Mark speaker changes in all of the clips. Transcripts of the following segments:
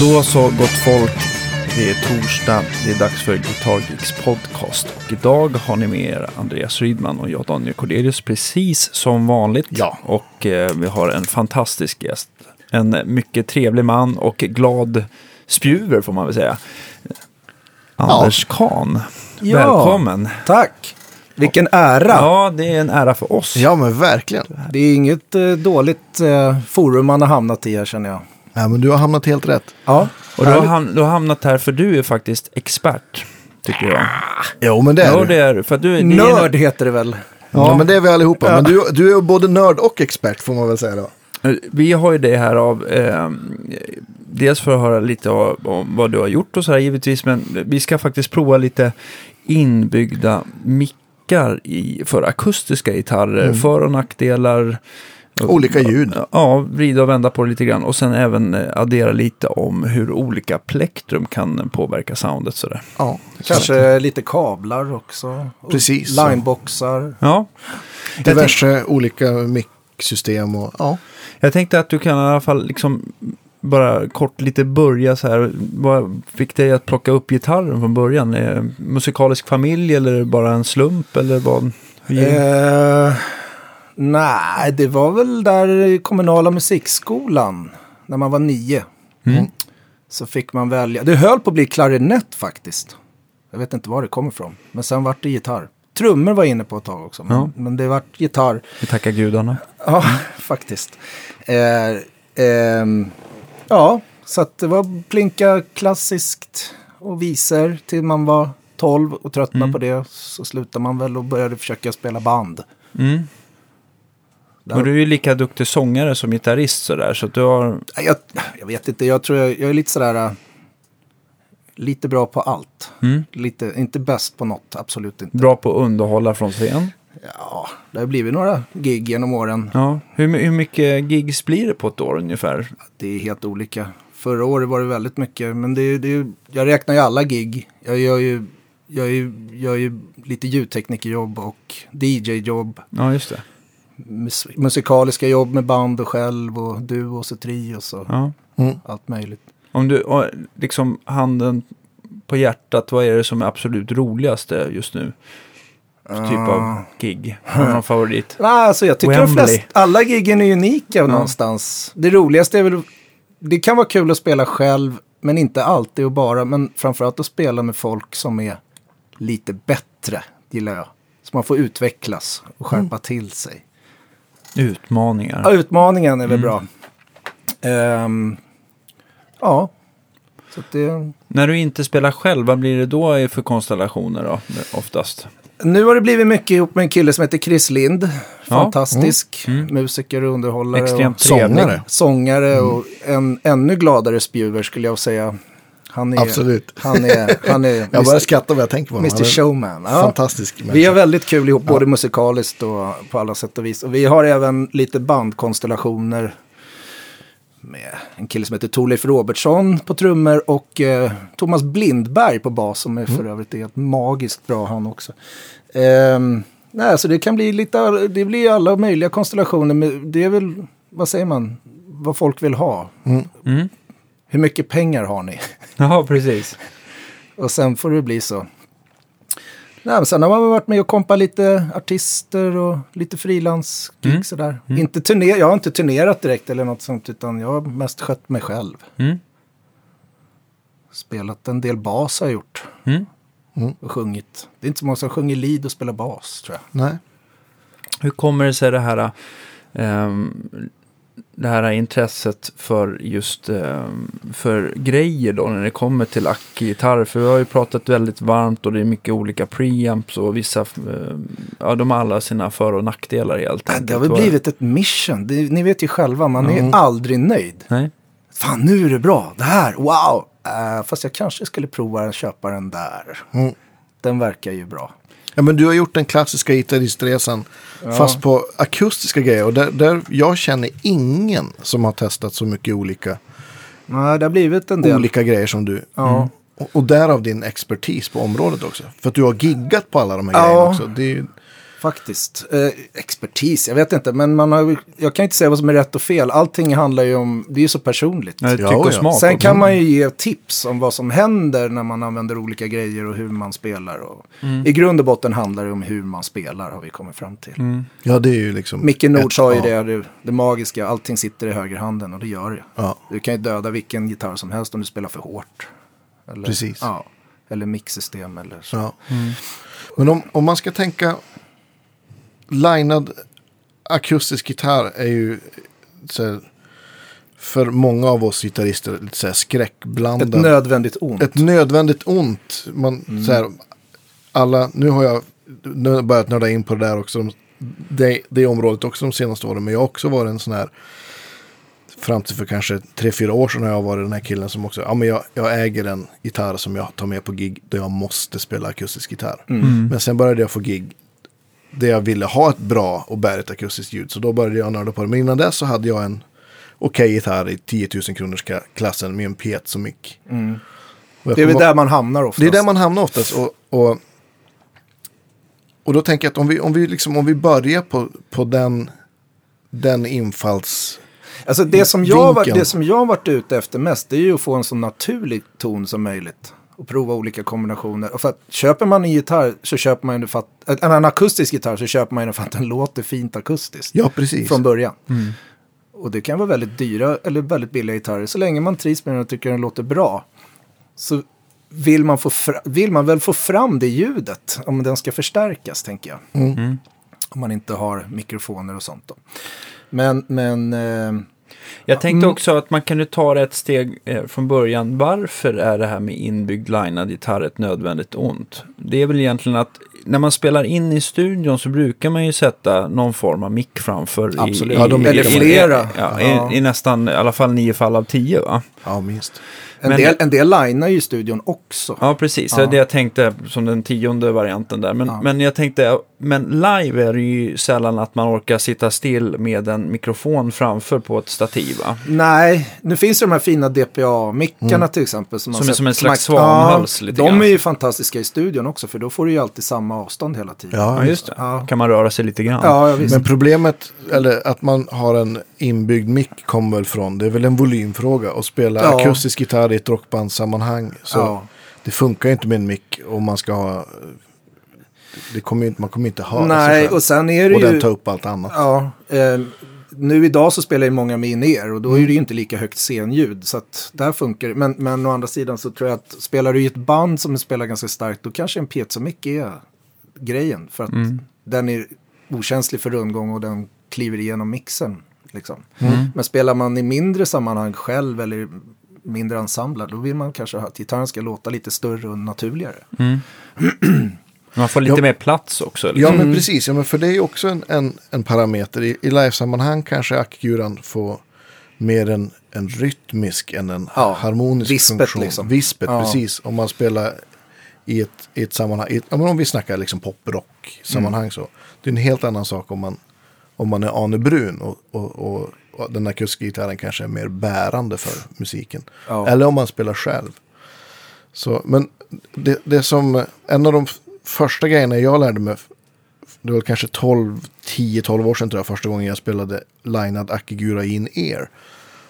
Speaker 1: Då så, gott folk. Det är torsdag. Det är dags för Guitar Geeks podcast. Och idag har ni med er Andreas Rydman och jag Daniel Cordelius precis som vanligt.
Speaker 2: Ja.
Speaker 1: Och eh, vi har en fantastisk gäst. En mycket trevlig man och glad spjuver får man väl säga. Anders Kahn.
Speaker 3: Ja.
Speaker 1: Välkommen.
Speaker 3: Tack! Vilken ära! Ja.
Speaker 1: Ja, det är en ära för oss.
Speaker 2: Ja men verkligen.
Speaker 3: Det är inget eh, dåligt eh, forum man har hamnat i här känner jag.
Speaker 2: Ja, men du har hamnat helt rätt.
Speaker 3: Ja,
Speaker 1: Och du har, ham- du har hamnat här för du är faktiskt expert, tycker jag.
Speaker 2: Jo men det är
Speaker 1: Ja,
Speaker 2: du.
Speaker 1: det är du. För att du, ni är-
Speaker 3: Nörd heter det väl?
Speaker 2: Ja. men det är vi allihopa. Men du, du är både nörd och expert får man väl säga då.
Speaker 1: Vi har ju det här av, eh, dels för att höra lite av, om vad du har gjort och så här givetvis, men vi ska faktiskt prova lite inbyggda mickar i, för akustiska gitarrer, för och nackdelar.
Speaker 2: Olika ljud.
Speaker 1: Ja, vrida och vända på det lite grann och sen även eh, addera lite om hur olika plektrum kan påverka soundet sådär.
Speaker 2: Ja,
Speaker 3: Kanske lite kablar också. Och
Speaker 2: Precis.
Speaker 3: Lineboxar.
Speaker 1: Ja,
Speaker 2: diverse olika micksystem och ja.
Speaker 1: Jag tänkte att du kan i alla fall liksom bara kort lite börja så här. Vad fick dig att plocka upp gitarren från början? Eh, musikalisk familj eller bara en slump eller vad? Hur gick-
Speaker 3: Eh, nej, det var väl där i kommunala musikskolan när man var nio.
Speaker 1: Mm.
Speaker 3: Så fick man välja. Det höll på att bli klarinett faktiskt. Jag vet inte var det kommer ifrån. Men sen vart det gitarr. Trummor var jag inne på ett tag också. Men,
Speaker 1: Ja.
Speaker 3: men det vart gitarr.
Speaker 1: Vi tackar gudarna.
Speaker 3: Ja, faktiskt. Eh, ehm, ja, så att det var plinka klassiskt och visor till man var 12 och tröttnade på det. Så slutade man väl och började försöka spela band.
Speaker 1: Mm.
Speaker 3: Där-
Speaker 1: Och du är ju lika duktig sångare som gitarrist sådär. Så att du har...
Speaker 3: Nej, Jag, jag vet inte, jag tror jag, jag är lite sådär... äh, Lite bra på allt.
Speaker 1: Mm.
Speaker 3: Lite, inte bäst på något, absolut inte.
Speaker 1: Bra på att underhålla från scen.
Speaker 3: Ja, det har blivit några gig genom åren.
Speaker 1: Ja. Hur, my- hur mycket gigs blir det på ett år ungefär?
Speaker 3: Det är helt olika. Förra året var det väldigt mycket, men det, är- det, är- jag räknar ju alla gig. Jag gör ju, jag gör ju, jag gör ju lite ljudteknikerjobb och DJ-jobb.
Speaker 1: Ja, just det.
Speaker 3: Mus musikaliska jobb med band och själv och duos och trios och
Speaker 1: Ja.
Speaker 2: Mm.
Speaker 3: allt möjligt.
Speaker 1: Om du, och liksom handen på hjärtat, vad är det som är absolut roligaste just nu? För typ
Speaker 3: Ah.
Speaker 1: av gig? Har du någon favorit?
Speaker 3: Nej, alltså jag tycker de
Speaker 1: Wembley.
Speaker 3: flest, alla giggen är unika någonstans. Det roligaste är väl, det kan vara kul att spela själv, men inte alltid och bara, men framförallt att spela med folk som är lite bättre, gillar jag. Så man får utvecklas och skärpa
Speaker 1: Mm.
Speaker 3: till sig. Ja,
Speaker 1: Utmaningar.
Speaker 3: utmaningen är
Speaker 1: Mm.
Speaker 3: väl bra. Ehm, ja, så att det...
Speaker 1: När du inte spelar själv, vad blir det då i- för konstellationer då? Oftast.
Speaker 3: Nu har det blivit mycket ihop med en kille som heter Chris Lind. Fantastisk musiker och underhållare.
Speaker 1: Mm. Extremt
Speaker 3: och...
Speaker 1: trevligt.
Speaker 2: Sångare.
Speaker 3: sångare
Speaker 2: Mm.
Speaker 3: och en ännu gladare spjuver skulle jag säga. Han är,
Speaker 2: Absolut.
Speaker 3: Han är, han är
Speaker 2: Jag börjar
Speaker 3: Mr.
Speaker 2: skratta vad jag tänker på honom. Han
Speaker 3: Mr
Speaker 2: är
Speaker 3: Showman. Ja.
Speaker 2: Fantastisk människa.
Speaker 3: Vi har väldigt kul ihop, både musikaliskt och på alla sätt och vis. Och vi har även lite bandkonstellationer med en kille som heter Torleif Robertsson på trummor och eh, Thomas Blindberg på bas som är för övrigt är helt magiskt bra han också. Ehm, nej, så det kan bli lite, all- det blir alla möjliga konstellationer, men det är väl, vad säger man, vad folk vill ha.
Speaker 1: Mm.
Speaker 3: Hur mycket pengar har ni?
Speaker 1: Ja, precis.
Speaker 3: Och sen får det bli så. Nej, men sen har man varit med och kompat lite artister och lite frilansgig
Speaker 1: Mm.
Speaker 3: sådär. Inte turné, jag har inte turnerat direkt eller något sånt utan jag har mest skött mig själv.
Speaker 1: Mm.
Speaker 3: Spelat en del bas har jag gjort
Speaker 1: Mm.
Speaker 3: och sjungit. Det är inte så många som sjunger lead och spelar bas tror jag.
Speaker 2: Nej.
Speaker 1: Hur kommer det sig det här, ehm, det här intresset för just ehm, för grejer då när det kommer till ackgitarr? För vi har ju pratat väldigt varmt och det är mycket olika preamps och vissa, ehm, ja de har alla sina för och nackdelar helt
Speaker 3: Det har väl blivit ett mission. Det, ni vet ju själva, man är ju aldrig nöjd.
Speaker 1: Nej.
Speaker 3: Fan, nu är det bra. Det här, wow! Eh, fast jag kanske skulle prova att köpa den där.
Speaker 2: Mm.
Speaker 3: Den verkar ju bra.
Speaker 2: Ja, men du har gjort den klassiska gitarristresan fast på akustiska grejer. Och där, där, jag känner ingen som har testat så mycket olika,
Speaker 3: Nej, det har blivit en del.
Speaker 2: olika grejer som du. Mm.
Speaker 3: Ja.
Speaker 2: Och, och därav din expertis på området också. För att du har giggat på alla de här
Speaker 3: Ja.
Speaker 2: grejerna också. Det är ju
Speaker 3: Faktiskt. Eh, expertis, jag vet inte. Men man har, jag kan ju inte säga vad som är rätt och fel. Allting handlar ju om, det är ju så personligt.
Speaker 1: Nej, tyck
Speaker 2: Ja,
Speaker 1: och
Speaker 2: ja.
Speaker 1: smak.
Speaker 3: Sen
Speaker 1: också.
Speaker 3: kan man ju ge tips om vad som händer när man använder olika grejer och hur man spelar. Och
Speaker 1: Mm.
Speaker 3: I grund och botten handlar det om hur man spelar har vi kommit fram till.
Speaker 1: Mm.
Speaker 2: Ja, det är ju liksom...
Speaker 3: Micke Nord
Speaker 2: ett-
Speaker 3: sa ju
Speaker 2: ja,
Speaker 3: det, det, det magiska, allting sitter i högerhanden och det gör det.
Speaker 2: Ja.
Speaker 3: Du kan ju döda vilken gitarr som helst om du spelar för hårt. Eller,
Speaker 2: Precis.
Speaker 3: Ja, eller mixsystem eller så.
Speaker 2: Ja. Men om, om man ska tänka... Linad akustisk gitarr är ju så här, för många av oss gitarrister lite så här
Speaker 3: Ett
Speaker 2: skräckblandad.
Speaker 3: nödvändigt ont.
Speaker 2: ett nödvändigt ont. Man, så här, alla, nu har jag nu har jag börjat nörda in på det där också. de- Det, det området också de senaste åren. Men jag har också varit en sån här. Fram till för kanske tre fyra år sedan har jag varit den här killen som också. Ja men jag, jag äger en gitarr som jag tar med på gig. Där jag måste spela akustisk gitarr. Men sen började jag få gig. Där jag ville ha ett bra och bärigt akustiskt ljud. Så då började jag nörda på det. Men innan dess så hade jag en okej gitarr i 10 000 kronors klassen med en pet som gick. Och jag
Speaker 3: Mm. Det är väl
Speaker 2: kommer-
Speaker 3: där man hamnar oftast.
Speaker 2: det är där man hamnar oftast. Och, och, och då tänker jag att om vi, om vi, liksom, om vi börjar på, på den, den infalls...
Speaker 3: Alltså det som, jag var,
Speaker 2: Vinkeln.
Speaker 3: det som jag varit ute efter mest det är ju att få en så naturlig ton som möjligt. Och prova olika kombinationer. Och för att köper man en gitarr så köper man ju för att, en- en akustisk gitarr så köper man ju för att den låter fint akustiskt.
Speaker 2: Ja, precis.
Speaker 3: Från början. Och det kan vara väldigt dyra eller väldigt billiga gitarrer. Så länge man trivs med den och tycker den låter bra. Så vill man, få fra- vill man väl få fram det ljudet. Om den ska förstärkas tänker jag.
Speaker 2: Mm.
Speaker 3: Om man inte har mikrofoner och sånt då. Men, men... Eh,
Speaker 1: Jag tänkte också att man kan ju ta det ett steg eh, från början. Varför är det här med inbyggd linad gitarr ett nödvändigt ont? Det är väl egentligen att när man spelar in i studion så brukar man ju sätta någon form av mick framför.
Speaker 2: Absolut.
Speaker 1: I, i,
Speaker 2: Ja, de-
Speaker 3: eller flera.
Speaker 1: I, ja,
Speaker 3: Ja.
Speaker 1: I, I nästan, i alla fall nio fall av tio va?
Speaker 2: Ja, minst.
Speaker 3: En,
Speaker 1: Men-
Speaker 3: del, en del linar ju i studion också.
Speaker 1: Ja, precis. Det är det jag tänkte som den tionde varianten där. Men, men jag tänkte, men live är det ju sällan att man orkar sitta still med en mikrofon framför på ett stativ. Va?
Speaker 3: Nej, nu finns ju de här fina DPA-mickarna till exempel. man
Speaker 1: Mm. Som är
Speaker 3: sett-
Speaker 1: som en slags
Speaker 3: man- ja,
Speaker 1: svanhals lite
Speaker 3: De
Speaker 1: grann.
Speaker 3: är ju fantastiska i studion också för då får du ju alltid samma avstånd hela tiden.
Speaker 1: Ja, just det. Kan man röra sig lite grann.
Speaker 3: ja, ja visst.
Speaker 2: Men problemet, eller att man har en inbyggd mick kommer väl från, det är väl en volymfråga. Att spela
Speaker 3: Ja.
Speaker 2: akustisk gitarr i ett rockbandssammanhang. Så
Speaker 3: Ja.
Speaker 2: det funkar ju inte med en mick om man ska ha... Det kommer ju inte, man kommer inte höra sig
Speaker 3: Nej,
Speaker 2: själv.
Speaker 3: och sen är det
Speaker 2: Och
Speaker 3: ju...
Speaker 2: den tar upp allt annat.
Speaker 3: Ja, eh, nu idag så spelar ju många med in-ear och då är det ju inte lika högt scenljud. Så att där funkar det. Men, men å andra sidan så tror jag att spelar du i ett band som spelar ganska starkt då kanske en piezomick är grejen. För att den är okänslig för rundgång och den kliver igenom mixen. Liksom. Men spelar man i mindre sammanhang själv eller mindre ensembler då vill man kanske ha- att gitarren ska låta lite större och naturligare.
Speaker 1: Man får lite mer plats också. eller?
Speaker 2: Ja,
Speaker 3: Mm.
Speaker 2: men precis. Ja, men för det är ju också en, en, en parameter. I, i livesammanhang kanske ackguran får mer en, en rytmisk än en
Speaker 3: Ja,
Speaker 2: harmonisk
Speaker 3: vispet
Speaker 2: funktion.
Speaker 3: liksom.
Speaker 2: Vispet,
Speaker 3: Ja.
Speaker 2: precis. Om man spelar i ett, i ett sammanhang. I, ett- ja, men om vi snackar liksom poprock-sammanhang
Speaker 3: Mm.
Speaker 2: så. Det är en helt annan sak om man, om man är Arne Brun och, och, och, och den akustiska gitarren kanske är mer bärande för musiken.
Speaker 3: Ja.
Speaker 2: Eller om man spelar själv. Så, men det, det som, en av de f- första grejerna jag lärde mig, det var kanske 12, 10-12 år sedan tror jag, första gången jag spelade Linad Akigura in ear.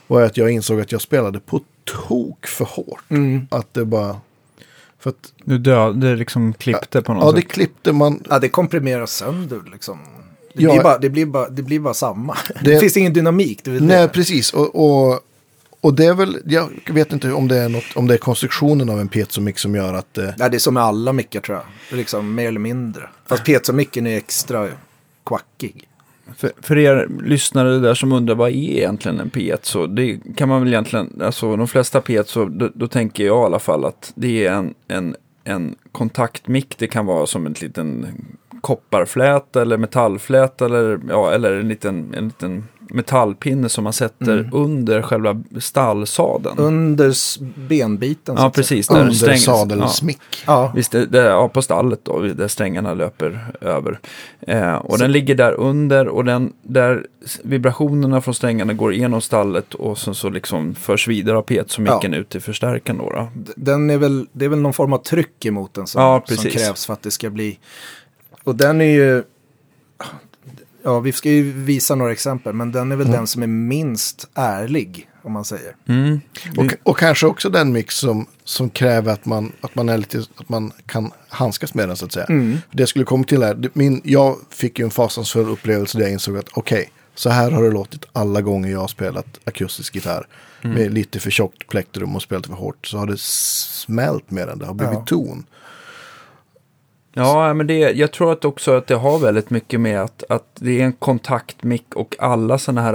Speaker 2: Var att jag insåg att jag spelade på tok för hårt. Att det bara, för att,
Speaker 1: Du dö, det liksom klippte på något
Speaker 2: ja det
Speaker 1: sätt.
Speaker 2: klippte man,
Speaker 3: Ja, det komprimeras sönder liksom. Det,
Speaker 2: Ja.
Speaker 3: blir bara, det, blir bara, det blir bara samma. Det,
Speaker 2: Det-
Speaker 3: finns ingen dynamik. Det, är väl
Speaker 2: nej
Speaker 3: det.
Speaker 2: precis. Och, och, och det är väl, jag vet inte om det är något, om det är konstruktionen av en piezomix som gör att eh,
Speaker 3: Nej, det är som med alla mickar tror jag. Det är Liksom, mer eller mindre.
Speaker 2: Ah.
Speaker 3: Fast piezomicken är extra quackig.
Speaker 1: För, för er lyssnare där som undrar vad är egentligen en piezo? Det kan man väl egentligen, alltså de flesta piezo, då, då tänker jag i alla fall att det är en, en, en kontaktmick. Det kan vara som en liten kopparflät eller metallflät eller, ja, eller en, liten, en liten metallpinne som man sätter under själva stallsaden.
Speaker 3: Under s- benbiten. så
Speaker 1: ja,
Speaker 3: att säga.
Speaker 1: precis. där
Speaker 2: under
Speaker 1: strängen-
Speaker 2: sadelsmick.
Speaker 3: Ja.
Speaker 1: Visst, det, det, ja, på stallet då, där strängarna löper över. Eh, och den ligger där under och den, där s- vibrationerna från strängarna går igenom stallet och sen så liksom förs vidare av piezomicken ut till förstärkaren då. då.
Speaker 3: D- Den är väl, det är väl någon form av tryck emot den som,
Speaker 1: Ja,
Speaker 3: som
Speaker 1: precis.
Speaker 3: krävs för att det ska bli. Och den är ju ja, vi ska ju visa några exempel, men den är
Speaker 2: Mm.
Speaker 3: väl den som är minst ärlig, om man säger.
Speaker 1: Mm.
Speaker 2: Och, och kanske också den mix som, som kräver att man, att, man är lite, att man kan handskas med den så att säga. Det jag skulle komma till här, det- min, jag fick ju en fasansfull upplevelse där jag insåg att okej, så här har det låtit alla gånger jag har spelat akustisk gitarr. Med lite för tjockt plektrum och spelat för hårt så har det smält med den, det har blivit
Speaker 3: Ja.
Speaker 2: ton.
Speaker 1: Ja, men det, jag tror att också att det har väldigt mycket med att, att det är en kontaktmick och alla sådana här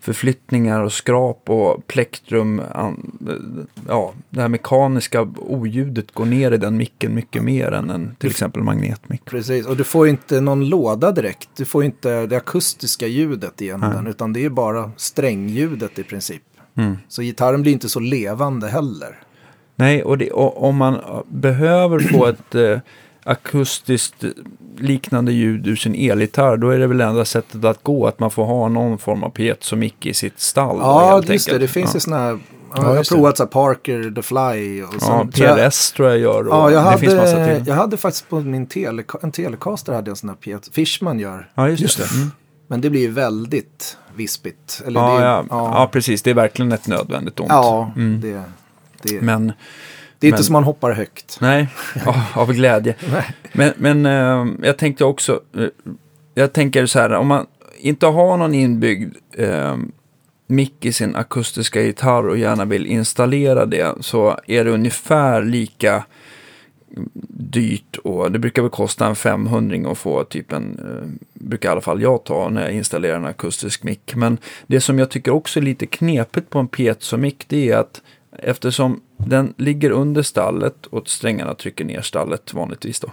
Speaker 1: fingerförflyttningar och skrap och plektrum, an- ja, det här mekaniska oljudet går ner i den micken mycket mer än en till exempel magnetmick.
Speaker 3: Precis, och du får ju inte någon låda direkt. Du får ju inte det akustiska ljudet egentligen, utan det är ju bara strängljudet i princip.
Speaker 1: Mm.
Speaker 3: Så gitarren blir inte så levande heller.
Speaker 1: Nej, och, det, och om man eh, behöver få ett eh, akustiskt liknande ljud ur sin elgitarr, då är det väl enda sättet att gå att man får ha någon form av piezomick i sitt stall. då,
Speaker 3: Ja,
Speaker 1: helt
Speaker 3: just det.
Speaker 1: enkelt.
Speaker 3: Det finns
Speaker 1: Ja.
Speaker 3: ju sådana här... Ja,
Speaker 2: Ja,
Speaker 3: jag har
Speaker 2: just det.
Speaker 3: provat så här Parker, The Fly och
Speaker 1: Ja,
Speaker 3: sen... tror jag-
Speaker 1: PLS tror jag gör. Och
Speaker 3: Ja, jag
Speaker 1: det finns massa
Speaker 3: hade,
Speaker 1: till.
Speaker 3: jag hade faktiskt på min tele, en Telecaster hade jag en sån här Piet. Fishman gör.
Speaker 1: ja, just,
Speaker 2: just
Speaker 1: det.
Speaker 2: det.
Speaker 1: Mm.
Speaker 3: Men det blir ju väldigt vispigt. Eller
Speaker 1: Ja,
Speaker 3: det,
Speaker 1: ja. Ja.
Speaker 3: ja,
Speaker 1: precis. Det är verkligen ett nödvändigt ont.
Speaker 3: ja
Speaker 1: Mm.
Speaker 3: det, det,
Speaker 1: Men,
Speaker 3: det är inte
Speaker 1: men-
Speaker 3: som man hoppar högt.
Speaker 1: nej, av- av glädje. Men, men eh, jag tänkte också, eh, jag tänker så här, om man inte har någon inbyggd eh, mick i sin akustiska gitarr och gärna vill installera det så är det ungefär lika dyrt och det brukar väl kosta en 500 att få typ en, eh, brukar i alla fall jag ta när jag installerar en akustisk mick. Men det som jag tycker också är lite knepigt på en piezo-mick det är att eftersom den ligger under stallet och strängarna trycker ner stallet vanligtvis då.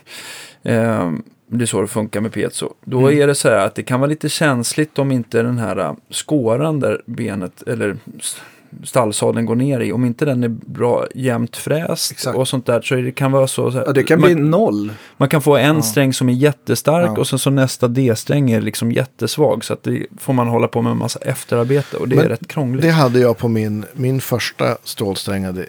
Speaker 1: Eh, det är så det funkar med piezo. Då är det så här att det kan vara lite känsligt om inte den här eh, skåran där benet eller s- stallsadeln går ner i, om inte den är bra jämnt fräst
Speaker 3: Exakt.
Speaker 1: och sånt där så är det kan vara så. så här,
Speaker 3: Ja, det kan
Speaker 1: man,
Speaker 3: bli noll.
Speaker 1: man kan få en sträng som är jättestark
Speaker 3: Ja.
Speaker 1: och sen så nästa D-sträng är liksom jättesvag så att det får man hålla på med en massa efterarbete och det är
Speaker 2: Men
Speaker 1: rätt krångligt.
Speaker 2: Det hade jag på min, min första stålsträngade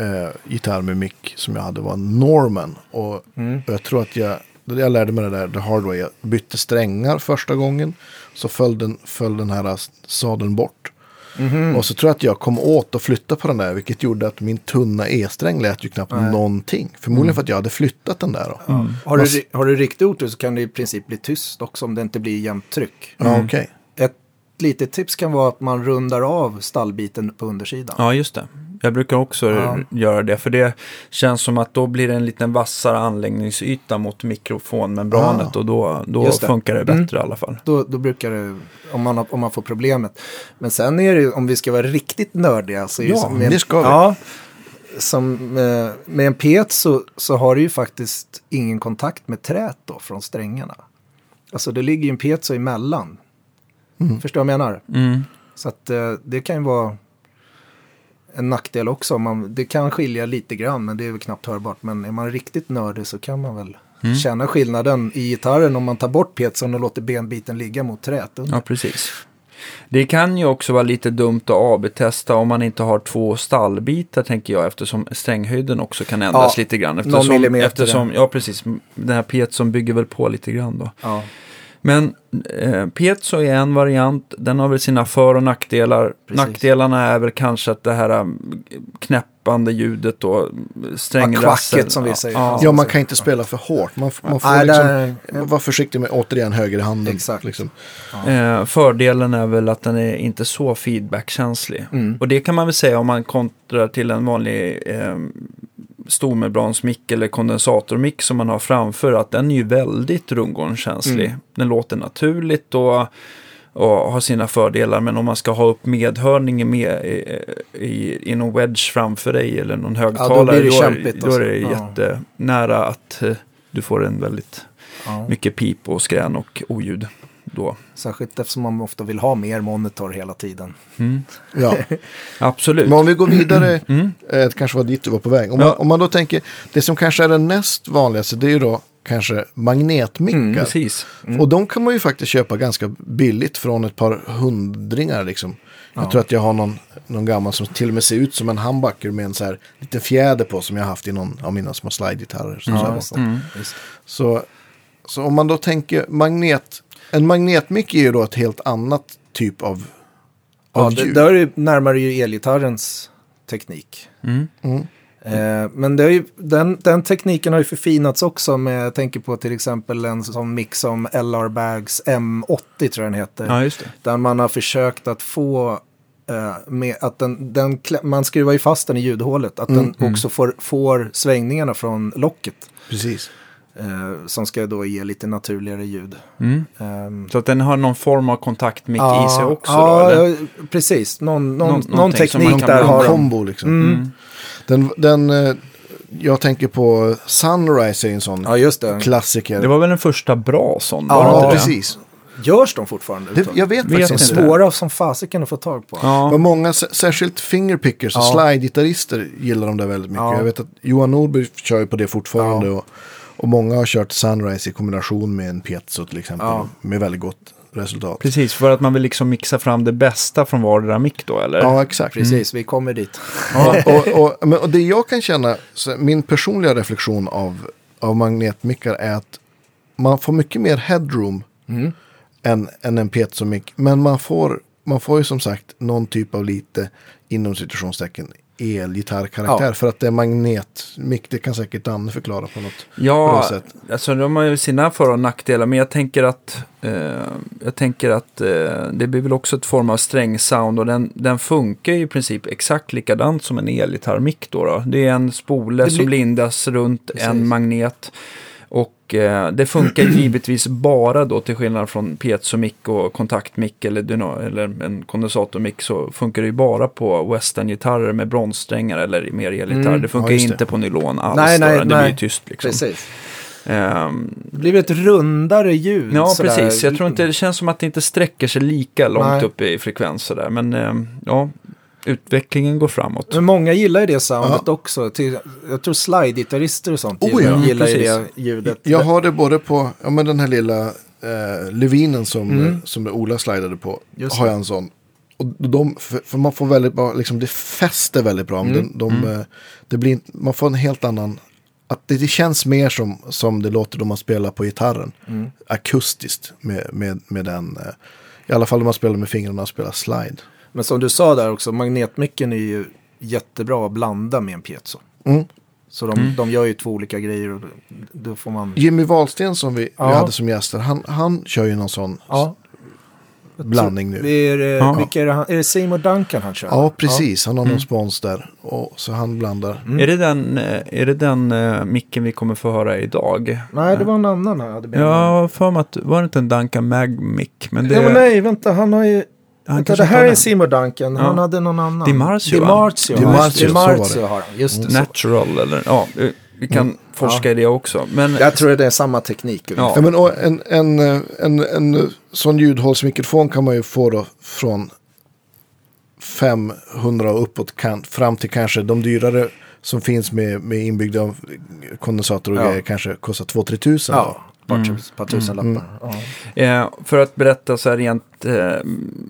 Speaker 2: eh, gitarr med mick som jag hade var en Norman. Och
Speaker 3: Mm.
Speaker 2: och jag tror att jag, det jag lärde mig det där, det hardway, jag bytte strängar första gången. Så föll den, föll den här sadeln bort.
Speaker 3: Mhm.
Speaker 2: Och så tror jag att jag kom åt att flytta på den där, vilket gjorde att min tunna E-sträng lät ju knappt någonting. Förmodligen för att jag hade flyttat den där då. Mm.
Speaker 3: Har, du, har du riktig otur så kan det i princip bli tyst också om det inte blir jämnt tryck.
Speaker 2: Ja, okej.
Speaker 3: Ett litet tips kan vara att man rundar av stallbiten på undersidan.
Speaker 1: Ja, just det. Jag brukar också
Speaker 3: Ja.
Speaker 1: göra det, för det känns som att då blir det en liten vassare anläggningsyta mot mikrofonmembranet och då, då
Speaker 3: Ah. Just det. Mm.
Speaker 1: funkar det bättre i alla fall.
Speaker 3: Då, då brukar det, om man, har, om man får problemet. Men sen är det ju, om vi ska vara riktigt nördiga. Så är
Speaker 2: Ja,
Speaker 3: det, som med,
Speaker 2: det ska vi.
Speaker 3: Ja, som, eh, med en pet så, så har du ju faktiskt ingen kontakt med trät då från strängarna. Alltså det ligger ju en pet så emellan. Förstår du vad jag menar?
Speaker 1: Mm.
Speaker 3: Så att eh, det kan ju vara en nackdel också. om Man, det kan skilja lite grann men det är väl knappt hörbart. Men är man riktigt nördig så kan man väl känna skillnaden i gitarren om man tar bort petsen och låter benbiten ligga mot trät. under.
Speaker 1: Ja, precis. Det kan ju också vara lite dumt att AB-testa om man inte har två stallbitar, tänker jag, eftersom stränghöjden också kan ändras
Speaker 3: Ja,
Speaker 1: lite grann.
Speaker 3: någon
Speaker 1: Eftersom,
Speaker 3: millimeter.
Speaker 1: Eftersom, ja, precis. Den här pietson bygger väl på lite grann då.
Speaker 3: Ja.
Speaker 1: Men eh, piezo är en variant, den har väl sina för och nackdelar.
Speaker 3: Precis.
Speaker 1: Nackdelarna är väl kanske att det här mm, knäppande ljudet då, strängrassel.
Speaker 3: Ja, kvacket som vi säger.
Speaker 1: Ja,
Speaker 2: Ja, man kan inte spela för hårt. Man, f- man får
Speaker 3: Nej,
Speaker 2: liksom,
Speaker 3: där-
Speaker 2: vara försiktig med återigen högerhanden.
Speaker 3: Exakt.
Speaker 2: Liksom.
Speaker 1: Eh, fördelen är väl att den är inte så feedbackkänslig.
Speaker 3: mm.
Speaker 1: Och det kan man väl säga om man kontrar till en vanlig eh, stormembransmick eller kondensatormick som man har framför. Att den är ju väldigt rundgångskänslig.
Speaker 3: Mm.
Speaker 1: Den låter naturligt och, och har sina fördelar. Men om man ska ha upp medhörning i med, i, i, i någon wedge framför dig eller någon högtalare.
Speaker 3: blir det
Speaker 1: då är-
Speaker 3: kämpigt
Speaker 1: Då är det
Speaker 3: alltså. Ja.
Speaker 1: jättenära att eh, du får en väldigt
Speaker 3: Ja.
Speaker 1: mycket pip och skrän och oljud. Då.
Speaker 3: Särskilt eftersom man ofta vill ha mer monitor hela tiden.
Speaker 2: Ja.
Speaker 1: Absolut.
Speaker 2: Men om vi går
Speaker 3: Mm.
Speaker 2: vidare, eh, det kanske var dit du var på väg. Om,
Speaker 1: Ja.
Speaker 2: man, om man då tänker, det som kanske är den näst vanligaste, det är ju då kanske magnetmickar.
Speaker 3: Mm,
Speaker 1: Mm, Precis.
Speaker 2: Och de kan man ju faktiskt köpa ganska billigt från ett par hundringar liksom. Jag tror att jag har någon, någon gammal som till och med ser ut som en humbucker med en så här liten fjäder på som jag har haft i någon av mina
Speaker 3: Mm.
Speaker 2: små slide-gitarrer. som så här var.
Speaker 3: just det. Just det.
Speaker 2: Så, så om man då tänker magnet, En magnetmick är ju då ett helt annat typ av,
Speaker 3: Ja,
Speaker 2: av
Speaker 3: det,
Speaker 2: ljud.
Speaker 3: där är ju- närmar det ju elgitarrens teknik.
Speaker 1: Mm.
Speaker 2: Mm.
Speaker 3: Eh, men det är ju, den, den tekniken har ju förfinats också. Med, jag tänker på till exempel en sån mix som LR Bags M80 tror jag den heter.
Speaker 1: Ja, just det.
Speaker 3: Där man har försökt att få eh, med att den, den, klä- man skruvar ju fast den i ljudhålet. Att
Speaker 1: Mm,
Speaker 3: den också får, får svängningarna från locket.
Speaker 2: Precis.
Speaker 3: Eh, som ska då ge lite naturligare ljud.
Speaker 1: Mm.
Speaker 3: Ehm,
Speaker 1: Så att den har någon form av kontaktmick i sig också?
Speaker 3: ja,
Speaker 1: då, eller?
Speaker 3: ja, precis. Någon, någon,
Speaker 1: Nå-
Speaker 3: någon,
Speaker 1: någonting som man
Speaker 3: teknik
Speaker 1: kan
Speaker 3: där
Speaker 1: blanda
Speaker 3: har
Speaker 2: en
Speaker 3: de.
Speaker 2: kombo liksom.
Speaker 3: Mm.
Speaker 2: Den, den, eh, jag tänker på Sunrise är en sån
Speaker 3: Ja, just det.
Speaker 2: klassiker.
Speaker 1: Det var väl den första bra sån?
Speaker 3: Ja,
Speaker 1: var det
Speaker 2: ja,
Speaker 1: inte det?
Speaker 2: precis.
Speaker 3: Görs de fortfarande?
Speaker 2: Det, jag vet,
Speaker 1: Vet
Speaker 2: faktiskt
Speaker 3: är
Speaker 2: inte.
Speaker 1: inte.
Speaker 3: svåra som fasiken att få tag på.
Speaker 2: Det
Speaker 1: Ja. Mm.
Speaker 2: var många, sä- särskilt fingerpickers och
Speaker 3: Ja.
Speaker 2: slide-gitarrister gillar de där väldigt mycket.
Speaker 3: Ja.
Speaker 2: Jag vet att Johan Norberg kör ju på det fortfarande.
Speaker 3: Ja.
Speaker 2: Och, och många har kört Sunrise i kombination med en piezo till exempel.
Speaker 3: Ja.
Speaker 2: Med väldigt gott resultat.
Speaker 1: Precis, för att man vill liksom mixa fram det bästa från vardera mick då, eller?
Speaker 2: Ja, exakt.
Speaker 3: Precis, vi kommer dit.
Speaker 2: Ja, och, och, men, och det jag kan känna, så min personliga reflektion av, av magnetmickar är att man får mycket mer headroom än, än en piezomick. Men man får, man får ju som sagt någon typ av lite, inom citationstecken, elgitarrkaraktär.
Speaker 3: Ja.
Speaker 2: För att det är magnetmick, det kan säkert Danne förklara på något bra
Speaker 1: Ja,
Speaker 2: sätt.
Speaker 1: alltså de har ju sina för och nackdelar, men jag tänker att, eh, jag tänker att eh, det blir väl också ett form av strängsound och den, den funkar ju i princip exakt likadant som en elgitarrmick då, då. Det är en spole
Speaker 3: Det blir-
Speaker 1: som lindas runt
Speaker 3: Precis.
Speaker 1: en magnet. Och eh, det funkar givetvis bara då till skillnad från piezomick och kontaktmick eller, dyna- eller en kondensatormick så funkar det ju bara på westerngitarrer med bronssträngar eller mer elgitarr.
Speaker 3: Mm,
Speaker 1: Det funkar
Speaker 2: ja, just det.
Speaker 1: inte på nylon alls.
Speaker 3: Nej,
Speaker 1: då,
Speaker 3: nej,
Speaker 1: det blir
Speaker 3: nej.
Speaker 1: ju tyst liksom.
Speaker 3: Precis.
Speaker 1: Ehm,
Speaker 3: Det blir ett rundare ljud.
Speaker 1: ja,
Speaker 3: sådär.
Speaker 1: precis. Jag tror inte, det känns som att det inte sträcker sig lika långt
Speaker 3: Nej.
Speaker 1: upp i frekvenser där. Men ehm, ja, utvecklingen går framåt.
Speaker 3: Men många gillar ju det soundet också. Till, jag tror slide-gitarrister och sånt
Speaker 2: Oh,
Speaker 3: gillar,
Speaker 2: ja,
Speaker 3: gillar ju det
Speaker 1: Mm, precis.
Speaker 3: ljudet.
Speaker 2: Jag har det både på ja, men den här lilla eh, Levinen som, eh, som Ola slidade på.
Speaker 3: Mm. Just
Speaker 2: har jag en sån. Och de, för, för man får väldigt bra, liksom, det fäster väldigt bra. om
Speaker 3: Mm.
Speaker 2: Den, de, eh, det blir, inte- man får en helt annan... Att det, det känns mer som, som det låter då man spelar på gitarren.
Speaker 3: Mm.
Speaker 2: Akustiskt med, med, med den. Eh, I alla fall om man spelar med fingrarna och spelar slide.
Speaker 3: Men som du sa där också, magnetmicken är ju jättebra att blanda med en piezo.
Speaker 2: Mm.
Speaker 3: Så de, de gör ju två olika grejer och då får man...
Speaker 2: Jimmy Wahlsten som vi,
Speaker 3: Ja.
Speaker 2: vi hade som gäster, han, han kör ju någon sån
Speaker 3: Ja.
Speaker 2: blandning nu.
Speaker 3: Det är, eh,
Speaker 1: Ja.
Speaker 3: vilka är, det, han- är det Seymour Duncan han kör?
Speaker 2: Ja, precis. Han har någon
Speaker 3: Mm.
Speaker 2: spons där. Och, så han blandar.
Speaker 1: Är det den, eh, är det den eh, micken vi kommer få höra idag?
Speaker 3: Nej, det var en annan han hade med.
Speaker 1: Ja, för mig att var det inte en Duncan Mag mick? Men det,
Speaker 3: Nej, men nej, vänta, han har ju...
Speaker 1: han
Speaker 3: vänta,
Speaker 1: kanske inte
Speaker 3: det här
Speaker 1: har
Speaker 3: är
Speaker 1: den.
Speaker 3: Seymour Duncan, han
Speaker 1: Ja.
Speaker 3: hade någon annan.
Speaker 1: DiMarzio, va?
Speaker 3: DiMarzio,
Speaker 2: DiMarzio, så var det.
Speaker 3: DiMarzio har han, just det. Så. Mm.
Speaker 1: Natural eller ja, eh, vi kan forska i det också. Men
Speaker 3: Jag tror att det är samma teknik.
Speaker 1: Ja.
Speaker 2: Ja, men, och en, en, eh, en, en sån ljudhålsmikrofon kan man ju få då från 500 och uppåt kan, fram till kanske de dyrare som finns med, med inbyggda kondensator och
Speaker 3: Ja.
Speaker 2: grejer kanske kostar 2-3 tusen. Mm.
Speaker 3: Ja, ett par,
Speaker 1: Mm.
Speaker 3: tus, par tusen lappar. Ja.
Speaker 1: Eh, för att berätta så här rent eh,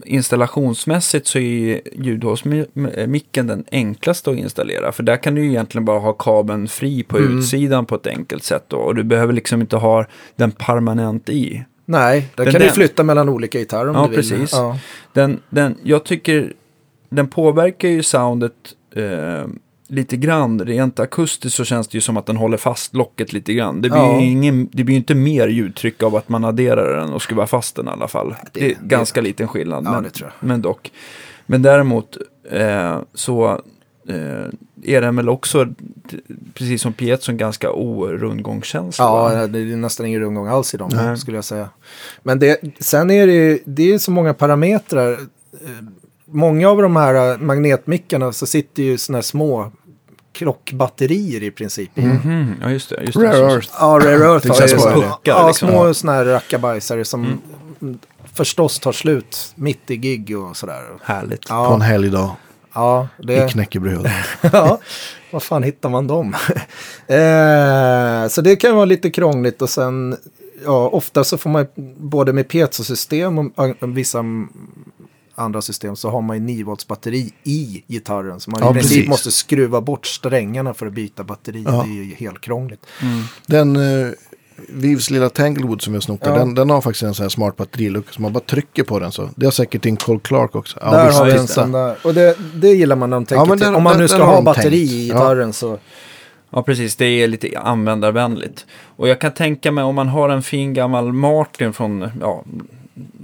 Speaker 1: installationsmässigt så är ju ljudhålsmicken eh, den enklaste att installera. För där kan du ju egentligen bara ha kabeln fri på utsidan på ett enkelt sätt. Då, och du behöver liksom inte ha den permanent i.
Speaker 3: Nej, där
Speaker 1: Den
Speaker 3: kan du
Speaker 1: där-
Speaker 3: flytta mellan olika gitarrer om
Speaker 1: Ja,
Speaker 3: du vill.
Speaker 1: precis.
Speaker 3: Ja,
Speaker 1: Den, den, jag tycker den påverkar ju soundet eh, lite grann. Rent akustiskt så känns det ju som att den håller fast locket lite grann. Det blir
Speaker 3: Ja.
Speaker 1: ju ingen, det blir ju inte mer ljudtryck av att man adderar den och skruvar fast den i alla fall. Det,
Speaker 3: det-
Speaker 1: är
Speaker 3: det-
Speaker 1: ganska liten skillnad,
Speaker 3: Ja,
Speaker 1: men,
Speaker 3: det tror
Speaker 1: men dock. Men däremot eh, så eh, är den väl också, t- precis som Pietson, ganska orundgångskänsla. va?
Speaker 3: ja det är nästan ingen rundgång alls i dem,
Speaker 1: Nej.
Speaker 3: skulle jag säga. Men det, sen är det ju det är ju så många parametrar. Eh, Många av de här eh, magnetmickarna så sitter ju sådana här små krockbatterier i princip. i.
Speaker 1: Mhm, ja, just det. Just det
Speaker 2: Rare
Speaker 1: Så-
Speaker 2: Earth.
Speaker 3: Ja, Rare Earth
Speaker 2: Till
Speaker 3: har ju
Speaker 2: exempel
Speaker 3: små,
Speaker 1: puckar,
Speaker 3: ja,
Speaker 1: liksom.
Speaker 3: små sådana här rackabajsare som
Speaker 2: Mm.
Speaker 3: förstås tar slut mitt i gig och sådär.
Speaker 1: Härligt.
Speaker 2: På en
Speaker 3: Ja,
Speaker 2: helgdag
Speaker 3: ja,
Speaker 2: i
Speaker 3: det,
Speaker 2: knäckebröd.
Speaker 3: ja, vad fan hittar man dem? eh, så det kan vara lite krångligt och sen ja, ofta så får man ju både med piezosystem och an- vissa m- andra system så har man ju 9 volts batteri i gitarren. Så man
Speaker 2: Ja,
Speaker 3: i princip
Speaker 2: precis.
Speaker 3: måste skruva bort strängarna för att byta batteri.
Speaker 2: Ja.
Speaker 3: Det är ju helt krångligt.
Speaker 2: Den eh, Vivs lilla Tanglewood som jag snokar,
Speaker 3: Ja.
Speaker 2: den, den har faktiskt en sån här smart batterilucka. Så man bara trycker på den så. Det har säkert in Cole Clark också. Ja,
Speaker 3: där
Speaker 2: visst,
Speaker 3: har vi en
Speaker 2: visst.
Speaker 3: sån där. Och det, det gillar man när de tänker
Speaker 2: men
Speaker 3: till.
Speaker 2: där-
Speaker 3: Om man
Speaker 2: där-
Speaker 3: nu
Speaker 2: där
Speaker 3: ska
Speaker 2: har
Speaker 3: ha
Speaker 2: de
Speaker 3: batteri
Speaker 2: tänkt.
Speaker 3: i
Speaker 2: Ja.
Speaker 3: gitarren så.
Speaker 1: Ja, precis. Det är lite användarvänligt. Och jag kan tänka mig om man har en fin gammal Martin från, ja,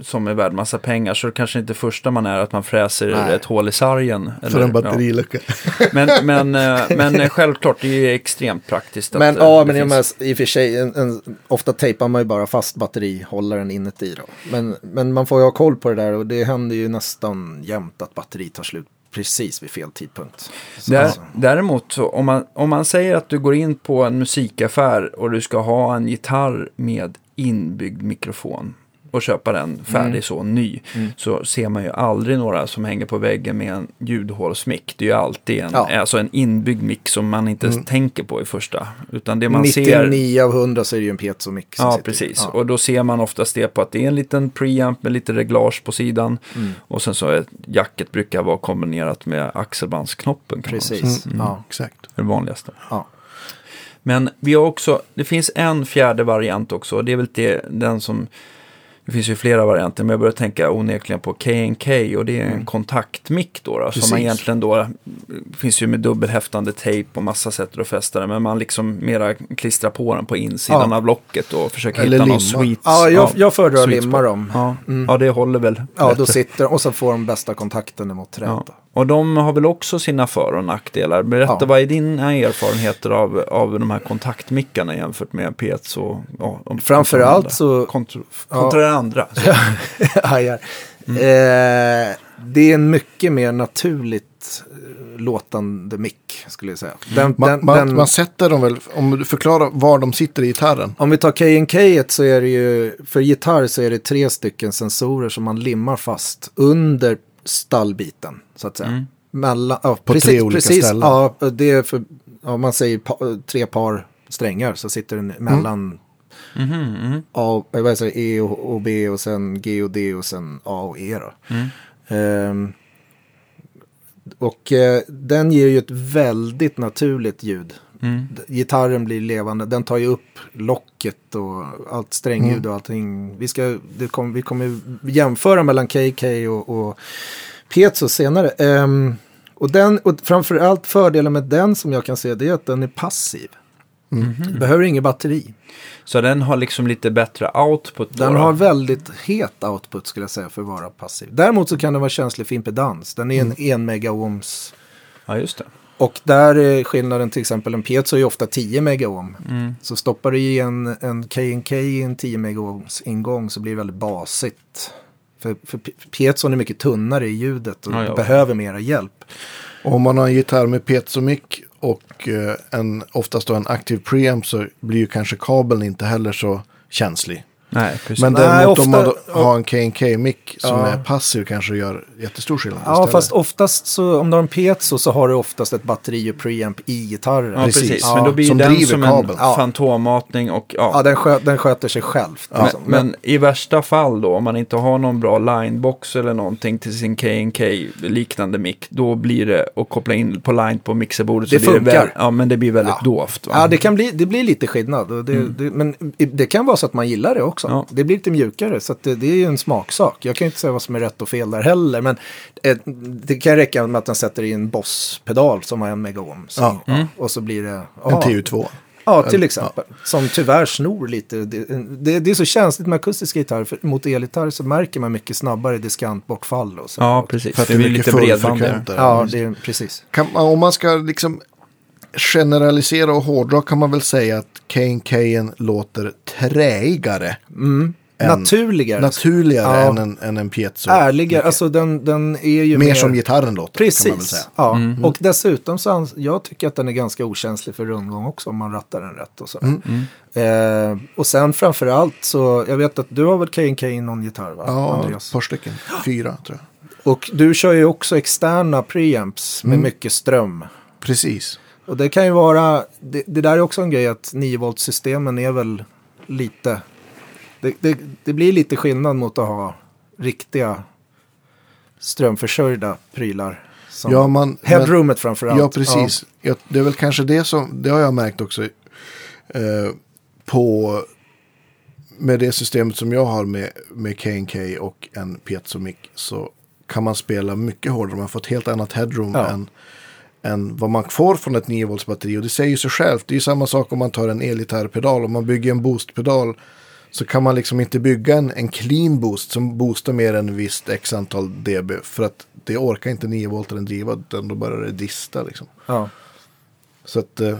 Speaker 1: som är värd massa pengar så kanske inte första man är att man fräser
Speaker 2: Nej.
Speaker 1: ett hål i sargen.
Speaker 2: För
Speaker 1: eller-
Speaker 2: en batterilucka.
Speaker 1: Ja. Men, men, eh, men eh, självklart, det är ju extremt praktiskt. att,
Speaker 3: Men,
Speaker 1: eh,
Speaker 3: ja,
Speaker 1: det
Speaker 3: men i och med,
Speaker 1: finns-
Speaker 3: i och för sig, en, en, ofta tejpar man ju bara fast batterihållaren inuti då. Men, men man får ju ha koll på det där och det händer ju nästan jämt att batteri tar slut precis vid fel tidpunkt. Så,
Speaker 1: Dä-
Speaker 3: alltså.
Speaker 1: Däremot, så om, man, om man säger att du går in på en musikaffär och du ska ha en gitarr med inbyggd mikrofon och köpa den färdig
Speaker 3: Mm.
Speaker 1: så ny så ser man ju aldrig några som hänger på väggen med en ljudhålsmick. Det är ju alltid en,
Speaker 3: Ja. Mm.
Speaker 1: alltså en inbyggd mick som man inte ens tänker på i första. Utan det man ser...
Speaker 3: 99 av 100 så är det ju en piezomic som
Speaker 1: Ja,
Speaker 3: sitter i.
Speaker 1: precis.
Speaker 3: Ja.
Speaker 1: Och då ser man oftast det på att det är en liten preamp med lite reglage på sidan.
Speaker 3: Mm.
Speaker 1: Och sen så är jacket brukar vara kombinerat med axelbandsknoppen. Kan man säga.
Speaker 3: Precis, ja.
Speaker 2: Exakt.
Speaker 1: Det är det vanligaste.
Speaker 3: ja.
Speaker 1: Men vi har också, det finns en fjärde variant också. och Det är väl det, den som, det finns ju flera varianter. Men jag börjar tänka onekligen på KNK och det är en
Speaker 3: Mm.
Speaker 1: kontaktmick då. då som
Speaker 2: Precis.
Speaker 1: man egentligen då, det finns ju med dubbelhäftande tejp och massa sätt att fästa den. Men man liksom mera klistrar på den på insidan
Speaker 3: Ja.
Speaker 1: av locket och försöker
Speaker 2: Eller
Speaker 1: hitta någon
Speaker 2: limma.
Speaker 1: sweet.
Speaker 3: ja, jag, jag föredrar att
Speaker 1: sweet
Speaker 3: limma
Speaker 1: spot.
Speaker 3: dem. Ja.
Speaker 1: Ja. ja, det håller väl.
Speaker 3: då sitter och så får de bästa kontakten mot träet.
Speaker 1: Ja.
Speaker 3: då.
Speaker 1: Och de har väl också sina för och nackdelar. Berätta,
Speaker 3: Ja.
Speaker 1: vad är dina erfarenheter av, av de här kontaktmickarna jämfört med P1? Och, ja, om-
Speaker 3: Framförallt
Speaker 1: kontra de andra?
Speaker 3: så-
Speaker 1: Kontra, kontra det andra. Så.
Speaker 3: Ajar. Eh, det är en mycket mer naturligt eh, låtande mick skulle jag säga. Den,
Speaker 2: Man,
Speaker 3: den,
Speaker 2: man,
Speaker 3: den,
Speaker 2: man sätter dem väl, om du förklarar var de sitter i gitarren.
Speaker 3: om vi tar KNK et så är det ju, för gitarr så är det tre stycken sensorer som man limmar fast under stallbiten så att säga.
Speaker 1: Mm.
Speaker 3: Mellan, ja,
Speaker 2: På
Speaker 3: precis,
Speaker 2: tre olika
Speaker 3: precis,
Speaker 2: ställen.
Speaker 3: Ja, det är för, ja, man säger pa, tre par strängar så sitter den
Speaker 2: Mm.
Speaker 3: mellan Mm.
Speaker 1: Mm.
Speaker 3: A, eh, vad säger, E och, och B och sen G och D och sen A och E. Då.
Speaker 1: Mm.
Speaker 3: Ehm, och eh, den ger ju ett väldigt naturligt ljud.
Speaker 1: Mm.
Speaker 3: D- Gitarren blir levande, den tar ju upp locket och allt strängljud och allting. Vi, ska, det kom, vi kommer ju jämföra mellan KK och, och Piezo senare. Ehm, och, den, och framförallt fördelen med den som jag kan se det är att den är passiv. Du behöver inget batteri.
Speaker 1: så den har liksom lite bättre output. då,
Speaker 3: Den
Speaker 1: då.
Speaker 3: har väldigt het output skulle jag säga för att vara passiv. Däremot så kan den vara känslig för impedans. Den är en 1 megaohms.
Speaker 1: Ja, just det.
Speaker 3: Och där är skillnaden till exempel en piezo är ju ofta 10 megaohm.
Speaker 1: Mm.
Speaker 3: Så stoppar du i en, en KNK i en 10 megaohms ingång så blir det väldigt basigt. För, för pi- piezon är mycket tunnare i ljudet och
Speaker 1: Ja, ja.
Speaker 3: behöver mera hjälp.
Speaker 2: Om man har en gitarr med piezomick och eh, en, oftast då en aktiv preamp så blir ju kanske kabeln inte heller så känslig.
Speaker 1: Nej, precis.
Speaker 2: Men
Speaker 3: Nej,
Speaker 2: däremot om man då
Speaker 3: ofta-
Speaker 2: har en KNK-mick som
Speaker 3: Ja.
Speaker 2: är passiv kanske gör jättestor skillnad.
Speaker 3: Ja,
Speaker 2: istället.
Speaker 3: fast oftast så om du har en piezo så har du oftast ett batteri och preamp i gitarren.
Speaker 1: ja, precis.
Speaker 2: precis.
Speaker 1: Men då blir
Speaker 2: Som
Speaker 1: den
Speaker 2: driver
Speaker 1: som
Speaker 2: kabeln.
Speaker 1: en
Speaker 3: Ja.
Speaker 1: fantommatning och ja,
Speaker 3: Ja, den, skö den sköter sig själv. liksom.
Speaker 1: Men, men i värsta fall då, om man inte har någon bra linebox eller någonting till sin KNK liknande mick, då blir det att koppla in på line på mixerbordet.
Speaker 3: Det
Speaker 1: så blir
Speaker 3: funkar.
Speaker 1: väl- ja, men det blir väldigt dovt. Va?
Speaker 3: Ja, det, kan bli, det blir lite skillnad. Och det, det, men i- det kan vara så att man gillar det också.
Speaker 1: Ja.
Speaker 3: Det blir lite mjukare, så att det, det är ju en smaksak. Jag kan ju inte säga vad som är rätt och fel där heller. Men eh, det kan räcka med att den sätter i en Boss-pedal som har en megaohm.
Speaker 2: Ja.
Speaker 3: Och så blir det...
Speaker 2: En
Speaker 3: aha.
Speaker 2: TU2.
Speaker 3: Ja, till exempel. Som tyvärr snor lite. Det, det, det är så känsligt med akustiska gitarrer. För mot elgitarr så märker man mycket snabbare diskantbortfall. Och så.
Speaker 1: Ja, precis.
Speaker 2: För att
Speaker 1: Det
Speaker 2: det är
Speaker 1: blir
Speaker 2: mycket
Speaker 1: lite bredbandigare.
Speaker 2: fullfrekvent där.
Speaker 3: ja det är, precis.
Speaker 2: Kan man, om man ska liksom generalisera och hårdra kan man väl säga att KNK låter träigare. Än-
Speaker 3: Naturligare.
Speaker 2: Naturligare
Speaker 3: Ja.
Speaker 2: än en, än en piezo.
Speaker 3: Ärligare. Alltså den, den är ju
Speaker 2: Mer som gitarren låter kan man väl säga.
Speaker 3: Precis, ja. och dessutom så ans- jag tycker att den är ganska okänslig för rundgång också om man rattar den rätt och så.
Speaker 2: Mm.
Speaker 3: Eh, och sen framför allt så, jag vet att du har väl K&K i någon gitarr va?
Speaker 2: Ja, ett
Speaker 3: Andreas?
Speaker 2: par stycken. Fyra tror jag.
Speaker 3: Och du kör ju också externa preamps
Speaker 2: Mm.
Speaker 3: med mycket ström.
Speaker 2: Precis.
Speaker 3: Och det kan ju vara, det, det där är också en grej att 9 volt systemen är väl lite, det, det, det blir lite skillnad mot att ha riktiga strömförsörjda prylar. Som
Speaker 2: Ja, man, men-
Speaker 3: Headroomet framför allt.
Speaker 2: Ja, precis. Ja. det är väl kanske det som, det har jag märkt också eh, på med det systemet som jag har med, med K&K och en piezomic så kan man spela mycket hårdare. Man får ett helt annat headroom
Speaker 3: Ja.
Speaker 2: än, än vad man får från ett 9 volts batteri. Och det säger ju sig självt. Det är ju samma sak om man tar en elgitarrpedal. Om man bygger en boostpedal så kan man liksom inte bygga en, en clean boost som boostar mer än visst x antal dB. För att det orkar inte 9 voltaren driva utan då börjar det dista liksom.
Speaker 3: Ja.
Speaker 2: Så att, eh,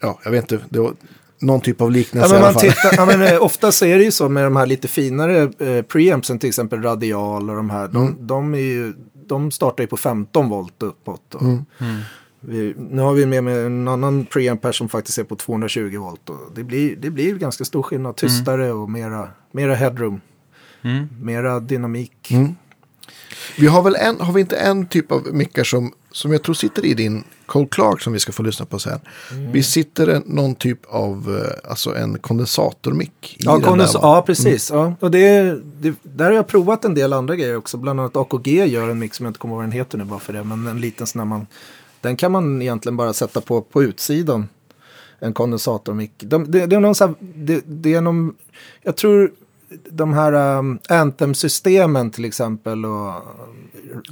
Speaker 2: ja, jag vet inte. Det var någon typ av
Speaker 3: Ja,
Speaker 2: liknelse
Speaker 3: men
Speaker 2: i
Speaker 3: man
Speaker 2: alla fall.
Speaker 3: tittar, ja, men, eh, oftast är det ju så med de här lite finare eh, preampsen, till exempel radial och de här. De,
Speaker 2: Mm.
Speaker 3: de, är ju, de startar ju på 15 volt uppåt. Och
Speaker 2: Mm.
Speaker 3: vi, nu har vi med, med en annan preamp här som faktiskt är på 220 volt. Och det, blir, det blir ju ganska stor
Speaker 2: Mm.
Speaker 3: skillnad, tystare och mera, mera headroom,
Speaker 1: Mm.
Speaker 3: mera dynamik.
Speaker 2: Mm. Vi har väl en, har vi inte en typ av mickar som, som jag tror sitter i din Cole Clark som vi ska få lyssna på sen. Vi sitter en, någon typ av, eh, alltså en kondensatormick i
Speaker 3: Ja,
Speaker 2: den där,
Speaker 3: kondens-
Speaker 2: va?
Speaker 3: ja, precis. Ja. Och det, är- det, där har jag provat en del andra grejer också. Bland annat AKG gör en mix som jag inte kommer ihåg vad den heter nu bara för det. Men en liten sån här man. Den kan man egentligen bara sätta på, på utsidan. En kondensatormick. De, det, det är någon sån här, det, det är någon, jag tror de här um, Anthem-systemen till exempel och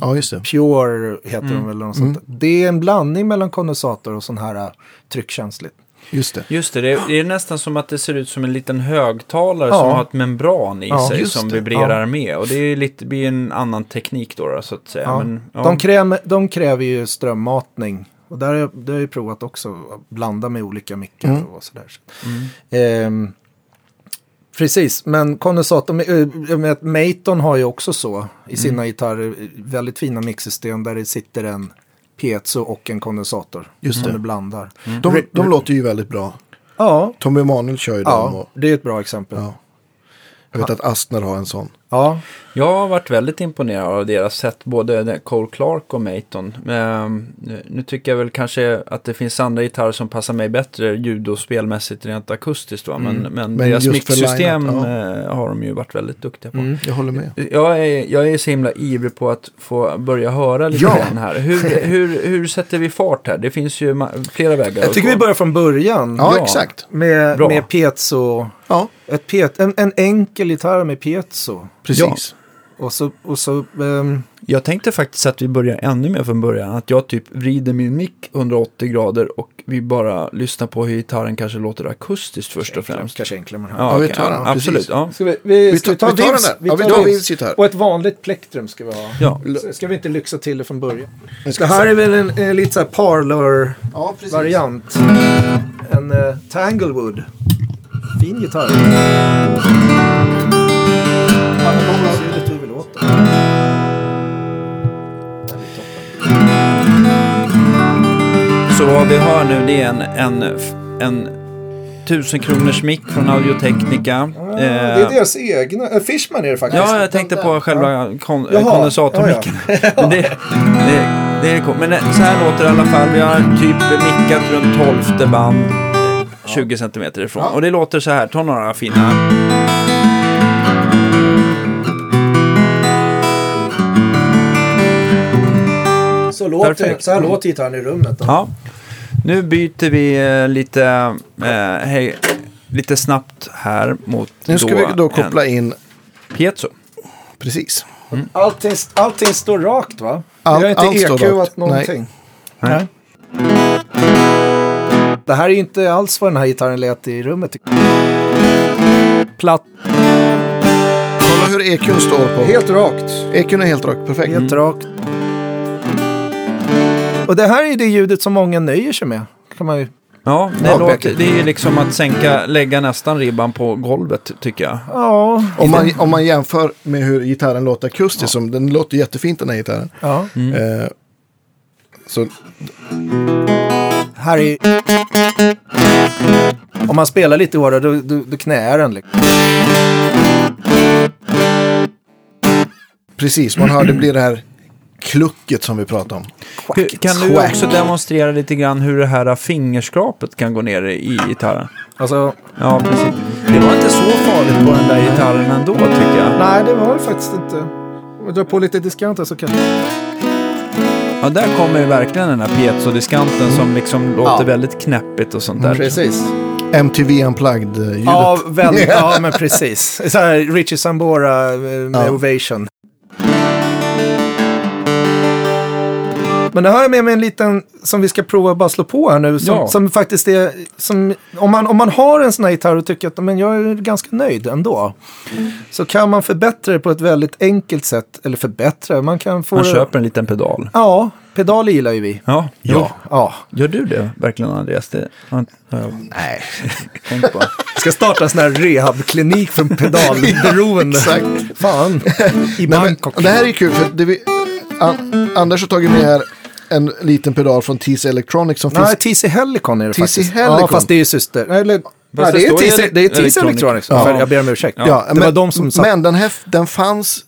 Speaker 2: Ja, just det.
Speaker 3: Pure heter de väl. eller Något sånt. Det är en blandning mellan kondensator och sån här uh, tryckkänsligt.
Speaker 2: Just det.
Speaker 1: Just det, det är, det är nästan som att det ser ut som en liten högtalare
Speaker 3: Ja.
Speaker 1: som har ett membran i
Speaker 3: Ja,
Speaker 1: sig
Speaker 2: just
Speaker 1: som
Speaker 2: det.
Speaker 1: vibrerar med. Och det är lite, blir en annan teknik då, då så att säga.
Speaker 3: Ja.
Speaker 1: Men, ja.
Speaker 3: De, kräver, de kräver ju strömmatning. Och där har jag, det har jag ju provat också. Att blanda med olika mickar
Speaker 2: Mm.
Speaker 3: och sådär. Så. Ehm, precis, men kondensator... eh, jag vet, Maton har ju också så i sina
Speaker 1: Mm.
Speaker 3: gitarrer. eh, Väldigt fina mixsystem där det sitter en piezo och en kondensator.
Speaker 2: Just
Speaker 3: som
Speaker 1: Mm.
Speaker 2: det.
Speaker 3: du blandar.
Speaker 2: De, de låter ju väldigt bra.
Speaker 3: Ja,
Speaker 2: Tommy Emanuel kör ju dem.
Speaker 3: ja,
Speaker 2: Och,
Speaker 3: det är ett bra exempel.
Speaker 2: ja. Jag vet att Astner har en sån.
Speaker 3: ja.
Speaker 1: Jag har varit väldigt imponerad av deras sätt, både den- Cole Clark och Maton. Ehm, nu- nu tycker jag väl kanske att det finns andra gitarrer som passar mig bättre ljud och spelmässigt rent akustiskt. Va? Men, men,
Speaker 2: Men
Speaker 1: deras
Speaker 2: just för
Speaker 1: mixsystem
Speaker 2: lineup,
Speaker 1: eh, har de ju varit väldigt duktiga på.
Speaker 3: Mm.
Speaker 2: Jag håller med.
Speaker 1: Jag är, jag är så himla ivrig på att få börja höra lite
Speaker 2: Ja.
Speaker 1: grann här. Hur, hur, hur sätter vi fart här? Det finns ju ma- flera vägar.
Speaker 3: Jag tycker vi
Speaker 1: börjar.
Speaker 3: börjar från början.
Speaker 2: Ja,
Speaker 1: Ja.
Speaker 2: exakt.
Speaker 3: Med,
Speaker 1: Bra.
Speaker 3: med piezo.
Speaker 2: Ja,
Speaker 3: Ett pet, en, en enkel gitarr med piezo.
Speaker 2: precis.
Speaker 3: Och så, och så ehm,
Speaker 1: Jag tänkte faktiskt att vi börjar ännu mer från början. Att jag typ vrider min mick 180 grader och vi bara lyssnar på hur gitarren kanske låter akustiskt först och
Speaker 3: enklare,
Speaker 1: främst.
Speaker 3: Kanske enklare med den här.
Speaker 1: Ja,
Speaker 2: Ja, vi
Speaker 1: okej,
Speaker 2: tar den,
Speaker 1: absolut.
Speaker 2: precis.
Speaker 1: Ja.
Speaker 3: Ska vi, vi,
Speaker 2: Vi
Speaker 3: ska vi
Speaker 2: tar-
Speaker 3: ta
Speaker 2: vi tar
Speaker 3: Vivs?
Speaker 2: den här. Ja, vi tar Vivs gitarr.
Speaker 3: Och ett vanligt plektrum ska vi ha.
Speaker 1: Ja.
Speaker 3: L- Ska vi inte lyxa till det från början?
Speaker 2: Jag ska
Speaker 3: Det här är väl en eh, lite så här parlor-variant.
Speaker 2: Ja, precis.
Speaker 3: En eh, Tanglewood. Fin gitarr. Fan, det kommer att se lite hur vi låter. Det här blir toppen.
Speaker 1: Så vad vi hör nu det är en, en, en 1000 kronors mick från Audio-Technica.
Speaker 3: Ah, Det är deras egna. eh, Fishman är det faktiskt.
Speaker 1: Eh. Ja, jag tänkte
Speaker 3: Den
Speaker 1: på
Speaker 3: där. Ja.
Speaker 1: själva kon-
Speaker 3: Jaha,
Speaker 1: kondensatormicken. Men det, det, det är coolt. Men det- så här låter det i alla fall. Vi har typ mickat runt 12 band, eh, 20 centimeter ifrån. Och det låter så här. Ta några fina.
Speaker 3: Så, låter,
Speaker 1: Perfekt.
Speaker 3: så här låter gitarren i rummet. Då.
Speaker 1: Ja. Nu byter vi eh, lite, eh, hej, lite snabbt här mot
Speaker 2: Nu ska vi då koppla in,
Speaker 1: en piezo.
Speaker 2: precis.
Speaker 3: Allting, allting står rakt va?
Speaker 2: Allt-
Speaker 3: Vi har
Speaker 2: allt
Speaker 3: inte
Speaker 2: står
Speaker 3: EQat
Speaker 2: rakt.
Speaker 3: någonting.
Speaker 1: Nej.
Speaker 3: Det här är ju inte alls vad den här gitarren lät i rummet.
Speaker 1: Platt.
Speaker 2: Kolla hur EQn står på.
Speaker 3: Helt rakt.
Speaker 2: EQn är helt rakt, perfekt.
Speaker 3: Helt rakt. Och det här är det ljudet som många nöjer sig med. Kan man ju...
Speaker 1: Ja, det,
Speaker 2: Ja,
Speaker 1: låter,
Speaker 2: Beckett.
Speaker 1: det är ju liksom att sänka, lägga nästan ribban på golvet tycker jag.
Speaker 3: Ja.
Speaker 2: Om man, om man jämför med hur gitarren låter akustiskt, som den låter jättefint den här gitarren.
Speaker 3: ja.
Speaker 2: Eh, så
Speaker 3: Här är... Om man spelar lite hårdare då, då, då knäar den. Liksom.
Speaker 2: precis, man hör det blir det här klucket som vi pratar om.
Speaker 1: Hur, kan du
Speaker 2: Quack.
Speaker 1: också demonstrera lite grann hur det här fingerskrapet kan gå ner i gitarren?
Speaker 3: Alltså,
Speaker 1: Ja, precis. Det var inte så farligt på den där gitarren ändå tycker jag.
Speaker 3: nej det var det faktiskt inte. Om jag drar på lite diskant här så kan
Speaker 1: Ja, där kommer ju verkligen den här piezodiskanten som liksom låter väldigt knäppigt och sånt där.
Speaker 3: Mm, Precis.
Speaker 2: MTV Unplugged-ljudet.
Speaker 3: Ja, väldigt, ja, men precis. Så här, Richie Sambora eh, med
Speaker 2: Ja.
Speaker 3: Ovation. Men nu har jag med mig en liten som vi ska prova att bara slå på här nu. Som,
Speaker 1: Ja.
Speaker 3: som faktiskt är, som, om, man, om man har en sån här gitarr och tycker att men jag är ganska nöjd ändå. Så kan man förbättra det på ett väldigt enkelt sätt. Eller förbättra, man kan få
Speaker 1: Man
Speaker 3: det-
Speaker 1: köper en liten pedal.
Speaker 3: Ja, pedaler gillar ju vi.
Speaker 1: Ja,
Speaker 3: Ja. ja.
Speaker 1: Gör du det verkligen Andreas? Det har jag
Speaker 3: Nej.
Speaker 1: tänkt på.
Speaker 3: Ska starta en sån här rehabklinik från pedalberoende.
Speaker 2: exakt.
Speaker 3: Fan, i
Speaker 2: Nej, men,
Speaker 3: Bangkok.
Speaker 2: det här är kul för det vi, An, Anders har tagit med här en liten pedal från TC Electronics som
Speaker 3: Nej,
Speaker 2: finns.
Speaker 3: TC Helicon är det
Speaker 2: TC
Speaker 3: faktiskt. Ja,
Speaker 2: Helicon.
Speaker 3: fast det är ju syster. Eller, nej,
Speaker 1: det
Speaker 3: det, är
Speaker 1: står ju
Speaker 3: TC, det är TC Electronics.
Speaker 1: Electronics.
Speaker 3: Ja.
Speaker 1: Ja.
Speaker 3: Jag ber om ursäkt.
Speaker 1: Ja.
Speaker 3: det var de som satt.
Speaker 2: Men den här den fanns,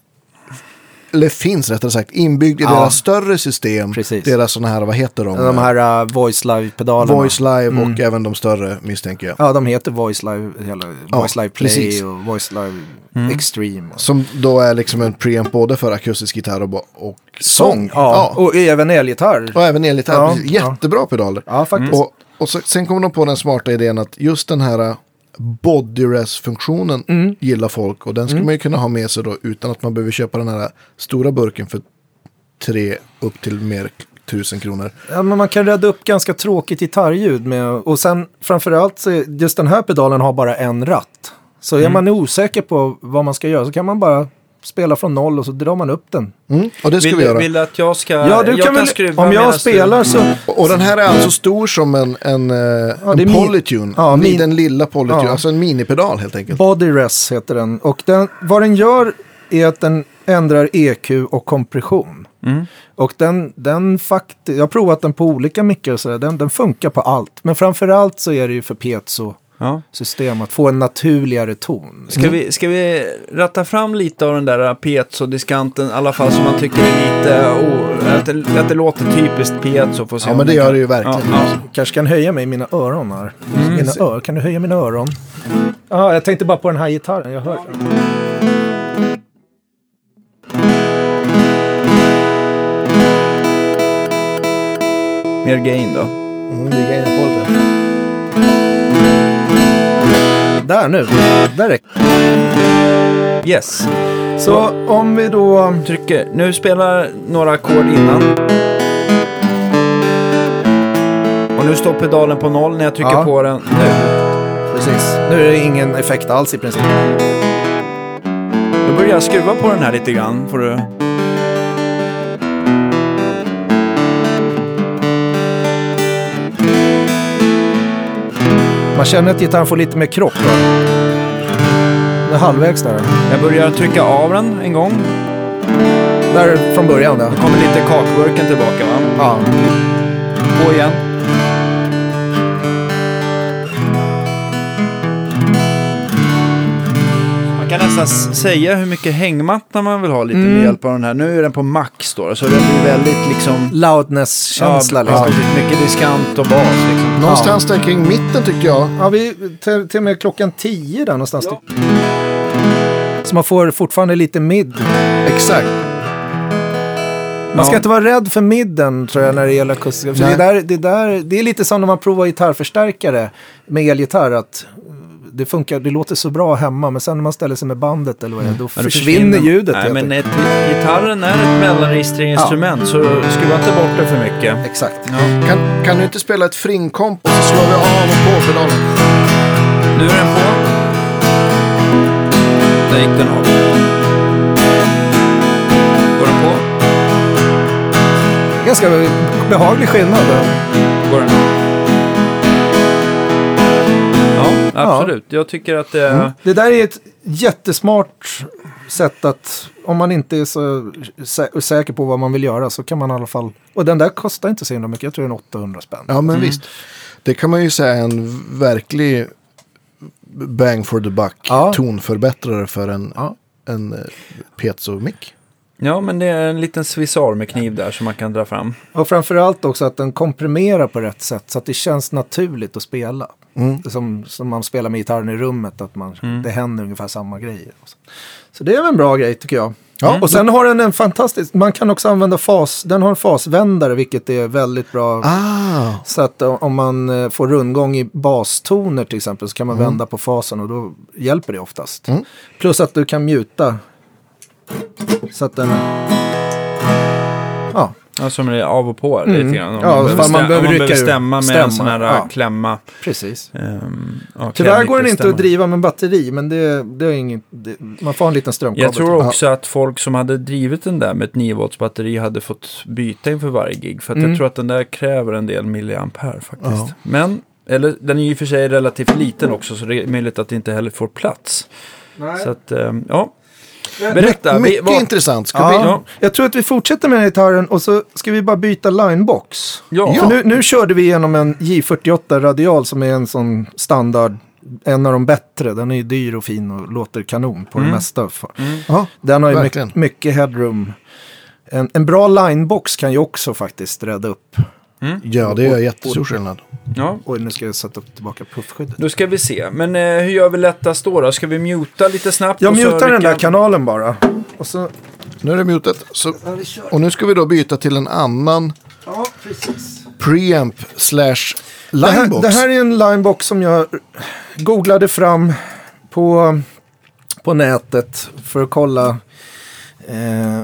Speaker 2: eller finns rättare sagt, inbyggd i
Speaker 3: Ja.
Speaker 2: deras större system.
Speaker 3: Precis.
Speaker 2: Deras sådana här, vad heter de?
Speaker 3: de här uh, Voice Live-pedalerna.
Speaker 2: Voice Live och
Speaker 3: Mm.
Speaker 2: även de större misstänker jag.
Speaker 3: Ja, de heter Voice Live, hela,
Speaker 2: Ja,
Speaker 3: Voice Live Play
Speaker 2: precis.
Speaker 3: och Voice Live Extreme. Och
Speaker 2: Som då är liksom en preamp både för akustisk gitarr och, ba- och sång.
Speaker 3: Ja,
Speaker 2: Ja.
Speaker 3: och även elgitarr.
Speaker 2: Och även enligt här,
Speaker 3: Ja,
Speaker 2: precis.
Speaker 3: ja. Mm.
Speaker 2: jättebra pedaler.
Speaker 3: Ja, faktiskt.
Speaker 2: Och, och så, sen kom de på den smarta idén att just den här uh, bodyrest-funktionen
Speaker 3: Mm.
Speaker 2: gillar folk. Och den skulle man ju kunna ha med sig då utan att man behöver köpa den här äh, stora burken för tre upp till mer k- tusen kronor.
Speaker 3: Ja, men man kan rädda upp ganska tråkigt gitarrljud. Med, och sen framförallt, så är- just den här pedalen har bara en ratt. Så är man osäker på vad man ska göra så kan man bara spela från noll och så drar man upp den.
Speaker 2: Mm. Och det ska
Speaker 1: Vill,
Speaker 2: vi göra.
Speaker 1: vill du att jag ska...
Speaker 3: Ja, du
Speaker 1: jag
Speaker 3: Eh, kan väl,
Speaker 1: skruva
Speaker 3: om
Speaker 1: medan
Speaker 3: jag
Speaker 1: du-
Speaker 3: spelar så...
Speaker 2: Och och den här är alltså stor som en, en, eh,
Speaker 3: det är
Speaker 2: en
Speaker 3: min-
Speaker 2: polytune.
Speaker 3: ja, min-
Speaker 2: Den lilla polytune,
Speaker 3: Ja.
Speaker 2: alltså en minipedal helt enkelt.
Speaker 3: Body Res heter den. Och den, vad den gör är att den ändrar EQ och kompression.
Speaker 1: Mm.
Speaker 3: Och den, den fakti- jag har provat den på olika mickar och sådär, den, den funkar på allt. Men framförallt så är det ju för piezo-system
Speaker 1: Ja.
Speaker 3: att få en naturligare ton.
Speaker 2: Mm.
Speaker 3: Mm.
Speaker 1: Ska, vi, ska vi ratta fram lite av den där piezo-diskanten, i alla fall som man tycker är lite... Oh, att, det, att det låter typiskt piezo. Får se
Speaker 2: Ja,
Speaker 1: om
Speaker 2: men det
Speaker 1: vi kan-
Speaker 2: gör det ju verkligen.
Speaker 1: Ja, ja.
Speaker 3: kanske kan höja mig i mina öron här. Mina öron. Kan du höja mina öron? Mm. Ja, jag tänkte bara på den här gitarren. Jag hör.
Speaker 1: Mer gain då.
Speaker 2: Mm, det är en polytune.
Speaker 3: Där nu. Där räcker
Speaker 1: Yes.
Speaker 3: Så om vi då...
Speaker 1: Trycker. Nu spelar några ackord innan. Och nu står pedalen på noll när jag trycker
Speaker 3: Ja.
Speaker 1: på den. Nu.
Speaker 3: Precis. Nu är det ingen effekt alls i princip.
Speaker 1: Då börjar jag skruva på den här lite grann. Får du...
Speaker 3: Man känner att gitarren får lite mer kropp. Då. Det är halvvägs där.
Speaker 1: Jag börjar trycka av den en gång.
Speaker 3: Där från början där.
Speaker 1: Då kommer lite kakburken tillbaka va.
Speaker 3: Ja.
Speaker 1: På igen. Man kan nästan s- säga hur mycket hängmatta man vill ha lite med
Speaker 3: Mm.
Speaker 1: hjälp av den här. Nu är den på max då, så den blir väldigt liksom...
Speaker 3: Loudness-känsla
Speaker 1: ja,
Speaker 3: liksom.
Speaker 1: precis. Mycket diskant och bas liksom.
Speaker 2: Någonstans där kring mitten tyckte jag.
Speaker 3: Ja, vi, till, till och med klockan tio där någonstans. Så man får fortfarande lite mid.
Speaker 2: Exakt.
Speaker 3: Man ska
Speaker 1: Ja.
Speaker 3: inte vara rädd för midden tror jag när det gäller akustiska. För det,
Speaker 2: Nej.
Speaker 3: där, det, där, det är lite som när man provar gitarrförstärkare med elgitarr. Att mm, det, funkar, det låter så bra hemma men sen när man ställer sig med bandet eller vad det är, då
Speaker 1: Ja,
Speaker 3: försvinner,
Speaker 1: det
Speaker 3: ljudet.
Speaker 1: Nej,
Speaker 3: helt
Speaker 1: men
Speaker 3: enkelt.
Speaker 1: ett, gitarren är ett mellanregistreringsinstrument, så skruva inte bort det för mycket.
Speaker 3: Exakt.
Speaker 1: Ja.
Speaker 2: Kan, kan du inte spela ett fringkomp och så slår vi av och på pedalen?
Speaker 1: Nu är den på. Där gick den av. Går den på?
Speaker 3: Ganska behaglig skillnad. då.
Speaker 1: Går den av? Ja, Mm. absolut. Jag tycker att det...
Speaker 3: Mm. Det där är ett jättesmart sätt att om man inte är så sä- säker på vad man vill göra så kan man i alla fall. Och den där kostar inte så himla mycket. Jag tror den är 800 spänn.
Speaker 2: Ja, men visst. Det kan man ju säga är en verklig bang for the buck
Speaker 3: Ja.
Speaker 2: tonförbättrare för en,
Speaker 3: Ja.
Speaker 2: en eh, piezo-mick.
Speaker 1: Ja, men det är en liten svissar med kniv där som man kan dra fram.
Speaker 3: Och framförallt också att den komprimerar på rätt sätt så att det känns naturligt att spela. Som, som man spelar med gitarren i rummet, att man, det händer ungefär samma grejer. och Så. så det är väl en bra grej tycker jag. Ja, och sen har den en fantastisk, man kan också använda fas, den har en fasvändare vilket är väldigt bra.
Speaker 2: Ah,
Speaker 3: Så att o- om man eh, får rundgång i bastoner till exempel så kan
Speaker 1: Mm.
Speaker 3: man vända på fasen och då hjälper det oftast.
Speaker 2: Mm.
Speaker 3: Plus att du kan mjuta. Så att den... Ja,
Speaker 1: Ja, som det är av och på lite grann. Om
Speaker 3: Mm. Ja,
Speaker 1: man, behöver
Speaker 3: ifall man
Speaker 1: stäm-
Speaker 3: behöver
Speaker 1: om man
Speaker 3: rycka
Speaker 1: behöver
Speaker 3: ur.
Speaker 1: stämma med
Speaker 3: Stämma,
Speaker 1: en sån här äh,
Speaker 3: ja.
Speaker 1: klämma.
Speaker 3: precis.
Speaker 1: ehm, ja,
Speaker 3: Tyvärr går den inte
Speaker 1: klämnyckelstämma.
Speaker 3: att driva med batteri men det, det är inget, det, man får ha en liten strömkabel.
Speaker 1: Jag tror också att folk som hade drivit den där med ett 9 volts batteri hade fått byta inför varje gig. För att
Speaker 3: Mm.
Speaker 1: jag tror att den där kräver en del milliampere faktiskt.
Speaker 2: Ja.
Speaker 1: Men, eller den är ju i och för sig relativt liten också så det är möjligt att det inte heller får plats.
Speaker 3: Nej.
Speaker 1: Så att, ehm, ja. Berätta. vi-
Speaker 2: mycket
Speaker 1: vad-
Speaker 2: intressant. Ska
Speaker 3: Ska
Speaker 2: vi...
Speaker 3: vi,
Speaker 1: ja.
Speaker 3: Jag tror att vi fortsätter med den här gitarren och så ska vi bara byta linebox.
Speaker 1: Ja.
Speaker 3: För nu, nu körde vi igenom en J48 radial som är en sån standard, en av de bättre. Den är ju dyr och fin och låter kanon på det
Speaker 1: Mm.
Speaker 3: mesta.
Speaker 2: Ja,
Speaker 3: Den har ju
Speaker 2: Verkligen.
Speaker 3: mycket, mycket headroom. En, en bra linebox kan ju också faktiskt rädda upp.
Speaker 2: ja, det gör jättestor skillnad.
Speaker 1: ja.
Speaker 3: Oj, nu ska jag sätta upp tillbaka puffskyddet.
Speaker 1: Då ska vi se. Men eh, hur gör vi lättast då? då? Ska vi muta lite snabbt?
Speaker 3: Jag
Speaker 1: och så
Speaker 3: mutar den
Speaker 1: rycka-
Speaker 3: där kanalen bara. Och så...
Speaker 2: Nu är det mutet. Så...
Speaker 3: Ja, vi kör.
Speaker 2: Och nu ska vi då byta till en annan
Speaker 3: Ja, precis.
Speaker 2: preamp slash
Speaker 3: Det här,
Speaker 2: linebox.
Speaker 3: det här är en linebox som jag googlade fram på, på nätet för att kolla eh,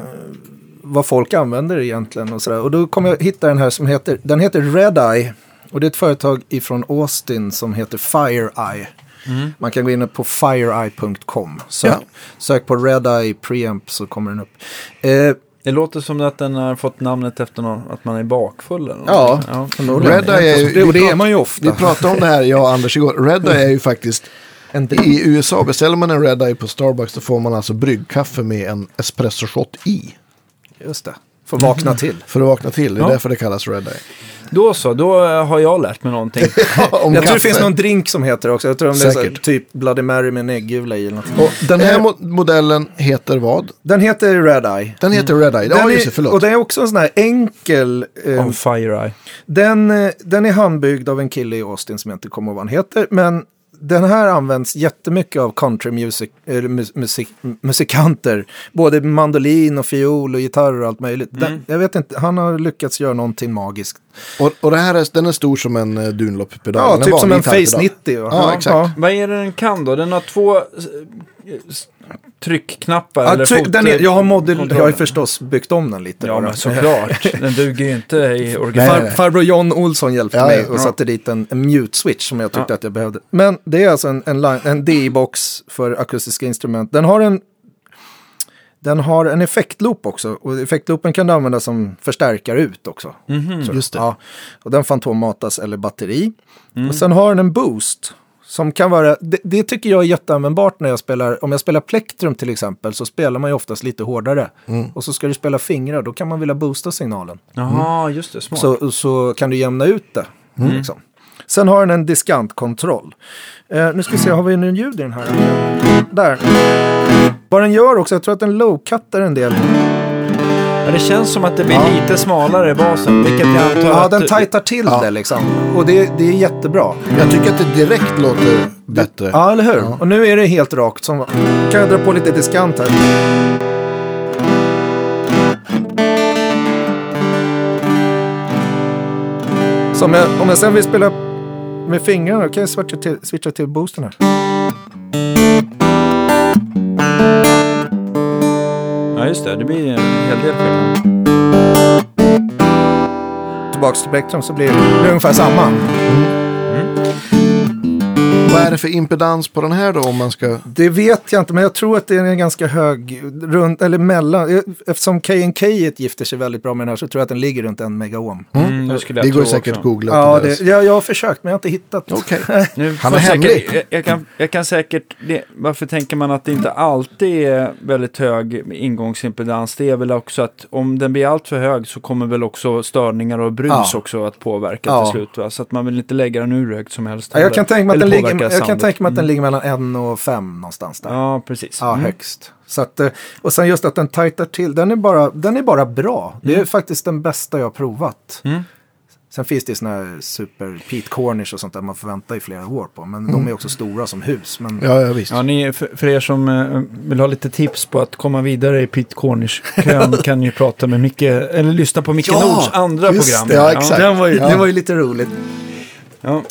Speaker 3: vad folk använder egentligen. Och, sådär. och då kom jag hitta den här som heter, den heter Red Eye. Och det är ett företag ifrån Austin som heter Fire Eye. Man kan gå in på fireeye.com. Sök,
Speaker 2: Ja.
Speaker 3: sök på Red Eye Preamp så kommer den upp. Eh,
Speaker 1: Det låter som att den har fått namnet efter någon, att man är bakfull eller något.
Speaker 3: Ja.
Speaker 2: Red Eye är ju-
Speaker 3: det, och
Speaker 2: vi
Speaker 3: det är
Speaker 2: prat-
Speaker 3: man ju ofta.
Speaker 2: Vi pratade om det här, jag och Anders igår. Red Eye är ju faktiskt,
Speaker 3: En del.
Speaker 2: i USA beställer man en Red Eye på Starbucks då får man alltså bryggkaffe med en espresso shot i.
Speaker 3: Just det, får vakna till.
Speaker 2: För att vakna till, det är
Speaker 1: Ja.
Speaker 2: därför det kallas Red Eye.
Speaker 1: Då så, då eh, har jag lärt mig någonting.
Speaker 2: Om
Speaker 3: jag tror det
Speaker 2: kaffe.
Speaker 3: finns någon drink som heter det också. Jag tror om det är så här,
Speaker 2: Säkert.
Speaker 3: typ Bloody Mary med en äggula i. Eller något.
Speaker 2: Och den
Speaker 3: Eh.
Speaker 2: här mo- modellen heter vad?
Speaker 3: Den heter Red Eye.
Speaker 2: Den heter Red Eye.
Speaker 3: Mm. Den
Speaker 2: Ja,
Speaker 3: är-
Speaker 2: just det,
Speaker 3: Och
Speaker 2: förlåt.
Speaker 3: den är också en sån här enkel. Eh,
Speaker 1: Om Fire Eye.
Speaker 3: den, eh, den är handbyggd av en kille i Austin som jag inte kommer ihåg vad han heter. Men den här används jättemycket av country music, eller mus- musik, musikanter. Både mandolin och fiol och gitarr och allt möjligt. Den,
Speaker 1: Mm.
Speaker 3: Jag vet inte, han har lyckats göra någonting magiskt.
Speaker 2: Och, och det här är, den är stor som en eh, Dunlop-pedal.
Speaker 3: Ja,
Speaker 2: En
Speaker 3: typ som
Speaker 2: vanlig
Speaker 3: en Face
Speaker 2: gitarrpedal.
Speaker 3: 90. va?
Speaker 2: Ja, exakt.
Speaker 1: Vad är det den kan då? Den har två eh, s- tryckknappar.
Speaker 3: Ja,
Speaker 1: eller
Speaker 3: tryck,
Speaker 1: fot-
Speaker 3: den är, jag, har modell, jag
Speaker 1: kontrollen.
Speaker 3: har ju förstås byggt om den lite.
Speaker 1: Ja,
Speaker 3: bara.
Speaker 1: men såklart. Den duger ju inte i
Speaker 2: Nej,
Speaker 1: originalet.
Speaker 3: Far, farbror John Olsson hjälpte
Speaker 2: Ja,
Speaker 3: mig
Speaker 2: ja.
Speaker 3: och satte dit en, en mute-switch som jag tyckte
Speaker 1: Ja.
Speaker 3: att jag behövde. Men det är alltså en, en, line- en DI-box för akustiska instrument. Den har en, den har en effektloop också. Och effektloopen kan du använda som förstärkare ut också.
Speaker 2: Mm, Just det. Mm.
Speaker 3: Ja, och den fantommatas eller batteri. Och sen har den en boost. Som kan vara, det, det tycker jag är jätteanvändbart när jag spelar, om jag spelar plektrum till exempel så spelar man ju oftast lite hårdare.
Speaker 2: Mm.
Speaker 3: Och så ska du spela fingrar, då kan man vilja boosta signalen.
Speaker 1: Jaha, just det. Smart.
Speaker 3: Så, så kan du jämna ut det. Liksom. Sen har den en diskantkontroll. Eh, nu ska vi se, har vi nu ljud i den här? Där. Vad den gör också, jag tror att den low-cuttar en del.
Speaker 1: Ja, det känns som att det blir lite smalare i basen. Vilket jag antar
Speaker 3: Ja,
Speaker 1: att...
Speaker 3: den tajtar till
Speaker 2: Ja.
Speaker 3: det liksom. Och det, det är jättebra.
Speaker 2: Jag tycker att det direkt låter bättre.
Speaker 3: Ja, eller hur? Och nu är det helt rakt. Som, kan jag dra på lite diskant här? Så om, jag, om jag sen vill spela med fingrarna kan jag switcha till, switcha till boosten här.
Speaker 1: Ja, just det. Det blir en hel del
Speaker 3: Mm.
Speaker 1: skillnad.
Speaker 3: Tillbaks till spektrum så blir det ungefär samma.
Speaker 2: Vad är det för impedans på den här då om man ska...
Speaker 3: Det vet jag inte, men jag tror att det är en ganska hög, runt, eller mellan. eh, Eftersom KNK gifter sig väldigt bra med den här så tror jag att den ligger runt en megaohm.
Speaker 1: Mm, det skulle jag
Speaker 2: Det går
Speaker 1: tro
Speaker 2: ju säkert
Speaker 1: också.
Speaker 2: att googla.
Speaker 3: Ja,
Speaker 2: till
Speaker 3: det,
Speaker 2: dess.
Speaker 3: jag, jag har försökt men jag har inte hittat.
Speaker 2: Okej.
Speaker 1: Nu
Speaker 2: Han
Speaker 1: får
Speaker 2: är
Speaker 1: jag
Speaker 2: hemlig.
Speaker 1: säkert, jag, jag, kan, jag kan säkert, det, varför tänker man att det inte alltid är väldigt hög ingångsimpedans? Det är väl också att om den blir allt för hög så kommer väl också störningar och brus
Speaker 3: Ja.
Speaker 1: också att påverka
Speaker 3: Ja.
Speaker 1: till slut. Va? Så att man vill inte lägga den hur högt som helst.
Speaker 3: Ja, jag kan
Speaker 1: heller.
Speaker 3: tänka mig att,
Speaker 1: Eller
Speaker 3: den
Speaker 1: påverka
Speaker 3: ligger, jag kan
Speaker 1: soundet. Mm.
Speaker 3: tänka mig att den ligger mellan 1 och 5 någonstans där. Ja,
Speaker 1: Ja, precis. Mm.
Speaker 3: högst. Så att, eh, och sen just att den tajtar till, den är bara, den är bara bra. Det är faktiskt den bästa jag har provat.
Speaker 1: Mm.
Speaker 3: Sen finns det såna här super Pete Cornish och sånt där man får vänta i flera år på. Men de är också stora som hus. Men
Speaker 2: Ja, ja visst.
Speaker 1: Ja, ni, för, för er som eh, vill ha lite tips på att komma vidare i Pete Cornish-kön kan ni prata med Micke, eller lyssna på Micke
Speaker 3: Ja,
Speaker 1: Nords andra
Speaker 2: just
Speaker 1: program.
Speaker 2: det, ja, exakt.
Speaker 3: den var ju,
Speaker 2: Ja.
Speaker 3: det var ju lite roligt.
Speaker 1: Ja.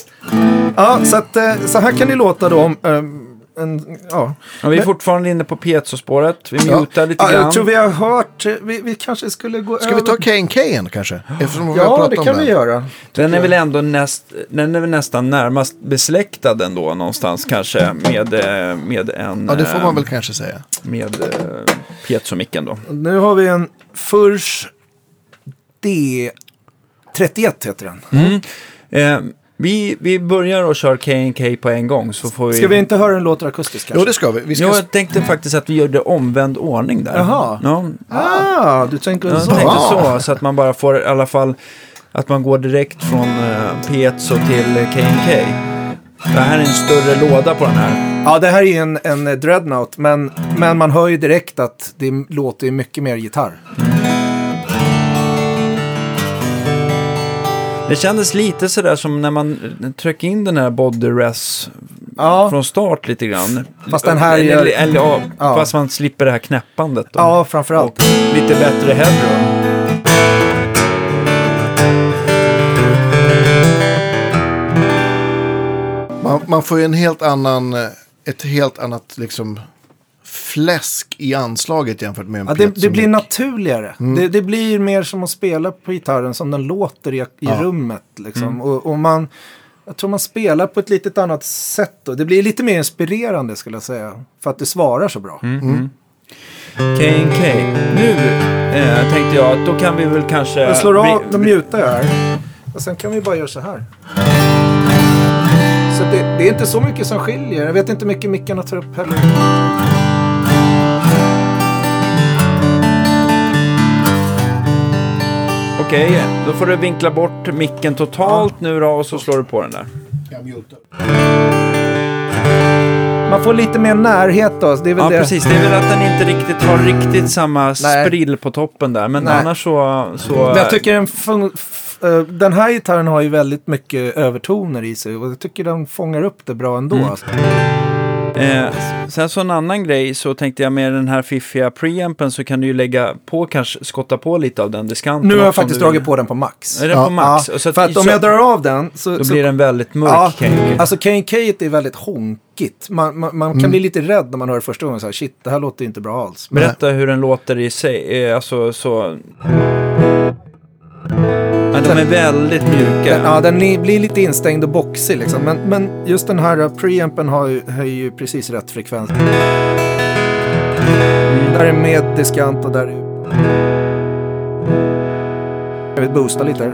Speaker 3: Ja, så, att, eh, så här kan det låta då. Om, eh, en, ja.
Speaker 1: Ja, vi är fortfarande inne på Piezo-spåret. Vi
Speaker 2: Ja.
Speaker 1: mutar lite
Speaker 3: Ja,
Speaker 1: grann.
Speaker 3: jag tror vi har hört, eh, vi, vi kanske skulle gå
Speaker 2: Ska vi
Speaker 3: över.
Speaker 2: ta KNK igen kanske? Eftersom vi har
Speaker 3: Ja,
Speaker 2: pratat
Speaker 3: det
Speaker 2: om
Speaker 3: kan vi göra.
Speaker 1: Den är väl ändå näst, den är väl nästan närmast besläktad ändå någonstans kanske med, eh, med en...
Speaker 2: Ja, det får
Speaker 1: eh,
Speaker 2: man väl kanske säga.
Speaker 1: Med eh, Piezo-micken då.
Speaker 3: Nu har vi en Furs D31 heter den.
Speaker 1: Mm. Eh, vi, vi börjar och kör KNK på en gång så får vi...
Speaker 3: Ska vi inte höra den låter akustiskt kanske?
Speaker 2: Jo, det ska vi. vi ska...
Speaker 1: Jo, jag tänkte faktiskt att vi gjorde omvänd ordning där.
Speaker 3: Jaha.
Speaker 1: Ja,
Speaker 3: Ah, du tänker
Speaker 1: jag
Speaker 3: så.
Speaker 1: tänkte
Speaker 3: Ah.
Speaker 1: så, så att man bara får i alla fall att man går direkt från eh, Piezo till eh, KNK. Det här är en större låda på den här.
Speaker 3: Ja, det här är ju en, en eh, dreadnought, men, men man hör ju direkt att det m- låter ju mycket mer gitarr.
Speaker 1: Det kändes lite sådär som när man eh, tryckte in den här body res
Speaker 3: Ja,
Speaker 1: från start lite grann.
Speaker 3: Fast den här
Speaker 1: eller,
Speaker 3: gör-
Speaker 1: eller, eller, ja,
Speaker 3: Ja.
Speaker 1: Fast man slipper det här knäppandet. Då.
Speaker 3: ja framförallt.
Speaker 1: Och lite bättre headroom.
Speaker 2: Man, man får ju en helt annan, eh, ett helt annat liksom fläsk i anslaget jämfört med en
Speaker 3: Ja, det,
Speaker 2: Pete
Speaker 3: det
Speaker 2: som-
Speaker 3: blir naturligare.
Speaker 1: Mm.
Speaker 3: Det, det blir mer som att spela på gitarren som den låter i, i rummet. Liksom.
Speaker 1: Mm.
Speaker 3: Och, och man, jag tror man spelar på ett litet annat sätt. Då. Det blir lite mer inspirerande skulle jag säga. För att det svarar så bra.
Speaker 1: Mm. KNK. Nu eh, tänkte jag att då kan vi väl kanske...
Speaker 3: Jag slår av,
Speaker 1: vi-
Speaker 3: nu mutar jag här. Och sen kan vi bara göra så här. Så det, det är inte så mycket som skiljer. Jag vet inte hur mycket mickarna tar upp heller.
Speaker 1: Okej, då får du vinkla bort micken totalt nu då och så slår du på den där.
Speaker 3: Man får lite mer närhet då. Det är väl
Speaker 1: Ja,
Speaker 3: det.
Speaker 1: precis. Det är väl att den inte riktigt har riktigt samma
Speaker 3: Nej.
Speaker 1: sprill på toppen där. Men
Speaker 3: Nej.
Speaker 1: annars så... så
Speaker 3: Men jag tycker den, fång- f- eh, den här gitarren har ju väldigt mycket övertoner i sig och jag tycker den fångar upp det bra ändå. alltså.
Speaker 1: Mm. eh, sen så en annan grej så tänkte jag med den här fiffiga preampen så kan du ju lägga på kanske, skotta på lite av den diskanten.
Speaker 3: Nu har jag
Speaker 1: också om
Speaker 3: faktiskt
Speaker 1: du vill.
Speaker 3: dragit på den på max.
Speaker 1: Är det på max?
Speaker 3: Ja,
Speaker 1: Så att-
Speaker 3: för att om
Speaker 1: så-
Speaker 3: jag drar av den så...
Speaker 1: Då
Speaker 3: så
Speaker 1: blir den väldigt mörk.
Speaker 3: ja,
Speaker 1: kan jag ju-
Speaker 3: Alltså Kane Kate är väldigt honkigt. Man, man, man kan
Speaker 1: Mm.
Speaker 3: bli lite rädd när man hör det första gången. Så här, Shit, det här låter ju inte bra alls.
Speaker 1: Berätta hur den låter i sig. Eh, Alltså så... Ja, de är väldigt mjuka.
Speaker 3: Den, ja, den är, blir lite instängd och boxig liksom.
Speaker 1: Mm.
Speaker 3: Men, men just den här eh, preampen har ju, har ju precis rätt frekvens.
Speaker 1: Mm.
Speaker 3: Där är med diskant och där är... Jag vill boosta lite här.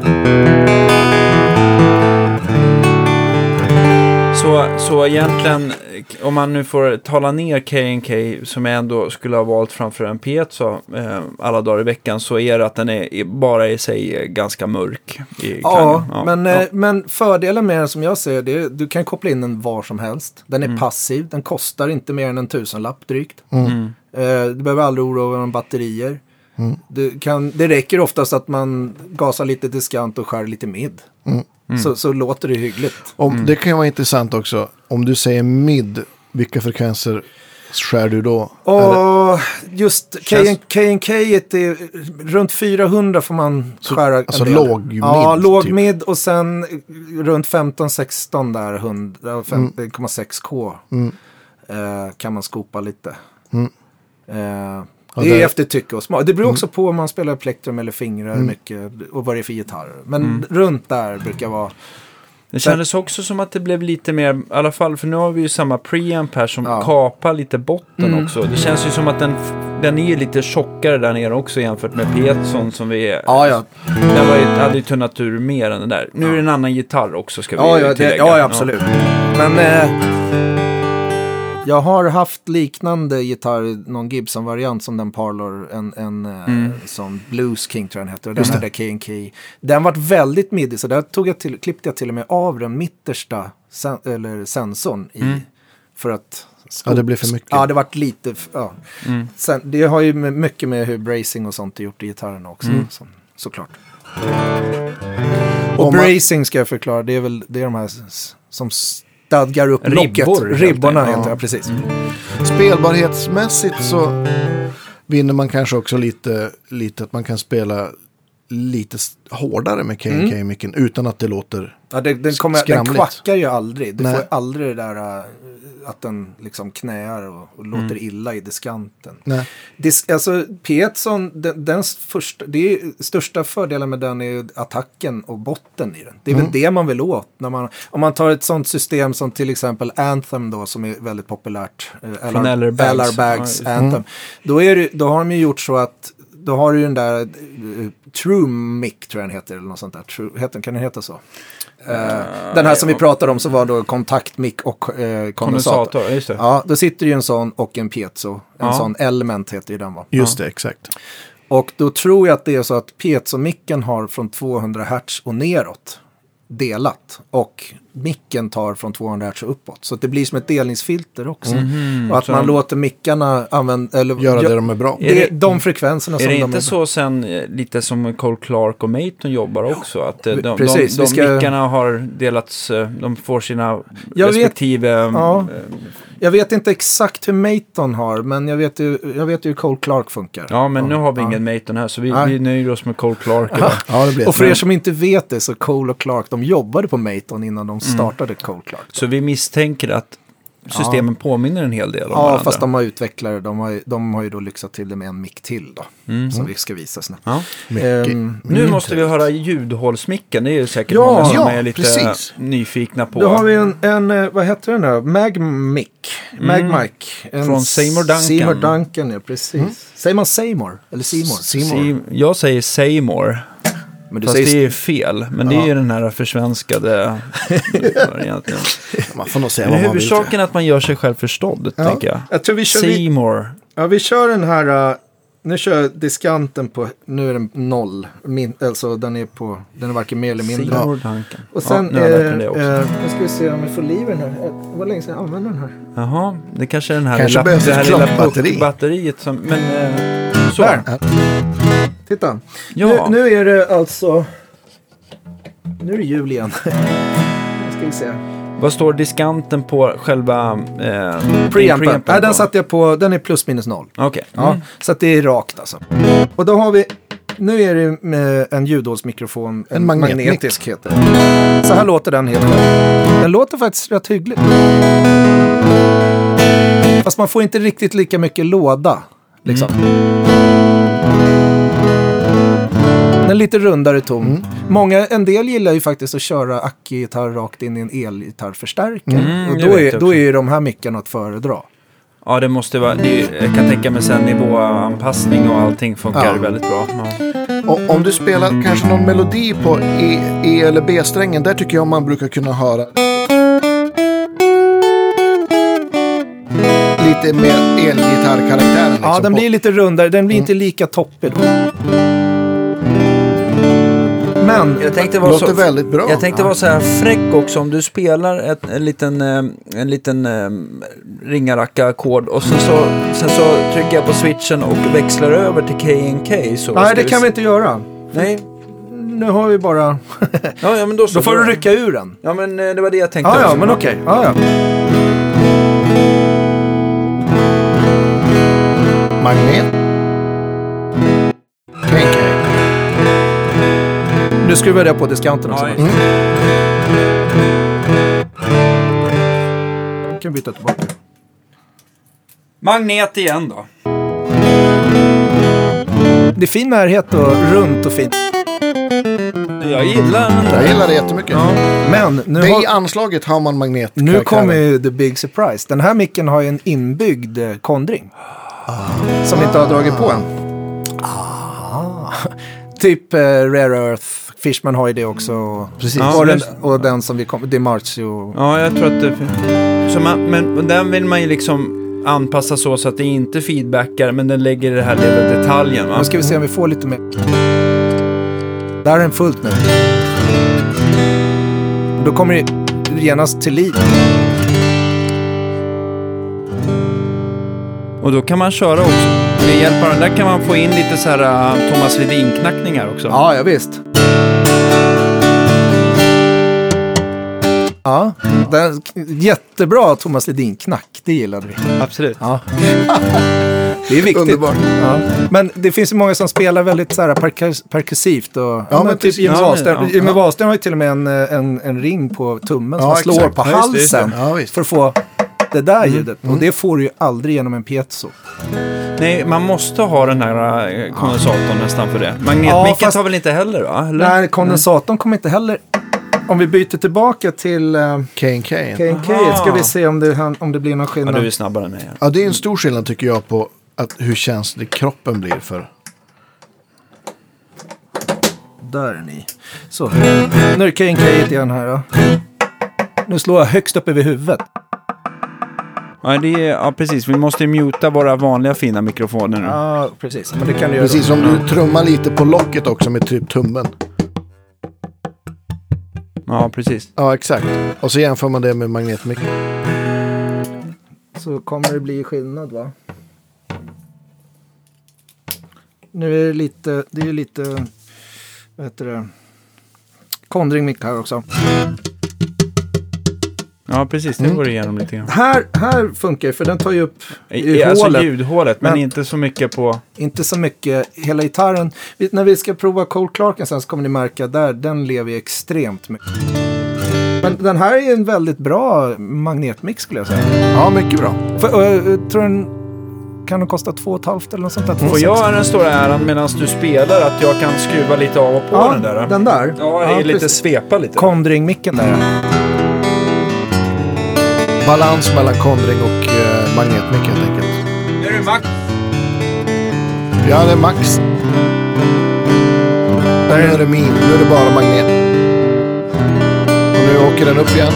Speaker 1: Så, så egentligen, eh, om man nu får tala ner KNK som jag ändå skulle ha valt framför en Piezo eh, alla dagar i veckan så är det att den är, är bara i sig eh, ganska mörk. I
Speaker 3: Ja,
Speaker 1: klangen.
Speaker 3: men,
Speaker 1: ja.
Speaker 3: eh, men fördelen med den som jag ser det är du kan koppla in den var som helst. Den
Speaker 1: Mm.
Speaker 3: är passiv, den kostar inte mer än en tusenlapp drygt.
Speaker 1: Mm.
Speaker 3: Eh, du behöver aldrig oroa dig om batterier.
Speaker 2: Mm.
Speaker 3: Du kan, det räcker oftast att man gasar lite diskant och skär lite mid.
Speaker 2: Mm.
Speaker 3: Så, så låter det hyggligt.
Speaker 2: Om,
Speaker 1: Mm.
Speaker 2: Det kan ju vara intressant också. Om du säger mid, vilka frekvenser skär du då? Eller-
Speaker 3: Och just
Speaker 2: Känns-
Speaker 3: KNK är runt 400 får man skära. en
Speaker 2: alltså
Speaker 3: del.
Speaker 2: låg
Speaker 3: Ja,
Speaker 2: mid,
Speaker 3: låg
Speaker 2: typ.
Speaker 3: mid och sen eh, runt 15-16 där,
Speaker 2: Mm.
Speaker 3: 100 15,6K
Speaker 2: typ.
Speaker 3: eh, kan man skopa lite.
Speaker 2: Mm.
Speaker 3: Eh,
Speaker 2: Ja,
Speaker 3: det är
Speaker 2: där-
Speaker 3: efter tycke och smak. Det beror också på om man spelar plektrum eller fingrar mycket och vad det är för gitarr. Men runt där brukar vara.
Speaker 1: Det kändes också som att det blev lite mer, i alla fall för nu har vi ju samma preamp här som
Speaker 3: Ja.
Speaker 1: kapar lite botten
Speaker 3: Mm.
Speaker 1: också. Det känns ju som att den, f- den är ju lite tjockare där nere också jämfört med Pietson som vi är.
Speaker 3: Mm. Ja, ja,
Speaker 1: Den var ju, hade ju tunnat ur mer än den där. Nu är det en annan gitarr också ska vi
Speaker 3: Ja, ja, det,
Speaker 1: tillägga.
Speaker 3: ja, ja absolut. Men eh, jag har haft liknande gitarr, någon Gibson-variant som den Parlor, en, en eh, som Blues King tror jag den hette. Och den hette K&K. Den vart väldigt middig, så där tog jag till, klippte jag till och med av den mittersta sen, eller sensorn i. För att...
Speaker 2: Ja, det blev för mycket.
Speaker 3: Ja, det vart lite... f- Ja. Sen, det har ju m-
Speaker 2: Mm.
Speaker 3: mycket med hur bracing och sånt är gjort i gitarren också. Så, såklart. Och
Speaker 2: Om man-
Speaker 3: bracing ska jag förklara, det är väl det är de här s- som stadgar upp
Speaker 1: Ribbor,
Speaker 3: locket.
Speaker 1: helt
Speaker 3: Ribborna
Speaker 2: enkelt. Ja.
Speaker 3: heter
Speaker 2: Mm.
Speaker 3: jag, precis.
Speaker 2: Spelbarhetsmässigt så vinner man kanske också lite, lite att man kan spela lite s- hårdare med KNK-micken utan att det låter...
Speaker 3: Ja, det, den, kommer, den
Speaker 2: Skramligt.
Speaker 3: kvackar ju aldrig. Du
Speaker 2: Nej.
Speaker 3: får ju aldrig det där äh, att den liksom knäar och, och låter
Speaker 2: Mm.
Speaker 3: illa i diskanten.
Speaker 2: Nej.
Speaker 3: Dis, alltså Pietson, den, dens första, det är, ju- största fördelen med den är ju attacken och botten i den. Det är
Speaker 1: Mm.
Speaker 3: väl det man vill åt. När man, om man tar ett sånt system som till exempel Anthem då, som är väldigt populärt. eh,
Speaker 1: Från Eller Bags.
Speaker 3: Eller
Speaker 1: Ja,
Speaker 3: Bags
Speaker 1: just det. Mm.
Speaker 3: Anthem. Då, är det, då har de ju gjort så att då har du ju den där eh, True Mic tror jag den heter eller något sånt där. True, heter, den- kan den heta så? Eh, den här som vi pratade om så var då kontaktmick och eh, kondensator.
Speaker 1: Kondensator, just det.
Speaker 3: Ja, då sitter ju en sån och en piezo. En
Speaker 1: Ja.
Speaker 3: sån element heter ju den va.
Speaker 2: Just det, exakt.
Speaker 3: Och då tror jag att det är så att piezomicken har från 200 hertz och neråt delat. Och micken tar från 200 hertz och uppåt. Så att det blir som ett delningsfilter också. och att
Speaker 1: Mm. Mm-hmm. så
Speaker 3: man
Speaker 1: de-
Speaker 3: låter mickarna använda... Eller,
Speaker 2: Göra
Speaker 3: gö-
Speaker 2: det de är bra på.
Speaker 3: det
Speaker 1: Är
Speaker 3: är de frekvenserna
Speaker 1: Är
Speaker 3: som
Speaker 1: det
Speaker 3: de
Speaker 1: inte så sen eh, lite som Cole Clark och Maton jobbar också? Att eh, de,
Speaker 3: precis,
Speaker 1: de, de
Speaker 3: vi ska-
Speaker 1: mickarna har delats, eh, de får sina
Speaker 3: Jag vet-
Speaker 1: respektive... eh,
Speaker 3: Ja.
Speaker 1: eh,
Speaker 3: Jag vet inte exakt hur Maton har, men jag vet ju, jag vet ju hur Cole Clark funkar.
Speaker 1: ja, men nu har vi
Speaker 3: Ja.
Speaker 1: ingen Maton här så vi,
Speaker 3: Nej.
Speaker 1: vi nöjer oss med Cole Clark. idag.
Speaker 2: Ja, det blir
Speaker 3: Och för
Speaker 2: ett-
Speaker 3: er som inte vet det så Cole och Clark, de jobbade på Maton innan
Speaker 1: Mm.
Speaker 3: de startade Cole Clark.
Speaker 1: Så vi misstänker att systemen påminner en hel del om
Speaker 3: Ja,
Speaker 1: varandra.
Speaker 3: fast de har utvecklat det. De har, ju- de har ju då lyxat till det med en mick till då. Som vi ska visa snabbt.
Speaker 1: Ja.
Speaker 2: Mycket.
Speaker 3: Ehm,
Speaker 1: Mm. Nu måste vi höra ljudhålsmicken. Det är ju säkert
Speaker 3: Ja,
Speaker 1: många som
Speaker 2: ja,
Speaker 1: är lite
Speaker 2: precis.
Speaker 1: nyfikna på.
Speaker 3: Då har vi en, en eh, vad heter den här? Magmic. Magmic. En
Speaker 1: Mm. Från Seymour Duncan. Mm.
Speaker 3: Seymour Duncan, ja precis. Säger man Seymour? Eller Seymour?
Speaker 1: Si- Jag säger Seymour.
Speaker 3: Men du
Speaker 1: Fast
Speaker 3: säger
Speaker 1: det är ju fel. Men det är ju den här försvenskade varianten.
Speaker 2: Man får nog säga
Speaker 1: Men
Speaker 2: vad man vill.
Speaker 1: huvudsaken är att man gör sig själv förstådd, tänker jag.
Speaker 3: Jag tror vi kör, vi,
Speaker 1: Seymour.
Speaker 3: ja, vi kör den här, eh, nu kör jag diskanten på, nu är den noll. Min, alltså den är på, den är varken mer eller mindre.
Speaker 1: Seymour Duncan.
Speaker 3: Och sen,
Speaker 1: ja, nu har jag lärt mig det också.
Speaker 3: eh, eh, nu ska vi se om vi får liv i den här. Eh, Det var länge sedan jag använde den här.
Speaker 1: Jaha, det kanske är den här
Speaker 2: Kanske
Speaker 1: lilla,
Speaker 2: behövs
Speaker 1: det
Speaker 2: ett
Speaker 1: här lilla
Speaker 2: klappbatteri.
Speaker 1: puck- batteriet som... Men, eh, så.
Speaker 3: Där. Titta.
Speaker 1: Ja.
Speaker 3: Nu, nu är det alltså... Nu är det jul igen. nu ska vi se.
Speaker 1: Vad står diskanten på själva... Eh,
Speaker 3: Preampen. Nej,
Speaker 1: på?
Speaker 3: den satte jag på. Den är plus minus noll.
Speaker 1: Okej.
Speaker 3: Ja, Så att det är rakt alltså. Och då har vi... Nu är det med en ljudhålsmikrofon. En,
Speaker 2: magnetmick.
Speaker 3: magnetisk heter det. Så här låter den helt själv. Den låter faktiskt rätt hyggligt. Fast man får inte riktigt lika mycket låda. Liksom.
Speaker 1: Mm.
Speaker 3: Den är lite rundare ton.
Speaker 1: Mm.
Speaker 3: Många, en del gillar ju faktiskt att köra ackgitarr rakt in i en elgitarrförstärkare.
Speaker 1: Mm,
Speaker 3: och
Speaker 1: det
Speaker 3: då
Speaker 1: vet
Speaker 3: är,
Speaker 1: jag
Speaker 3: då
Speaker 1: också.
Speaker 3: är ju de här mickarna att föredra.
Speaker 1: Ja, det måste vara... Det är, jag kan tänka mig sen nivåanpassning och allting funkar
Speaker 2: Ja.
Speaker 1: väldigt bra. Ja.
Speaker 2: Och om du spelar kanske någon melodi på E, e eller B-strängen, där tycker jag man brukar kunna höra lite mer elgitarrkaraktären. Liksom,
Speaker 3: Ja, den
Speaker 2: på-
Speaker 3: blir lite rundare. Den
Speaker 1: Mm.
Speaker 3: blir inte lika toppig då. Men,
Speaker 1: Jag tänkte vara
Speaker 2: låter
Speaker 1: så...
Speaker 2: väldigt bra.
Speaker 1: Jag tänkte vara så här fräck också, om du spelar ett, en liten, eh, en liten eh, ringaracka-ackord och sen så, sen så trycker jag på switchen och växlar över till KNK. Så
Speaker 3: nej
Speaker 1: ska
Speaker 3: det kan vi inte göra.
Speaker 1: Nej,
Speaker 3: Nu har vi bara...
Speaker 1: ja, ja men då så.
Speaker 3: Då får du rycka ur den.
Speaker 1: Ja, men eh, det var det jag tänkte
Speaker 3: Ja, ja,
Speaker 1: också.
Speaker 3: men okej. Ja, ja.
Speaker 2: Magnet. KK.
Speaker 3: Nu skruvar jag på diskanten också.
Speaker 1: Ja, just
Speaker 3: Jag kan byta tillbaka.
Speaker 1: Magnet igen då.
Speaker 3: Det är fin närhet och runt och fint.
Speaker 1: Jag gillar den
Speaker 2: Jag
Speaker 1: där.
Speaker 2: gillar det jättemycket.
Speaker 3: Men nu,
Speaker 2: Det I
Speaker 3: har,
Speaker 2: anslaget har man magnet.
Speaker 3: nu kommer ju the big surprise. Den här micken har ju en inbyggd eh, kondring. Ah. Som vi inte har dragit på än. Ah. Typ eh, Rare Earth. Fishman har ju det också. Precis.
Speaker 1: Ja,
Speaker 3: och, den,
Speaker 1: just-
Speaker 3: och den som vi kommer... Dimarzio.
Speaker 1: Ja, jag tror att det... Så man, men den vill man ju liksom anpassa så, så att det inte feedbackar, men den lägger det här lilla detaljen va?
Speaker 3: Nu ska vi se om vi får lite mer. Där är den fullt nu. Då kommer det genast till liv.
Speaker 1: Och då kan man köra också. Med hjälp av den där kan man få in lite så här äh, Thomas Ledin-knackningar också.
Speaker 3: Ja, ja visst. Ja, den, jättebra Thomas Ledin-knack, det gillade vi.
Speaker 4: Absolut.
Speaker 3: Ja. Det är viktigt.
Speaker 2: Underbart.
Speaker 3: Ja. Men det finns ju många som spelar väldigt så här perkus- perkussivt. Och, ja,
Speaker 2: men
Speaker 3: men typ
Speaker 2: precis.
Speaker 3: Jimmy
Speaker 1: Ja, men-
Speaker 3: Wahlström.
Speaker 1: ja.
Speaker 3: Jimmy Wahlström har ju till och med en, eh, en, en ring på tummen som
Speaker 2: Ja,
Speaker 3: man slår
Speaker 2: exakt.
Speaker 3: på
Speaker 4: Ja, just det, just det.
Speaker 3: halsen.
Speaker 2: Ja, visst.
Speaker 3: för att få det där ljudet. Och det får du ju aldrig genom en piezo.
Speaker 1: Nej, man måste ha den här eh, kondensatorn nästan för det. Magnetmicken
Speaker 3: Ja, fast-
Speaker 1: tar väl inte heller va? Eller?
Speaker 3: Nej, kondensatorn kommer inte heller... Om vi byter tillbaka till eh,
Speaker 2: Kane Kane.
Speaker 3: KNK ska vi se om det, han- om det blir någon
Speaker 1: Ja,
Speaker 3: skillnad.
Speaker 1: du är snabbare än mig. här.
Speaker 2: Ja, det är en stor skillnad tycker jag på att hur känslig kroppen blir för.
Speaker 3: Där är ni. Så, nu är det KNK igen här då. Nu slår jag högst upp över huvudet.
Speaker 1: Ja, det är, ja, precis. Vi måste ju muta våra vanliga fina mikrofoner nu.
Speaker 3: Ja, precis. Men det kan du göra.
Speaker 2: Precis som du trummar lite på locket också med typ tummen.
Speaker 1: Ja, precis.
Speaker 2: Ja, exakt. Och så jämför man det med magnetmicken.
Speaker 3: så kommer det bli skillnad va? Nu är det lite, det är lite, vad heter det, kondring mick här också.
Speaker 1: Ja, precis.
Speaker 3: Mm.
Speaker 1: Det går igenom lite grann.
Speaker 3: Här, här funkar det för den tar ju upp i,
Speaker 1: I, alltså
Speaker 3: hålet.
Speaker 1: ljudhålet, men,
Speaker 3: Men-
Speaker 1: inte så mycket på...
Speaker 3: Inte så mycket hela gitarren. Vi, när vi ska prova Cole Clarken sen så kommer ni märka där, den lever ju extremt mycket. Men den här är ju en väldigt bra magnetmix skulle jag säga.
Speaker 2: Ja, mycket bra.
Speaker 3: För, och jag tror den kan den kosta två och ett halvt eller något sånt där.
Speaker 1: Får jag den stora äran medan du spelar att jag kan skruva lite av och på
Speaker 3: Ja,
Speaker 1: den där? då?
Speaker 3: den där.
Speaker 1: Ja,
Speaker 3: Ja,
Speaker 1: lite
Speaker 3: precis.
Speaker 1: svepa lite.
Speaker 3: Kondringmicken där. ja.
Speaker 2: Balans mellan kondring och eh, magnetmick helt enkelt.
Speaker 1: Nu är det max.
Speaker 2: Ja, det är max. Där är det min. Nu är det bara magnet. Och nu åker den upp igen.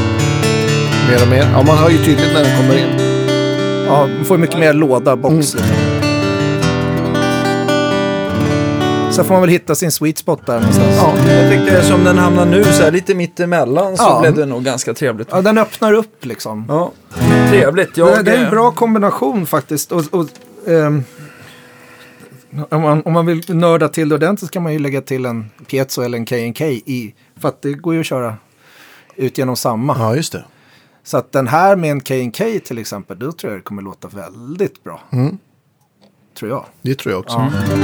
Speaker 2: Mer och mer. Ja, man hör ju tydligt när den kommer in.
Speaker 3: Ja, man får ju mycket mer låda, box.
Speaker 1: Mm.
Speaker 3: Liksom. Sen får man väl hitta sin sweet spot där någonstans. Ja.
Speaker 1: Jag tyckte som den hamnar nu, så här lite mittemellan, så
Speaker 3: Ja.
Speaker 1: blev det nog ganska trevligt.
Speaker 3: den öppnar upp liksom.
Speaker 1: Ja, trevligt.
Speaker 3: det,
Speaker 1: Jag,
Speaker 3: det är
Speaker 1: eh,
Speaker 3: en bra kombination faktiskt. Och, och, ehm, om, man, om man vill nörda till det ordentligt så kan man ju lägga till en piezo eller en K&K i. För att det går ju att köra ut genom samma.
Speaker 2: Ja, just det.
Speaker 3: Så att den här med en K&K till exempel, då tror jag det kommer låta väldigt bra.
Speaker 2: Mm.
Speaker 3: Tror jag.
Speaker 2: Det tror jag också.
Speaker 3: Ja.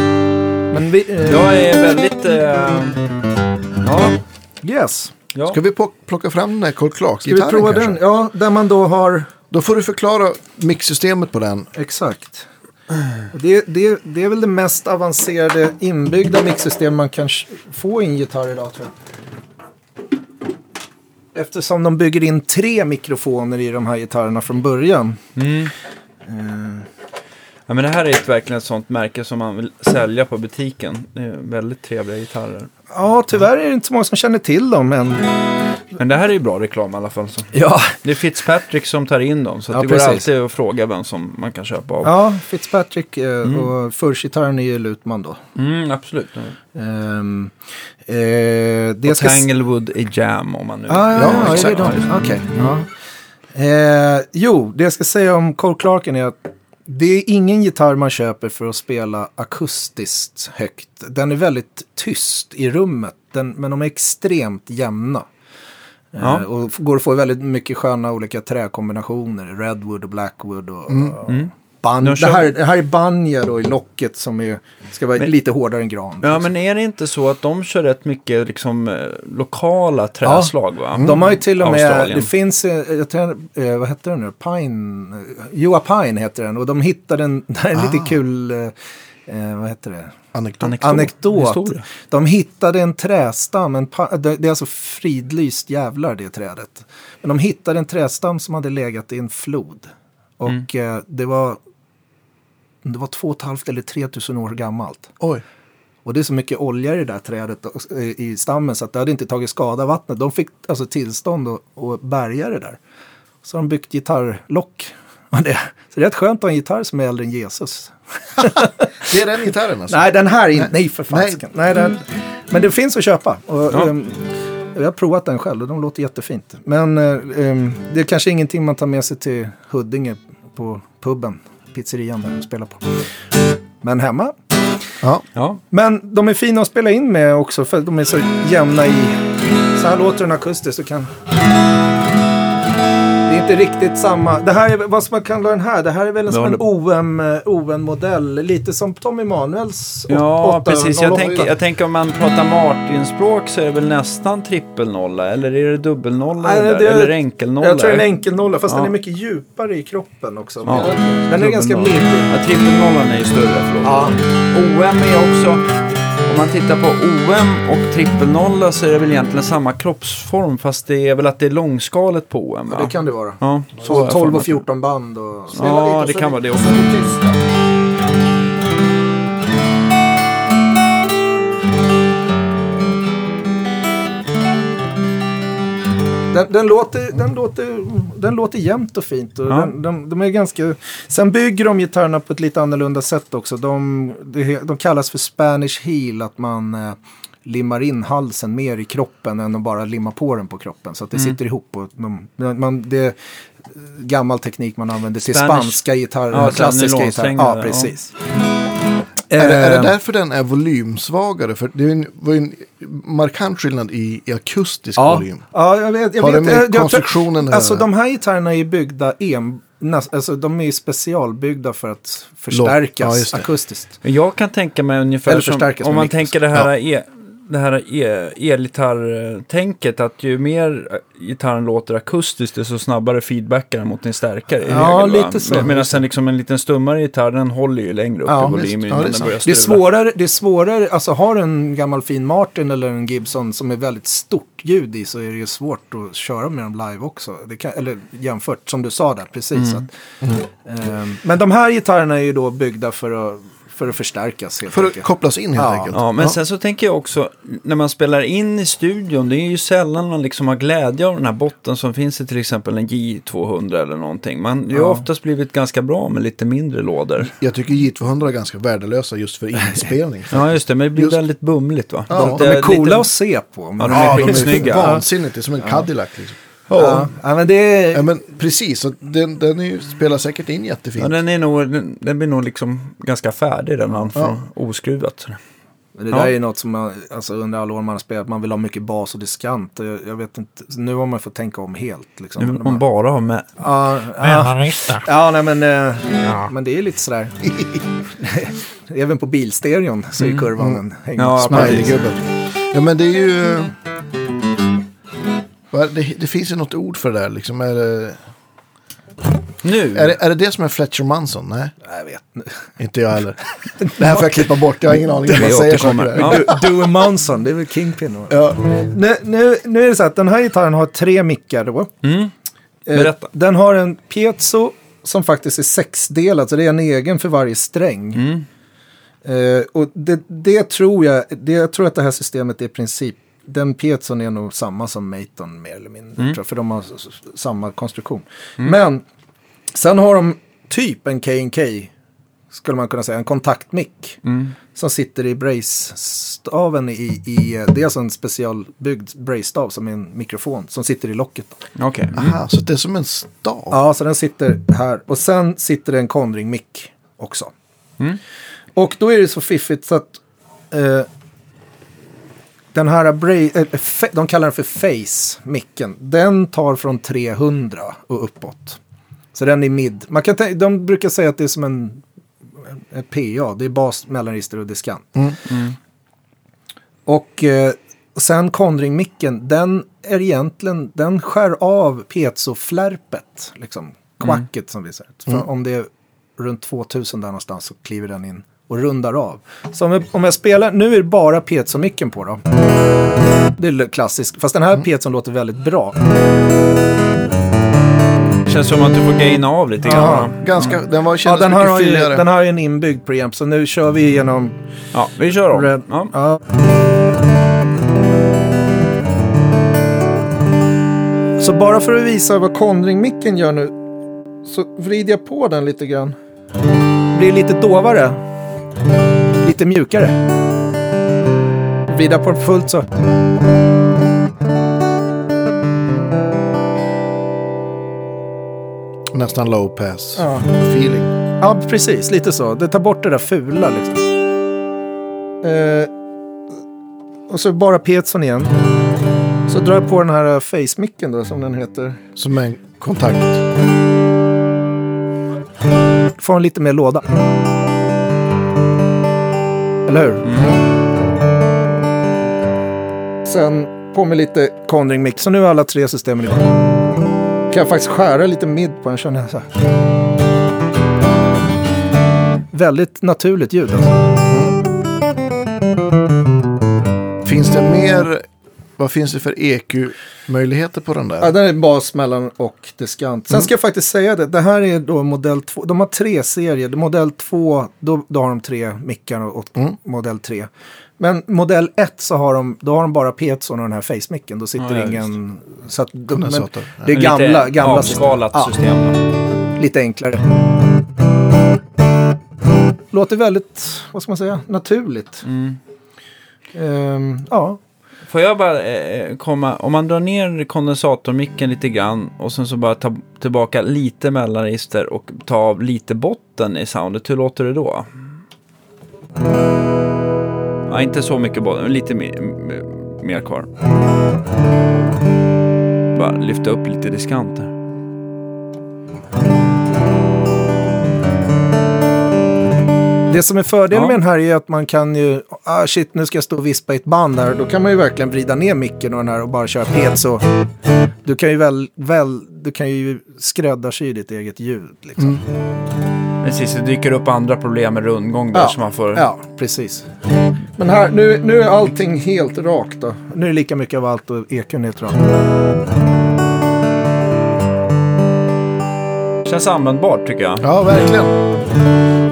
Speaker 3: Men vi... eh,
Speaker 1: Jag är väldigt... Eh, ja,
Speaker 3: Yes.
Speaker 1: ja.
Speaker 2: Ska vi po- plocka fram den här Cole Clark-gitarren
Speaker 3: Ska vi prova
Speaker 2: kanske?
Speaker 3: den? Ja, där man då har...
Speaker 2: Då får du förklara mixsystemet på den.
Speaker 3: Exakt. Och Det, det, det är väl det mest avancerade inbyggda mixsystem man kan sh- få i en gitarr idag tror jag. Eftersom de bygger in tre mikrofoner i de här gitarrerna från början. Eh,
Speaker 1: ja, men det här är ett, verkligen ett sånt märke som man vill sälja på butiken. Det är väldigt trevliga gitarrer.
Speaker 3: Ja, tyvärr är det inte så många som känner till dem än.
Speaker 1: Men det här är ju bra reklam i alla fall. Så.
Speaker 3: Ja,
Speaker 1: Det är Fitzpatrick som tar in dem, så att
Speaker 3: Ja,
Speaker 1: det
Speaker 3: precis.
Speaker 1: går alltid att fråga vem som man kan köpa av.
Speaker 3: ja Fitzpatrick eh, och Furch-gitarren är ju Lutman då.
Speaker 1: Mm, absolut.
Speaker 3: Ehm, eh, det
Speaker 1: Och
Speaker 3: ska s-
Speaker 1: Tanglewood i Jam, om man nu...
Speaker 3: Ah, ja,
Speaker 2: Ja,
Speaker 3: ja,
Speaker 2: exakt.
Speaker 3: exakt.
Speaker 1: Ja, just det.
Speaker 3: Okej. ja. Eh, jo, det jag ska säga om Cole Clarken är att det är ingen gitarr man köper för att spela akustiskt högt. Den är väldigt tyst i rummet, den, men de är extremt jämna. Eh,
Speaker 1: Ja.
Speaker 3: och f- går att få väldigt mycket sköna olika träkombinationer. Redwood och blackwood och... och ban-
Speaker 1: Mm, Nu
Speaker 3: det,
Speaker 1: kör
Speaker 3: här,
Speaker 1: vi.
Speaker 3: det här är banja då i locket som är, ska vara
Speaker 1: Men-
Speaker 3: lite hårdare än liksom. gran.
Speaker 1: Ja, men är det inte så att de kör rätt mycket liksom, eh, lokala träslag? Va?
Speaker 3: De har ju till och med,
Speaker 1: Mm. Australien.
Speaker 3: det finns, eh, jag tror, eh, vad heter den nu, Pine, eh, Joa Pine heter den och de hittade en, det här är en lite kul, eh, eh, vad heter det?
Speaker 2: Anekdot.
Speaker 1: Ah. Anekdot.
Speaker 3: Anekdot.
Speaker 1: Historia.
Speaker 3: De hittade en trästam, en pa- det det är alltså fridlyst jävlar det trädet. Men de hittade en trästam som hade legat i en flod.
Speaker 1: Mm.
Speaker 3: Och eh, det var, det var två och ett halvt eller tre tusen år gammalt.
Speaker 2: Oj.
Speaker 3: Och det är så mycket olja i det där trädet och, eh, i stammen så att det hade inte tagit skada av vattnet. De fick alltså tillstånd att, att bärga det där. Så har de byggt gitarrlock av det. Så det är rätt skönt att ha en gitarr som är äldre än Jesus.
Speaker 2: Det är den gitarren alltså?
Speaker 3: Nej, den här är inte... Nej, för fasiken. Nej, den, men den finns att köpa. Och,
Speaker 1: Ja.
Speaker 3: ehm, jag har provat den själv och de låter jättefint. Men eh, ehm, det är kanske ingenting man tar med sig till Huddinge på puben, pizzerian där de spelar på. Men hemma
Speaker 2: Ja.
Speaker 1: Ja,
Speaker 3: men de är fina att spela in med också för att de är så jämna i. Så här låter den akustiskt. Du kan... är inte riktigt samma. Det här är, vad ska man kalla den här? Det här är väl en,
Speaker 1: Men
Speaker 3: som en
Speaker 1: håller-
Speaker 3: OM, eh, OM-modell. Lite som Tommy Manuels
Speaker 1: Ja,
Speaker 3: 808.
Speaker 1: precis. Jag tänker, jag tänker om man pratar Martinspråk så är det väl nästan trippelnolla. Eller är det dubbelnolla
Speaker 3: Nej,
Speaker 1: i det där?
Speaker 3: det-
Speaker 1: Eller enkelnolla?
Speaker 3: Jag tror en enkel nolla, fast
Speaker 1: Ja.
Speaker 3: den är mycket djupare i kroppen också.
Speaker 1: Ja.
Speaker 3: Den är ganska
Speaker 1: Dubbelnolla.
Speaker 3: mild.
Speaker 1: Ja, trippelnollan är ju större, förlåt.
Speaker 3: Ja.
Speaker 1: OM är också... Om man tittar på OM och trippelnolla så är det väl egentligen samma kroppsform. Fast det är väl att det är långskalet på OM, va?
Speaker 3: Det kan det vara.
Speaker 1: Ja, så har
Speaker 3: Så
Speaker 1: jag
Speaker 3: 12
Speaker 1: för
Speaker 3: och
Speaker 1: mig.
Speaker 3: 14 band och...
Speaker 1: Ja, det kan vara det också.
Speaker 3: Den, den, låter, den, låter, den låter jämnt och fint. Och
Speaker 1: Ja.
Speaker 3: den, de, de är ganska... Sen bygger de gitarrerna på ett lite annorlunda sätt också. De, de, de kallas för Spanish heel, att man eh, limmar in halsen mer i kroppen än att bara limma på den på kroppen. Så att
Speaker 1: Mm.
Speaker 3: det sitter ihop. Och de, man, det är gammal teknik man använder till
Speaker 1: Spanish-
Speaker 3: spanska gitarrer,
Speaker 1: Ja, så här
Speaker 3: klassiska gitarrer.
Speaker 1: nylonsträngar,
Speaker 3: Ja,
Speaker 1: ja.
Speaker 3: precis.
Speaker 2: Är, det- är det
Speaker 3: Eh,
Speaker 2: därför den är volymsvagare? För det är en, var ju en markant skillnad i, i akustisk
Speaker 3: Ja,
Speaker 2: volym.
Speaker 3: ja jag vet. Jag
Speaker 2: Har det
Speaker 3: vet
Speaker 2: med
Speaker 3: jag, jag,
Speaker 2: konstruktionen att
Speaker 3: Alltså
Speaker 2: göra?
Speaker 3: de här gitarrerna är ju byggda en, näst, alltså, de är ju specialbyggda för att förstärkas
Speaker 2: Ja, just det.
Speaker 3: akustiskt.
Speaker 1: Men Jag kan tänka mig ungefär
Speaker 3: Eller
Speaker 1: som,
Speaker 3: förstärkas
Speaker 1: om
Speaker 3: med
Speaker 1: man
Speaker 3: mick.
Speaker 1: tänker det här, e, det här e, elgitarrtänket, att ju mer eh, gitarren låter akustiskt, desto snabbare feedbackar den mot den starkare. i
Speaker 3: Ja,
Speaker 1: regel, va?
Speaker 3: lite så.
Speaker 1: Med- Medan sen liksom en liten stummare gitarr, den håller ju längre upp
Speaker 3: Ja,
Speaker 1: i
Speaker 2: visst.
Speaker 1: volymen
Speaker 2: Ja, det är
Speaker 1: innan den
Speaker 2: sant.
Speaker 1: börjar
Speaker 3: Det är
Speaker 1: strula.
Speaker 3: svårare, det är svårare, alltså har du en gammal fin Martin eller en Gibson som är väldigt stort ljud i så är det ju svårt att köra med dem live också. Det kan, eller jämfört, som du sa där, precis. Att, ehm, men de här gitarrerna är ju då byggda för att, för att förstärkas helt
Speaker 2: För att
Speaker 3: enkelt.
Speaker 2: kopplas in helt
Speaker 3: Ja.
Speaker 2: enkelt.
Speaker 1: Ja, men sen så tänker jag också, när man spelar in i studion, det är ju sällan man liksom har glädje av den här botten som finns i till exempel en J200 eller någonting. Man det har
Speaker 3: Ja.
Speaker 1: oftast blivit ganska bra med lite mindre lådor.
Speaker 2: Jag tycker J200 är ganska värdelösa just för inspelning.
Speaker 1: Ja, just det, men det blir
Speaker 2: Just-
Speaker 1: väldigt bumligt va?
Speaker 2: Ja,
Speaker 1: Så att
Speaker 2: de
Speaker 1: det
Speaker 3: De är coola
Speaker 1: lite-
Speaker 3: att se på. men-
Speaker 1: Ja, de är
Speaker 2: de är
Speaker 1: skitsnygga.
Speaker 2: vansinnigt. Det är som en Cadillac. Liksom.
Speaker 3: Ja, ja, men det
Speaker 2: Ja,
Speaker 3: är...
Speaker 2: men precis, så den, den är ju, spelar säkert in jättefint.
Speaker 1: Ja, den, är nog, den, den blir nog liksom ganska färdig den han får
Speaker 2: Ja.
Speaker 1: oskruvat.
Speaker 3: Det
Speaker 1: Ja.
Speaker 3: där är ju något som man, alltså under alla år man har spelat, man vill ha mycket bas och diskant. Jag, jag vet inte, nu har man fått tänka om helt. Liksom.
Speaker 1: Nu vill
Speaker 3: Men
Speaker 1: man bara ha med.
Speaker 3: Ja, ja, ja, nej men, eh, men det är lite sådär. Även på bilstereon så är kurvan en häng.
Speaker 1: Mm. Ja,
Speaker 2: Smileygubben. Ja, men det är ju... Va, Det, det finns ju något ord för det där. Liksom. Är, det,
Speaker 1: Nu!
Speaker 2: är, det, är det det som är Fletcher Manson? Nej,
Speaker 3: Jag vet inte.
Speaker 2: inte jag heller. Det här får jag klippa bort. Jag har ingen aning. om
Speaker 1: Vi
Speaker 2: vad Jag säger saker
Speaker 1: återkommer.
Speaker 2: där.
Speaker 1: Ja.
Speaker 3: Dewey Monson, det är väl Kingpin? va?
Speaker 2: Ja.
Speaker 3: Nu, nu, nu är det så att den här gitarren har tre mickar då.
Speaker 1: Mm.
Speaker 3: Eh,
Speaker 1: Berätta.
Speaker 3: Den har en piezo som faktiskt är sexdelad, så det är en egen för varje sträng.
Speaker 1: Mm.
Speaker 3: Eh, och det, det tror jag, det, jag tror att det här systemet är i princip, den piezon är nog samma som Maton mer eller mindre,
Speaker 1: Mm.
Speaker 3: tror jag, för de har s- s- samma konstruktion. Men sen har de typ en K&K skulle man kunna säga, en kontaktmick.
Speaker 1: mm.
Speaker 3: Som sitter i brace-staven i, i, det är alltså en specialbyggd brace-stav som är en mikrofon som sitter i locket. Då.
Speaker 1: Okej.
Speaker 2: Aha, så det är som en stav.
Speaker 3: Ja, så den sitter här. Och sen sitter det en Conring-mick också. Och då är det så fiffigt så att eh, den här, bra- eh, fe- de kallar den för face-micken. Den tar från 300 och uppåt. Så den är mid. Man kan tän- de brukar säga att det är som en, en PA. Det är bas, mellanregister och diskant.
Speaker 2: Mm.
Speaker 1: Mm,
Speaker 3: Och eh, sen Conring-micken, den är egentligen, den skär av piezoflärpet, liksom kvacket som vi säger. För
Speaker 2: Mm.
Speaker 3: Om det är runt 2000 där någonstans så kliver den in och rundar av. Så om jag,
Speaker 2: Mm.
Speaker 3: om jag spelar, nu är det bara piezomicken på då. Det är klassiskt, fast den
Speaker 2: Mm.
Speaker 3: här piezon låter väldigt bra.
Speaker 1: mm. Känns som att du får gaina av lite grann.
Speaker 3: Ja.
Speaker 1: va?
Speaker 2: Ganska, den var,
Speaker 3: Ja,
Speaker 2: kändes
Speaker 3: den här,
Speaker 2: mycket
Speaker 3: har ju,
Speaker 2: fylligare.
Speaker 3: den här har ju en inbyggd preamp, så nu kör vi igenom
Speaker 1: Ja, vi kör
Speaker 3: Red.
Speaker 1: om. Ja.
Speaker 3: Ja. Så bara för att visa vad Conring-micken gör nu så vrider jag på den lite grann. Blir lite dovare. Lite mjukare. Vrida på den fullt så.
Speaker 2: Nästan low pass
Speaker 3: Ja.
Speaker 2: feeling.
Speaker 3: Ja, precis. Lite så. Det tar bort det där fula liksom. Eh, och så bara Petson igen. Så drar jag på den här eh, face-micken då, som den heter.
Speaker 2: Som en kontakt.
Speaker 3: Får en lite mer låda. Eller hur? Sen på med lite Conring Mix. Så nu är alla tre systemen igång. Kan jag faktiskt skära lite mid på den känner jag så här. Väldigt naturligt ljud alltså.
Speaker 2: Finns det mer, vad finns det för EQ-möjligheter på den där?
Speaker 3: Ja, den är bas, mellan och diskant. Sen ska jag faktiskt säga det. Det här är då modell 2. De har tre serier. Modell 2, då, då har de tre mickar och, och
Speaker 2: Mm.
Speaker 3: modell 3. Men modell 1 så har de, då har de bara Petson och den här face-micken. Då sitter
Speaker 1: Ja, ja,
Speaker 3: ingen... Så att, de, men,
Speaker 2: Kondensator.
Speaker 3: det är gamla,
Speaker 1: Lite
Speaker 3: gamla
Speaker 1: avskalat
Speaker 3: Ja,
Speaker 1: system.
Speaker 3: lite enklare. Låter väldigt, vad ska man säga, naturligt.
Speaker 1: Mm.
Speaker 3: Ehm, ja,
Speaker 1: Får jag bara eh, komma, om man drar ner kondensatormicken lite grann och sen så bara ta tillbaka lite mellanregister och ta av lite botten i soundet, hur låter det då? Ja, inte så mycket botten, men lite mer, m- mer kvar. Bara lyfta upp lite diskanter.
Speaker 3: Det som är fördelen
Speaker 1: Ja.
Speaker 3: med den här är att man kan ju, ah shit nu ska jag stå och vispa i ett band här. Då kan man ju verkligen vrida ner micken och den här och bara köra pet så. Du kan ju väl, väl du kan ju skräddarsy ditt eget ljud liksom.
Speaker 1: Precis, det dyker upp andra problem med rundgång där
Speaker 3: Ja,
Speaker 1: som man får...
Speaker 3: Ja, precis. Men här, nu, nu är allting helt rakt då. Nu är det lika mycket av allt och ekun är helt rakt.
Speaker 1: Känns användbart tycker jag.
Speaker 2: Ja, verkligen.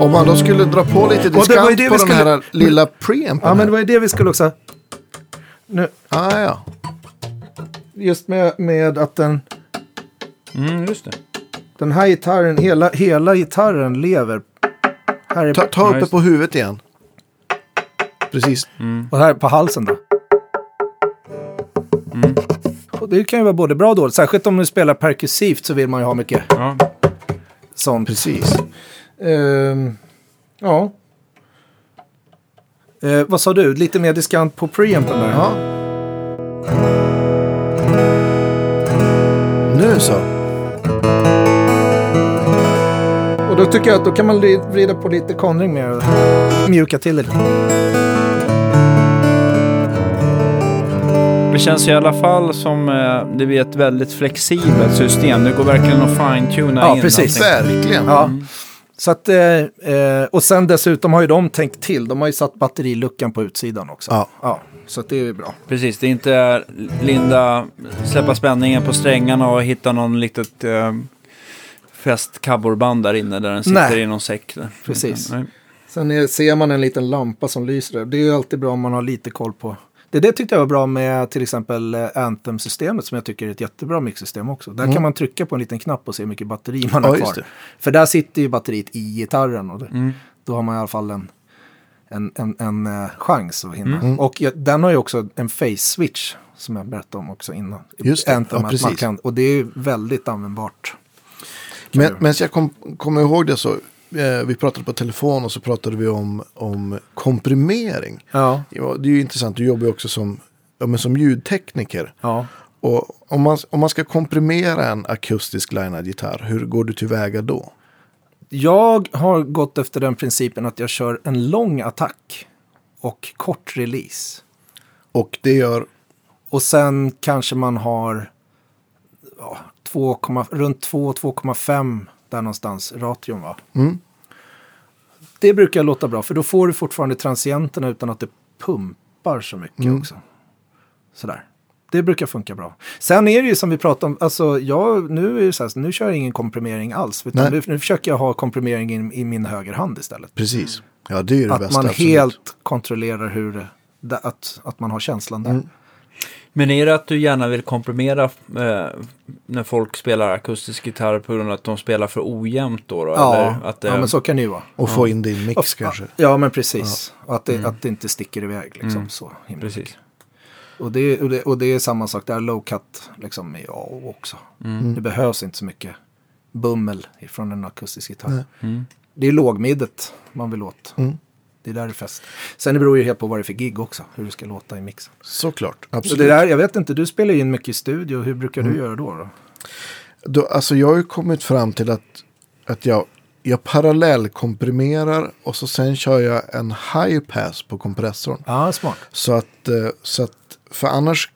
Speaker 2: Om man då skulle dra på lite
Speaker 3: var ju
Speaker 2: diskant
Speaker 3: det vi
Speaker 2: på
Speaker 3: skulle-
Speaker 2: den här lilla preampen.
Speaker 3: Ja, men det
Speaker 2: här.
Speaker 3: var ju det vi skulle också. Nu,
Speaker 2: ah, ja.
Speaker 3: just med, med att den,
Speaker 1: Mm, just det.
Speaker 3: den här gitarren, hela, hela gitarren lever. Här är,
Speaker 2: ta, ta
Speaker 1: Ja,
Speaker 2: uppe
Speaker 1: just-
Speaker 2: på huvudet igen. Precis.
Speaker 3: Och här på halsen då. Mm. Och det kan ju vara både bra och dåligt. Särskilt om du spelar perkussivt så vill man ju ha mycket
Speaker 1: Ja.
Speaker 3: sånt.
Speaker 2: Precis.
Speaker 3: Ehm, ja. Eh, vad sa du? Lite mer diskant på preampen där?
Speaker 2: Ja. Nu så.
Speaker 3: Och då tycker jag att då kan man li- vrida på lite konring mer. Mm. och Mjuka till det lite.
Speaker 1: Det känns i alla fall som eh, det blir ett väldigt flexibelt system. Det går verkligen att fine-tuna
Speaker 3: Ja,
Speaker 1: in Mm.
Speaker 3: precis.
Speaker 1: allting.
Speaker 2: Verkligen.
Speaker 3: Ja. Så att, eh, eh, och sen dessutom har ju de tänkt till. De har ju satt batteriluckan på utsidan också.
Speaker 2: Ja.
Speaker 3: så att det är ju bra.
Speaker 1: Precis, det är inte linda, släppa spänningen på strängarna och hitta någon litet eh, fäst kabborband där inne där den sitter
Speaker 3: Nej.
Speaker 1: i någon säck. där.
Speaker 3: Precis.
Speaker 1: Nej.
Speaker 3: Sen är, ser man en liten lampa som lyser där. Det är ju alltid bra om man har lite koll på. Det, det tyckte jag var bra med till exempel eh, Anthem-systemet som jag tycker är ett jättebra mixsystem också. Där kan man trycka på en liten knapp och se hur mycket batteri
Speaker 2: Mm.
Speaker 3: man
Speaker 2: Ja,
Speaker 3: har
Speaker 2: just
Speaker 3: kvar.
Speaker 2: det. Mm.
Speaker 3: För där sitter ju batteriet i gitarren och det,
Speaker 1: Mm.
Speaker 3: då har man i alla fall en, en, en, en eh, chans att hinna.
Speaker 2: Mm.
Speaker 3: Och jag, den har ju också en face-switch som jag berättade om också innan.
Speaker 2: Just det.
Speaker 3: Anthem,
Speaker 2: Ja,
Speaker 3: att man
Speaker 2: precis.
Speaker 3: kan, och det är ju väldigt användbart.
Speaker 2: Men, men jag kom- kommer ihåg det så. Eh, vi pratade på telefon och så pratade vi om, om komprimering.
Speaker 3: Ja,
Speaker 2: Ja, det är ju intressant, du jobbar ju också som, ja, men som ljudtekniker.
Speaker 3: ja.
Speaker 2: Och om man, om man ska komprimera en akustisk linad gitarr, hur går du tillväga då?
Speaker 3: Jag har gått efter den principen att jag kör en lång attack och kort release.
Speaker 2: Och det gör,
Speaker 3: Och sen kanske man har ja, 2, runt 2-2,5 där någonstans, ration va?
Speaker 2: Mm.
Speaker 3: Det brukar låta bra för då får du fortfarande transienterna utan att det pumpar så mycket
Speaker 2: Mm.
Speaker 3: också. Sådär. Det brukar funka bra. Sen är det ju som vi pratade om, alltså jag, nu är det så här, nu kör jag ingen komprimering alls. Utan
Speaker 2: Nej.
Speaker 3: nu, nu försöker jag ha komprimering i, i min högerhand istället.
Speaker 2: precis, ja det är ju det
Speaker 3: att
Speaker 2: bästa.
Speaker 3: man
Speaker 2: absolut.
Speaker 3: helt kontrollerar hur det, da- att, att man har känslan där.
Speaker 2: Mm.
Speaker 1: Men är det att du gärna vill komprimera eh, när folk spelar akustisk gitarr på grund av att de spelar för ojämnt då? då
Speaker 3: Ja,
Speaker 1: Eller att, eh, det-
Speaker 3: ja, men så kan det ju vara.
Speaker 2: Och få in det i en mix
Speaker 3: Och-
Speaker 2: kanske.
Speaker 3: Ja, Mm. men precis. Och att det, att det inte sticker iväg liksom så himla
Speaker 1: Mm. Precis.
Speaker 3: Och det, och, det, och det är samma sak där, low cut liksom är A och O också.
Speaker 1: Mm.
Speaker 3: Det behövs inte så mycket
Speaker 1: Mm.
Speaker 3: bummel från en akustisk gitarr. Det är lågmiddet man vill åt. Det är där det är fest. Sen det beror ju helt på vad det är för gig också, hur det ska låta i mixen.
Speaker 2: Såklart,
Speaker 3: Så
Speaker 2: absolut.
Speaker 3: det där, jag vet inte, du spelar ju in mycket i studio, hur brukar du göra då? då?
Speaker 2: Då, alltså jag har ju kommit fram till att, att jag, jag parallellkomprimerar och så sen kör jag en high pass på kompressorn.
Speaker 3: Ja, smart.
Speaker 2: Så att, eh, så att för annars,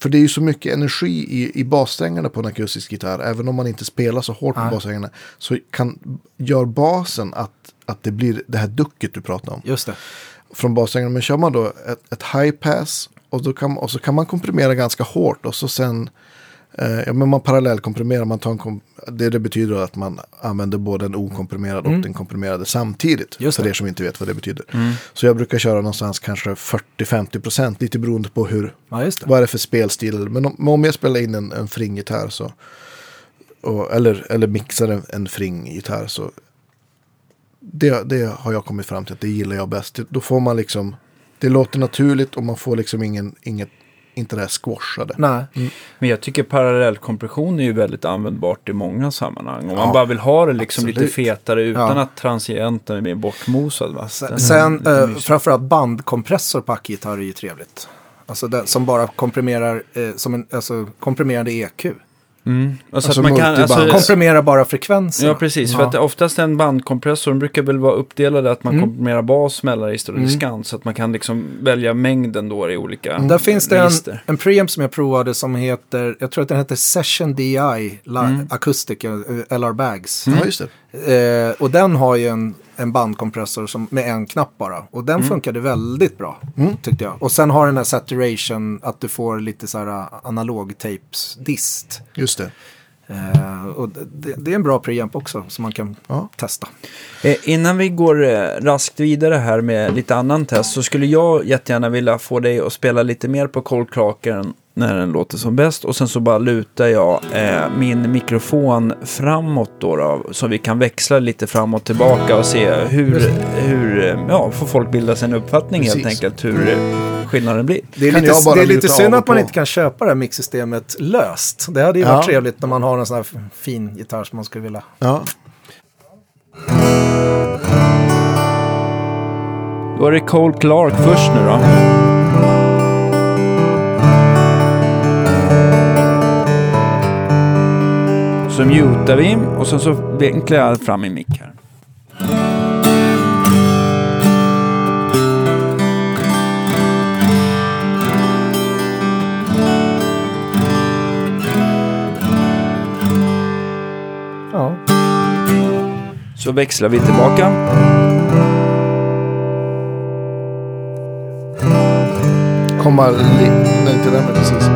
Speaker 2: för det är ju så mycket energi i, i bassträngarna på en akustisk gitarr. Även om man inte spelar så hårt på
Speaker 3: Nej.
Speaker 2: bassträngarna så kan, gör basen att, att det blir det här ducket du pratar om.
Speaker 3: Just det.
Speaker 2: Från bassträngarna, men kör man då ett, ett high pass och, då kan, och så kan man komprimera ganska hårt och så sen Eh, ja, men man parallellkomprimerar, man tar en kom- det, det betyder att man använder både den okomprimerade och den komprimerade samtidigt.
Speaker 3: Mm. Just
Speaker 2: för
Speaker 3: det. Mm.
Speaker 2: er som inte vet vad det betyder. Så jag brukar köra någonstans kanske 40-50 procent, lite beroende på hur,
Speaker 3: Ja, just det.
Speaker 2: vad är det för spelstil. Men om, men om jag spelar in en, en fringgitarr så, och, eller, eller mixar en, en fringgitarr så, det, det har jag kommit fram till att det gillar jag bäst. Då får man liksom, det låter naturligt och man får liksom ingen, inget, inte det här squashade.
Speaker 3: Nej,
Speaker 1: Men jag tycker parallellkompression är ju väldigt användbart i många sammanhang. Om man
Speaker 2: Ja,
Speaker 1: bara vill ha det liksom
Speaker 2: absolut.
Speaker 1: lite fetare utan
Speaker 3: Ja.
Speaker 1: att transienten blir bortmosad. Va? Mm. Den-
Speaker 3: Sen,
Speaker 1: lite
Speaker 3: eh,
Speaker 1: mysig.
Speaker 3: framförallt bandkompressor på ackgitarr är ju trevligt. Alltså det, som bara komprimerar, eh, som en alltså, komprimerande EQ.
Speaker 1: Mm. Och så
Speaker 2: Alltså
Speaker 1: att man kan,
Speaker 2: multiband.
Speaker 1: alltså,
Speaker 3: Komprimerar bara frekvenser.
Speaker 1: Ja, precis. För att oftast en bandkompressor de brukar väl vara uppdelade att
Speaker 3: Mm.
Speaker 1: man komprimerar bas, mellanregister och diskant. Så att man kan liksom välja mängden då i olika
Speaker 3: Där finns det en,
Speaker 1: register.
Speaker 3: en preamp som jag provade som heter, jag tror att den heter Session DI la,
Speaker 1: Mm.
Speaker 3: Acoustic, eh, LR Bags.
Speaker 2: Ja, just det.
Speaker 3: Eh, och den har ju en, en bandkompressor som, med en knapp bara. Och
Speaker 1: Mm.
Speaker 3: den funkade väldigt bra tyckte jag. Och sen har den här saturation, att du får lite så här eh, analogtapes-dist.
Speaker 2: Just det.
Speaker 3: Eh, och det, det är en bra preamp också som man kan
Speaker 2: Ja.
Speaker 3: testa.
Speaker 1: Eh, Innan vi går eh, raskt vidare här med lite annan test så skulle jag jättegärna vilja få dig att spela lite mer på Cold Kraken när den låter som bäst och sen så bara lutar jag eh, min mikrofon framåt då, då så vi kan växla lite fram och tillbaka och se hur, hur eh, ja, får folk bilda sig en uppfattning helt
Speaker 2: Precis.
Speaker 1: enkelt hur eh, skillnaden blir.
Speaker 3: Det är
Speaker 2: Kan jag
Speaker 3: lite,
Speaker 2: bara
Speaker 3: det är lite
Speaker 2: luta av
Speaker 3: synd
Speaker 2: och
Speaker 3: att man
Speaker 2: på?
Speaker 3: inte kan köpa det här mixsystemet löst. Det hade ju
Speaker 2: Ja.
Speaker 3: varit trevligt när man har en sån här fin gitarr som man skulle vilja.
Speaker 2: Ja.
Speaker 1: Då är det Cole Clark först nu då. Så mutar vi och sen så vinklar jag fram min mick här.
Speaker 3: Ja.
Speaker 1: Så växlar vi tillbaka.
Speaker 2: Komma li... Nej, inte där men precis.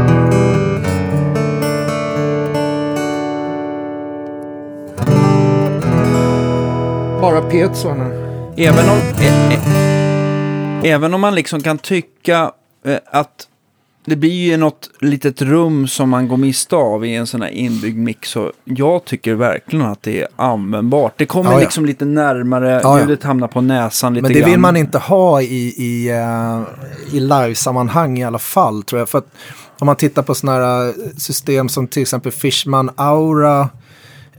Speaker 3: Bara piezoarna.
Speaker 1: Även om, ä, ä, även om man liksom kan tycka eh, att det blir ju något litet rum som man går miste av i en sån här inbyggd mix. Så jag tycker verkligen att det är användbart. Det kommer
Speaker 3: Ja, ja.
Speaker 1: liksom lite närmare,
Speaker 3: Ja, ja.
Speaker 1: ljudet hamnar på näsan lite
Speaker 3: Men det
Speaker 1: grann.
Speaker 3: vill man inte ha i, i, eh, i live-sammanhang i alla fall tror jag. För att om man tittar på sådana här eh, system som till exempel Fishman Aura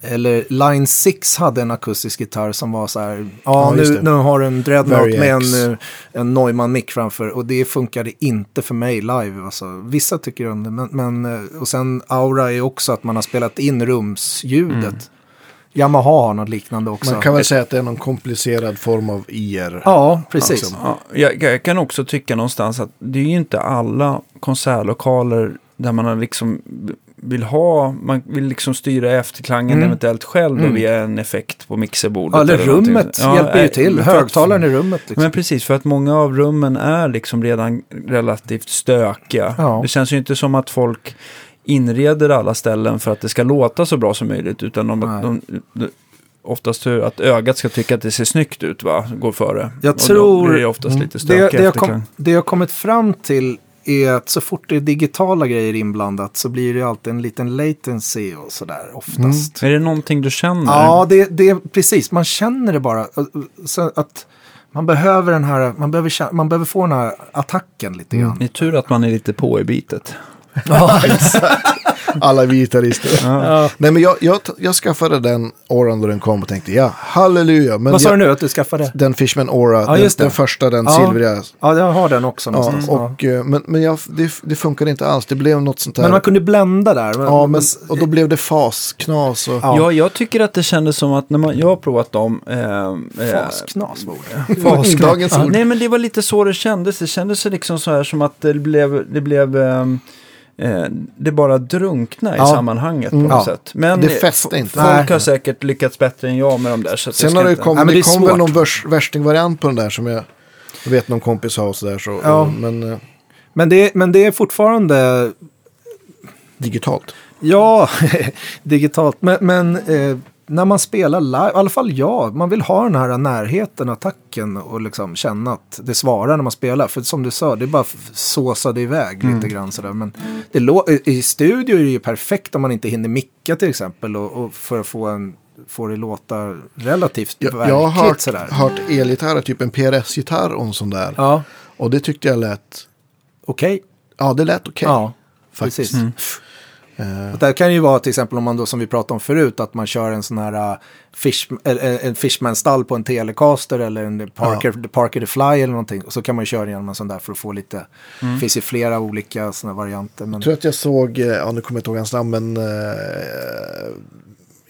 Speaker 3: eller Line 6 hade en akustisk gitarr som var så här. Ja,
Speaker 2: Ja, just
Speaker 3: nu,
Speaker 2: det.
Speaker 3: nu har du en dreadnought med
Speaker 2: Variax.
Speaker 3: en, eh, en Neumann-mick framför och det funkade inte för mig live. Alltså. Vissa tycker om det, men, men eh, och sen Aura är också att man har spelat in rumsljudet. Yamaha har något liknande också.
Speaker 2: Mm. Man kan väl säga att det är någon komplicerad form av IR.
Speaker 3: Ja, precis.
Speaker 2: Liksom.
Speaker 1: Ja, jag, jag kan också tycka någonstans att det är ju inte alla konsertlokaler där man har liksom vill ha, man vill liksom styra efterklangen
Speaker 3: Mm.
Speaker 1: eventuellt själv då
Speaker 3: Mm.
Speaker 1: via en effekt på mixerbordet.
Speaker 3: Ja, eller
Speaker 1: någonting.
Speaker 3: rummet
Speaker 1: Ja,
Speaker 3: hjälper ju
Speaker 1: eh,
Speaker 3: till.
Speaker 1: för att-
Speaker 3: Högtalaren i rummet. Liksom.
Speaker 1: Men precis, för att många av rummen är liksom redan relativt stökiga.
Speaker 3: Ja.
Speaker 1: Det känns ju inte som att folk inreder alla ställen för att det ska låta så bra som möjligt, utan de,
Speaker 3: Nej.
Speaker 1: de, de, oftast hur att ögat ska tycka att det ser snyggt ut, va? går före.
Speaker 3: Jag
Speaker 1: Och då
Speaker 3: tror-
Speaker 1: blir det oftast
Speaker 2: Mm.
Speaker 1: lite
Speaker 3: det,
Speaker 1: stökigt
Speaker 3: det, jag kom, det jag kommit fram till är att så fort det är digitala grejer inblandat så blir det ju alltid en liten latency och sådär oftast.
Speaker 1: Är det någonting du känner?
Speaker 3: Ja, det, det är precis. Man känner det bara. Så att man behöver den här, man behöver, kä- man behöver få den här attacken lite grann.
Speaker 1: Det är tur att man är lite på i bitet.
Speaker 3: Ja,
Speaker 2: alla gitarrister.
Speaker 1: Ja.
Speaker 3: Ja.
Speaker 2: Nej, men jag, jag, jag skaffade den åran då den kom och tänkte ja, halleluja. Men
Speaker 3: Vad sa
Speaker 2: jag,
Speaker 3: du nu att du skaffade?
Speaker 2: Den Fishman Aura,
Speaker 3: Ja,
Speaker 2: den,
Speaker 3: just det.
Speaker 2: den första, den
Speaker 3: Ja.
Speaker 2: silvriga.
Speaker 3: Ja, jag har den också
Speaker 2: Ja,
Speaker 3: någonstans. Ja.
Speaker 2: och, eh, men men jag, det, det funkade inte alls, det blev något sånt
Speaker 3: Men
Speaker 2: här.
Speaker 3: man kunde blända där.
Speaker 2: ja, men, och då blev det fasknas. Och,
Speaker 3: Ja.
Speaker 1: Ja, jag tycker att det kändes som att när man, jag har provat dem. Eh, eh,
Speaker 3: Fasknas var ordet.
Speaker 1: Fasknas.
Speaker 2: Dagens ord.
Speaker 1: Nej, men det var lite så det kändes. Det kändes liksom så här som att det blev, det blev ehm, eh, det bara drunkna i
Speaker 3: Ja. Mm.
Speaker 1: sammanhanget på något
Speaker 3: Ja.
Speaker 1: sätt. Men
Speaker 2: Det
Speaker 1: eh,
Speaker 2: fäste
Speaker 1: f-
Speaker 2: inte.
Speaker 1: Folk
Speaker 3: Nej.
Speaker 1: har säkert lyckats bättre än jag med de där. Så att jag
Speaker 2: Sen
Speaker 1: ska
Speaker 2: har det
Speaker 1: inte-
Speaker 2: kom,
Speaker 3: Nej, men
Speaker 2: det
Speaker 3: det är
Speaker 2: kom
Speaker 3: svårt.
Speaker 2: väl någon vers, värstingvariant på den där som jag, jag vet någon kompis har och sådär. Så,
Speaker 3: Ja.
Speaker 2: och- Men eh,
Speaker 3: Men det, men det är fortfarande,
Speaker 2: digitalt.
Speaker 3: ja, digitalt. Men, men eh, när man spelar live, i alla fall jag, man vill ha den här närheten, attacken och liksom känna att det svarar när man spelar. För som du sa, det är bara f- såsade iväg
Speaker 2: Mm.
Speaker 3: lite grann sådär. Men det lå- i- i studio är det ju perfekt om man inte hinner micka till exempel och, och för att få en få det låta relativt
Speaker 2: Jag,
Speaker 3: verkligt
Speaker 2: jag har hört,
Speaker 3: sådär.
Speaker 2: hört elgitarrer, typ en PRS-gitarr och en sån där.
Speaker 3: Ja,
Speaker 2: Och det tyckte jag lät,
Speaker 3: okej.
Speaker 2: ja det lät okej.
Speaker 3: Ja,
Speaker 2: faktiskt.
Speaker 3: precis.
Speaker 2: Eh,
Speaker 3: Och där kan det ju vara till exempel om man då som vi pratade om förut att man kör en sån här uh, fish, eller, eh, en Fishman-stall på en Telecaster eller en Parker, Parker the Fly eller någonting. Och så kan man ju köra igenom en sån där för att få lite, det finns ju flera olika såna varianter. Men,
Speaker 2: Jag Mm. tror att jag såg, eh, ja nu kommer jag inte ihåg hans namn, men eh,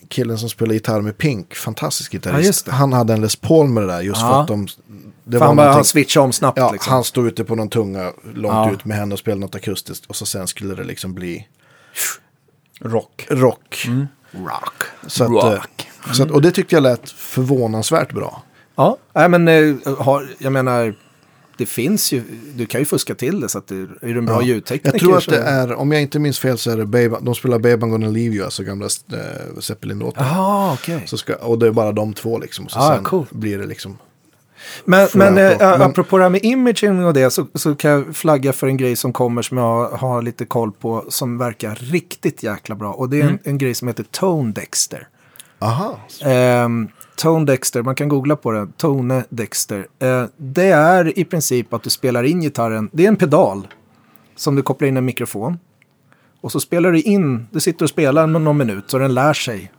Speaker 2: killen som spelar gitarr med Pink, fantastisk
Speaker 3: Ja,
Speaker 2: gitarrist.
Speaker 3: just det.
Speaker 2: han hade en Les Paul med det där just för
Speaker 3: Ja.
Speaker 2: att de... Det
Speaker 3: fan
Speaker 2: var
Speaker 3: bara han
Speaker 2: någonting-
Speaker 3: switchar om snabbt
Speaker 2: ja,
Speaker 3: liksom.
Speaker 2: han stod ute på någon tunga långt
Speaker 3: Ja.
Speaker 2: ut med henne och spelade något akustiskt och så sen skulle det liksom bli
Speaker 1: Rock.
Speaker 2: rock.
Speaker 3: Mm. Rock.
Speaker 2: Så att, eh,
Speaker 1: Rock.
Speaker 2: Så att, och det tyckte jag lät förvånansvärt bra.
Speaker 3: Ja, nej, men eh, har, jag menar, det finns ju, du kan ju fuska till det så att det, är du en bra
Speaker 2: Ja.
Speaker 3: ljudtekniker
Speaker 2: Jag tror att
Speaker 3: så-
Speaker 2: det är, om jag inte minns fel så är det Babe, de spelar Babe I'm gonna leave you, alltså gamla eh, Zeppelin-låten.
Speaker 3: Jaha, okej.
Speaker 2: Så ska, och det är bara de två liksom. Och så
Speaker 3: Ah,
Speaker 2: sen
Speaker 3: coolt.
Speaker 2: blir det liksom.
Speaker 3: Men,
Speaker 2: Får
Speaker 3: men,
Speaker 2: jag
Speaker 3: eh,
Speaker 2: på. Men-
Speaker 3: apropå det här med imaging och det så, så kan jag flagga för en grej som kommer som jag har lite koll på som verkar riktigt jäkla bra. Och det är en, en grej som heter Tone Dexter.
Speaker 2: Aha.
Speaker 3: Ehm, Tone Dexter, man kan googla på det. Tone Dexter. Eh, det är i princip att du spelar in gitarren. Det är en pedal som du kopplar in en mikrofon. Och så spelar du in, du sitter och spelar någon, någon minut så den lär sig.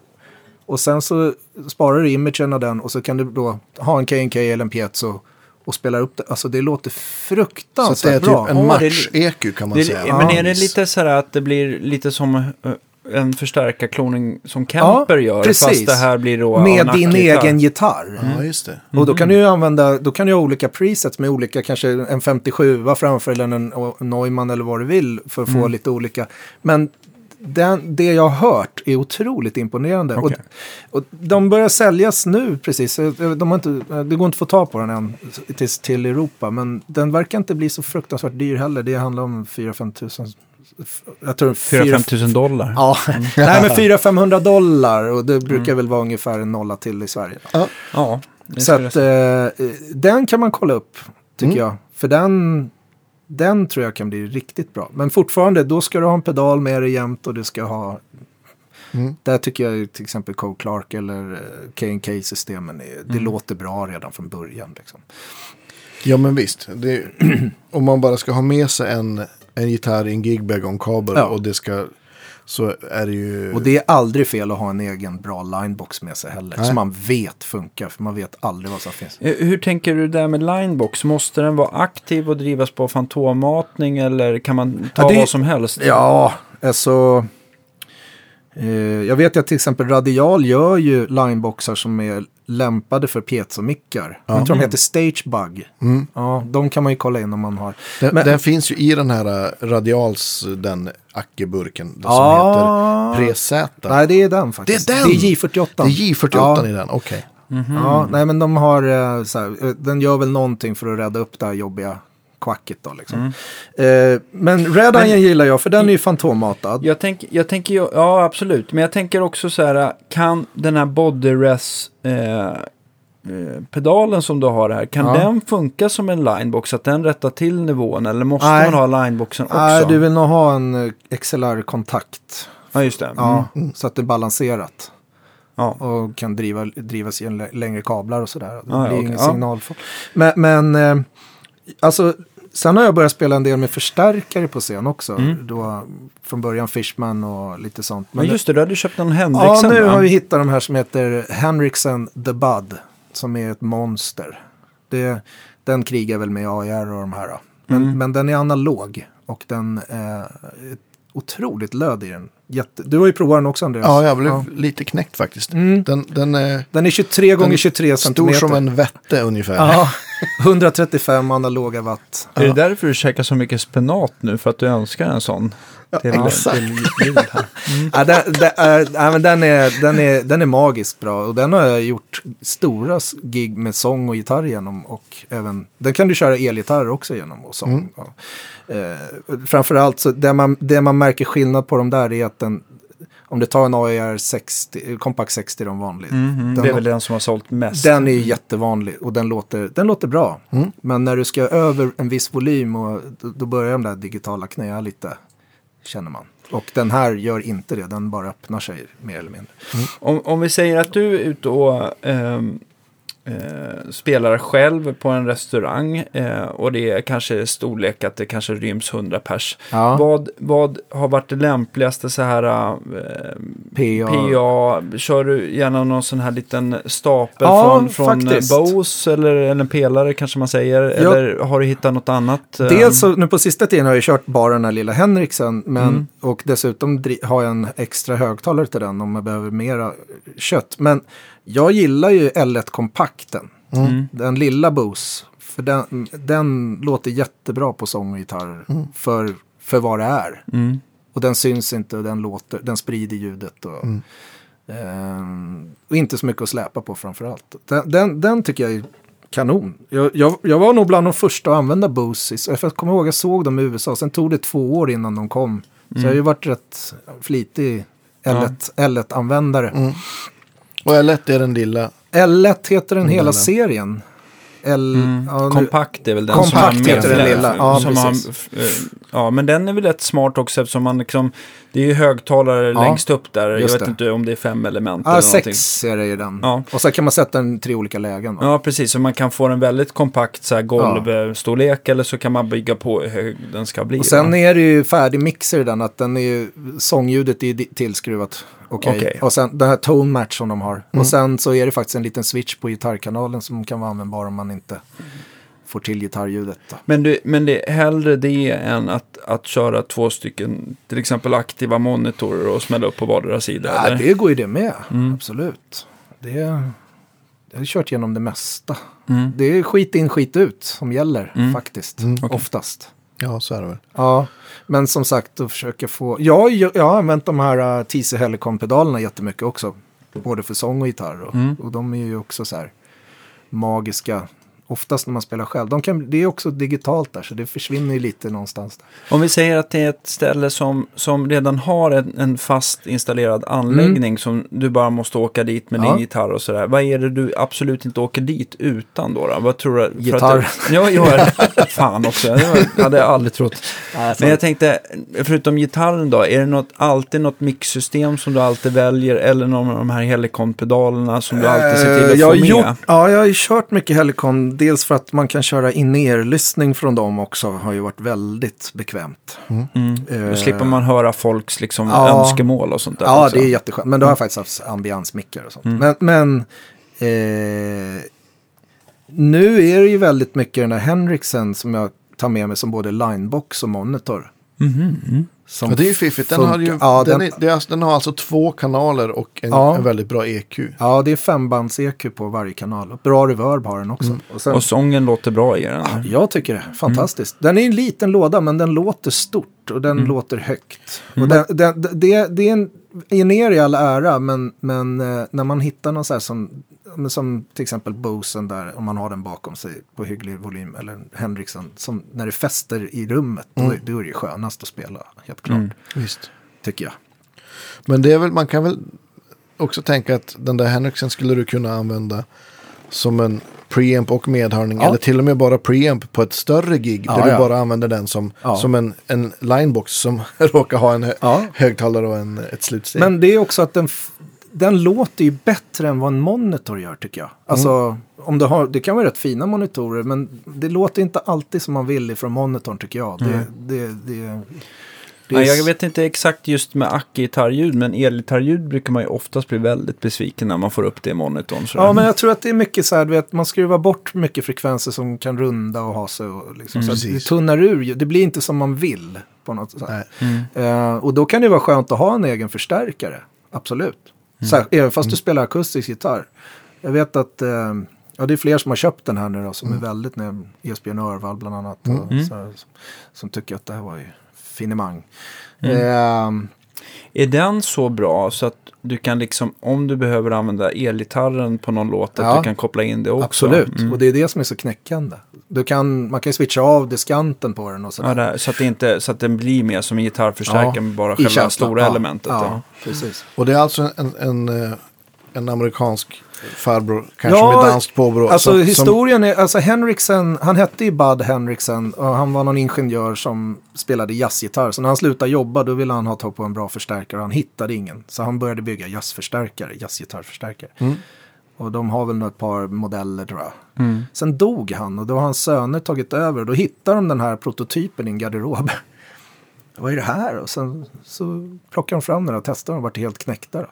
Speaker 3: Och sen så sparar du imagen av den och så kan du då ha en KNK eller en piezo och spela upp det. Alltså det låter
Speaker 2: Så
Speaker 3: fruktansvärt
Speaker 2: att det är
Speaker 3: bra.
Speaker 2: typ en
Speaker 1: Ja, det är-
Speaker 2: match-EQ kan man
Speaker 1: Det,
Speaker 2: säga.
Speaker 1: Men är det lite så här att det blir lite som eh, en förstärkarkloning som Kemper gör? Fast
Speaker 3: precis.
Speaker 1: det här blir då ja, en
Speaker 3: Med din
Speaker 1: ackgitarr.
Speaker 3: egen gitarr.
Speaker 2: Ja, just det.
Speaker 3: Och då kan du ju
Speaker 1: Mm.
Speaker 3: använda, då kan du ha olika presets med olika, kanske en 57 framför eller en Neumann eller vad du vill för att få
Speaker 1: Mm.
Speaker 3: lite olika. Men den, det jag har hört är otroligt imponerande.
Speaker 1: Okej.
Speaker 3: Och, och de börjar säljas nu precis, Eh, de har inte, det går inte att få tag på den än till, till Europa. Men den verkar inte bli så fruktansvärt dyr heller, det handlar om 4-5 tusen. Jag tror
Speaker 1: 4-5
Speaker 3: 4-5
Speaker 1: tusen dollar.
Speaker 3: Ja, nej men 400-500 dollar och det
Speaker 1: Mm.
Speaker 3: brukar väl vara ungefär en nolla till i Sverige.
Speaker 1: Ja, det
Speaker 3: Så
Speaker 1: skulle
Speaker 3: att, eh, den kan man kolla upp, tycker jag. För den, den tror jag kan bli riktigt bra. Men fortfarande, då ska du ha en pedal med dig jämt och du ska ha...
Speaker 2: Mm.
Speaker 3: Där tycker jag ju till exempel Cole Clark eller eh, K&K-systemen, är-
Speaker 1: Mm.
Speaker 3: det låter bra redan från början. Liksom.
Speaker 2: Ja, men visst. Det, om man bara ska ha med sig en, en gitarr i en gigbag och en kabel
Speaker 3: Ja.
Speaker 2: och det ska, så är det ju...
Speaker 3: Och det är aldrig fel att ha en egen bra linebox med sig heller.
Speaker 2: Nej.
Speaker 3: Som man vet funkar, för man vet aldrig vad som finns.
Speaker 1: Eh, Hur tänker du där med linebox? Måste den vara aktiv och drivas på fantommatning eller kan man ta
Speaker 3: Ja, det-
Speaker 1: vad som helst?
Speaker 3: Ja, alltså. Eh, jag vet ju att till exempel Radial gör ju lineboxar som är lämpade för piezomickar. Jag
Speaker 2: Mm.
Speaker 3: tror de heter Stagebug. Ja, de kan man ju kolla in om man har.
Speaker 2: den,
Speaker 3: men-
Speaker 2: den finns ju i den här eh, Radials, den ackeburken, den som
Speaker 3: Ah.
Speaker 2: heter Preseta.
Speaker 3: Nej, det är den faktiskt.
Speaker 2: Det är den?
Speaker 3: Det är J48.
Speaker 2: Det är Mm. J48
Speaker 3: Ja.
Speaker 2: i den, okej.
Speaker 1: Mhm.
Speaker 3: Ja, nej men de har, eh, så här, eh, den gör väl någonting för att rädda upp det här jobbiga kvacket då
Speaker 2: Mm.
Speaker 3: liksom. Eh, men Red Onion gillar jag för den är ju fantommatad.
Speaker 1: Jag, tänk, jag tänker, ju- ja absolut, men jag tänker också så här, kan den här Bodyress eh, eh, pedalen som du har här, kan
Speaker 3: Ja.
Speaker 1: den funka som en linebox? Att den rättar till nivån eller måste
Speaker 3: Nej.
Speaker 1: man ha lineboxen också?
Speaker 3: Nej, du vill nog ha en eh, XLR-kontakt.
Speaker 1: Ja, just det.
Speaker 3: Ja,
Speaker 1: Mm.
Speaker 3: så att det är balanserat.
Speaker 1: Ja.
Speaker 3: Och kan driva, drivas i längre kablar och sådär. Det
Speaker 1: ja,
Speaker 3: blir
Speaker 1: okej.
Speaker 3: ingen
Speaker 1: Ja.
Speaker 3: signal. Men, men eh, alltså Sen har jag börjat spela en del med förstärkare på scen också.
Speaker 1: Mm.
Speaker 3: Då, från början Fishman och lite sånt.
Speaker 1: Men just det, du hade köpt en
Speaker 3: ja,
Speaker 1: Henriksen
Speaker 3: nu
Speaker 1: va?
Speaker 3: har vi hittat de här som heter Henriksen The Bud. Som är ett monster. Det, den krigar väl med AR och de här. då. Men,
Speaker 1: Mm.
Speaker 3: men den är analog. Och den eh, är otroligt löd i den. Jätte, du har ju provat den också Andreas.
Speaker 2: Ja, jag blev lite knäckt faktiskt.
Speaker 3: Mm.
Speaker 2: Den, den är
Speaker 3: Den är 23 gånger
Speaker 2: är
Speaker 3: 23
Speaker 2: stor
Speaker 3: centimeter.
Speaker 2: som en vätte ungefär.
Speaker 3: Ja, 135 analoga watt.
Speaker 1: Är det därför du käkar så mycket spenat nu? För att du önskar en sån? till,
Speaker 2: exakt.
Speaker 1: till jul här.
Speaker 3: Ja, den, den, är, ja, men den, är, den, är, den är magiskt bra och den har jag gjort stora s- gig med sång och gitarr genom. Och även, den kan du köra elgitarr också genom och sång.
Speaker 2: Mm.
Speaker 3: Ja. Eh, framförallt så det man, det man märker skillnad på de där är att den, om du tar en E AER 60, Compact 60 de vanligt.
Speaker 1: Mm, mm,
Speaker 3: Den-
Speaker 1: det är väl den som har sålt mest?
Speaker 3: Den är ju jättevanlig och den låter, den låter bra.
Speaker 2: Mm.
Speaker 3: Men när du ska över en viss volym och då, då börjar de där digitala knäa lite, känner man. Och den här gör inte det, den bara öppnar sig mer eller mindre.
Speaker 1: Om, om vi säger att du är ute och ehm, eh, spelar själv på en restaurang eh, och det är kanske storlek att det kanske ryms 100 pers.
Speaker 3: Ja,
Speaker 1: Vad, vad har varit det lämpligaste så här eh,
Speaker 3: PA.
Speaker 1: PA? Kör du gärna någon sån här liten stapel
Speaker 3: Ja,
Speaker 1: från, från
Speaker 3: faktiskt.
Speaker 1: Bose eller, eller en pelare kanske man säger?
Speaker 3: Ja.
Speaker 1: Eller har du hittat något annat? eh,
Speaker 3: Dels så, nu på sista tiden har jag ju kört bara den här lilla Henriksen. Men,
Speaker 1: Mm.
Speaker 3: Och dessutom dri- har jag en extra högtalare till den om jag behöver mera kött. Men jag gillar ju L1-kompakten.
Speaker 1: Mm.
Speaker 3: Den lilla Bose. För den, den låter jättebra på sång och gitarr. För, för vad det är.
Speaker 1: Mm.
Speaker 3: Och den syns inte och den låter. Den sprider ljudet. Och,
Speaker 1: Mm.
Speaker 3: ehm, och inte så mycket att släpa på framförallt. Den, den, den tycker jag är kanon. Jag, jag, jag var nog bland de första att använda Bose. i- För jag kommer ihåg jag såg dem i USA. Sen tog det två år innan de kom. Så
Speaker 1: Mm.
Speaker 3: jag har ju varit rätt flitig L1- L1-användare.
Speaker 1: Mm.
Speaker 2: Och L1 är den lilla.
Speaker 3: L1 heter
Speaker 1: Mm,
Speaker 3: den hela
Speaker 2: den.
Speaker 3: serien. L, ja, nu-
Speaker 1: Kompakt är väl den som
Speaker 3: Kompakt
Speaker 1: har med
Speaker 3: heter den lilla. Ja,
Speaker 1: som har,
Speaker 3: precis.
Speaker 1: eh, ja, men den är väl rätt smart också eftersom man liksom, det är ju högtalare
Speaker 3: Ja,
Speaker 1: längst upp där. Jag
Speaker 3: just
Speaker 1: vet
Speaker 3: det.
Speaker 1: inte om det är fem element
Speaker 3: Ja,
Speaker 1: eller någonting.
Speaker 3: sex är det i den.
Speaker 1: Ja.
Speaker 3: Och sen kan man sätta den i tre olika lägen. Då.
Speaker 1: Ja, precis. Så man kan få en väldigt kompakt så här, golvstorlek eller så kan man bygga på hur hög den ska bli.
Speaker 3: Och sen
Speaker 1: va?
Speaker 3: är det ju färdig mixer i den, att den är ju, sångljudet är ju di- tillskruvat. Okej.
Speaker 1: Okej.
Speaker 3: Och sen den här tone match som de har. Och sen så är det faktiskt en liten switch på gitarrkanalen som kan vara användbar om man inte får till gitarrljudet. Då.
Speaker 1: men, du, men det är hellre det än att, att köra två stycken, till exempel aktiva monitorer och smälla upp på vardera sida.
Speaker 3: Ja,
Speaker 1: eller?
Speaker 3: det går ju det med, absolut. Det, jag har kört igenom det mesta.
Speaker 1: Mm.
Speaker 3: Det är skit in, skit ut som gäller faktiskt,
Speaker 2: okej.
Speaker 3: oftast.
Speaker 2: Ja, så är det väl.
Speaker 3: Ja, men som sagt att försöka få... Ja, jag, jag har använt de här eh, TC Helicon-pedalerna jättemycket också. Både för sång och gitarr. Och,
Speaker 1: Mm.
Speaker 3: och de är ju också så här magiska. Oftast när man spelar själv. De kan, det är också digitalt där, så det försvinner ju lite någonstans. Där.
Speaker 1: Om vi säger att det är ett ställe som, som redan har en, en fast installerad anläggning som du bara måste åka dit med
Speaker 3: Mm. Ja.
Speaker 1: din gitarr och sådär. Vad är det du absolut inte åker dit utan då? då? Vad tror du? för
Speaker 3: Gitarr.
Speaker 1: Att det, ja, ja, fan också. Det hade jag aldrig trott. Men jag tänkte, förutom gitarren då, är det något, alltid något mixsystem som du alltid väljer eller någon av de här Helicon-pedalerna som du alltid ser till
Speaker 3: Eh,
Speaker 1: att
Speaker 3: jag har
Speaker 1: få med?
Speaker 3: gjort- Ja, jag har ju kört mycket Helicon. Dels för att man kan köra in-ear-lyssning från dem också. Har ju varit väldigt bekvämt.
Speaker 1: Mm. Då
Speaker 3: Eh,
Speaker 1: slipper man höra folks liksom
Speaker 3: ja.
Speaker 1: önskemål och sånt där.
Speaker 3: Ja,
Speaker 1: också. Mm.
Speaker 3: det är jätteskönt. Men då har jag faktiskt haft ambiansmickar och sånt. Men, men eh, nu är det ju väldigt mycket den här Henriksen som jag tar med mig som både linebox och monitor.
Speaker 1: Mhm, mm.
Speaker 3: Som
Speaker 2: Ja, det är ju fiffigt. Den,
Speaker 3: funkar-
Speaker 2: har, ju,
Speaker 3: ja,
Speaker 2: den,
Speaker 3: den,
Speaker 2: är, det är, alltså- den har alltså två kanaler och en,
Speaker 3: Ja.
Speaker 2: en väldigt bra E EQ.
Speaker 3: ja, det är fembands-EQ på varje kanal. Och Bra reverb har den också. Och sen,
Speaker 1: Mm. Och sången låter bra i den. här.
Speaker 3: Mm. jag tycker det. Fantastiskt. Den är en liten låda men den låter stort och den låter högt. Och den, den, det- det, det är en Iner i all ära men, men eh, när man hittar någon så här som, men som till exempel Bosen där om man har den bakom sig på hygglig volym eller Henriksson som när det fäster i rummet då, då är det ju skönast att spela helt klart
Speaker 1: Mm.
Speaker 2: Visst.
Speaker 3: tycker jag.
Speaker 2: Men det är väl, man kan väl också tänka att den där Henriksen skulle du kunna använda som en preamp och medhörning.
Speaker 3: Ja.
Speaker 2: Eller till och med bara preamp på ett större gig.
Speaker 3: Ja,
Speaker 2: där du
Speaker 3: ja.
Speaker 2: bara använder den som,
Speaker 3: Ja.
Speaker 2: som en, en linebox som råkar ha en hö
Speaker 3: Ja.
Speaker 2: högtalare och en, ett slutsteg.
Speaker 3: Men det är också att den f- den låter ju bättre än vad en monitor gör tycker jag. Alltså,
Speaker 1: Mm.
Speaker 3: om du har, det kan vara rätt fina monitorer men det låter inte alltid som man vill ifrån monitorn tycker jag. Det,
Speaker 1: Mm.
Speaker 3: det, det, det,
Speaker 1: Ja, jag vet inte exakt just med ack-gitarrljud, men elgitarrljud brukar man ju oftast bli väldigt besviken när man får upp det i monitorn. sådär.
Speaker 3: Ja, men jag tror att det är mycket så här, du vet, man skruvar bort mycket frekvenser som kan runda och ha sig. Och liksom,
Speaker 1: Mm.
Speaker 3: så att det
Speaker 2: Precis.
Speaker 3: tunnar ur, ju. det blir inte som man vill på något sätt.
Speaker 2: Nej.
Speaker 1: Mm.
Speaker 3: Eh, och då kan det vara skönt att ha en egen förstärkare, absolut.
Speaker 1: Mm.
Speaker 3: Sär, även fast du spelar akustisk gitarr. Jag vet att, eh, ja det är fler som har köpt den här nu då, som är väldigt E nöjda. Esbjörn Örvall bland annat. Och,
Speaker 1: Mm.
Speaker 3: så här, som, som tycker att det här var ju finemang.
Speaker 1: Mm.
Speaker 3: Eh,
Speaker 1: Är den så bra så att du kan liksom, om du behöver använda elgitarren på någon låt, att
Speaker 3: Ja.
Speaker 1: du kan koppla in det också?
Speaker 3: Absolut,
Speaker 1: Mm.
Speaker 3: och det är det som är så knäckande. Du kan, man kan ju switcha av diskanten på den och sådär.
Speaker 1: Ja, det här, så, att det inte, så att den blir mer som en gitarrförstärkare
Speaker 3: Ja,
Speaker 1: med bara
Speaker 3: I
Speaker 1: själva
Speaker 3: känslan.
Speaker 1: stora
Speaker 3: Ja,
Speaker 1: elementet.
Speaker 3: Ja,
Speaker 1: Ja.
Speaker 3: precis.
Speaker 2: Och det är alltså en, en, eh, en amerikansk farbror, kanske
Speaker 3: Ja,
Speaker 2: med danskt påbrå.
Speaker 3: Alltså
Speaker 2: som-
Speaker 3: historien är, alltså Henriksen, han hette ju Bud Henriksen och han var någon ingenjör som spelade jazzgitarr. Så när han slutade jobba då ville han ha tag på en bra förstärkare och han hittade ingen. Så han började bygga jazzförstärkare, jazzgitarrförstärkare.
Speaker 2: Mm.
Speaker 3: Och de har väl nog ett par modeller tror jag.
Speaker 1: Mm.
Speaker 3: Sen dog han och då har hans söner tagit över. Och då hittar de den här prototypen i en garderob. Vad är det här? Och sen så plockar de fram den och testar den och vart helt knäckta. Då.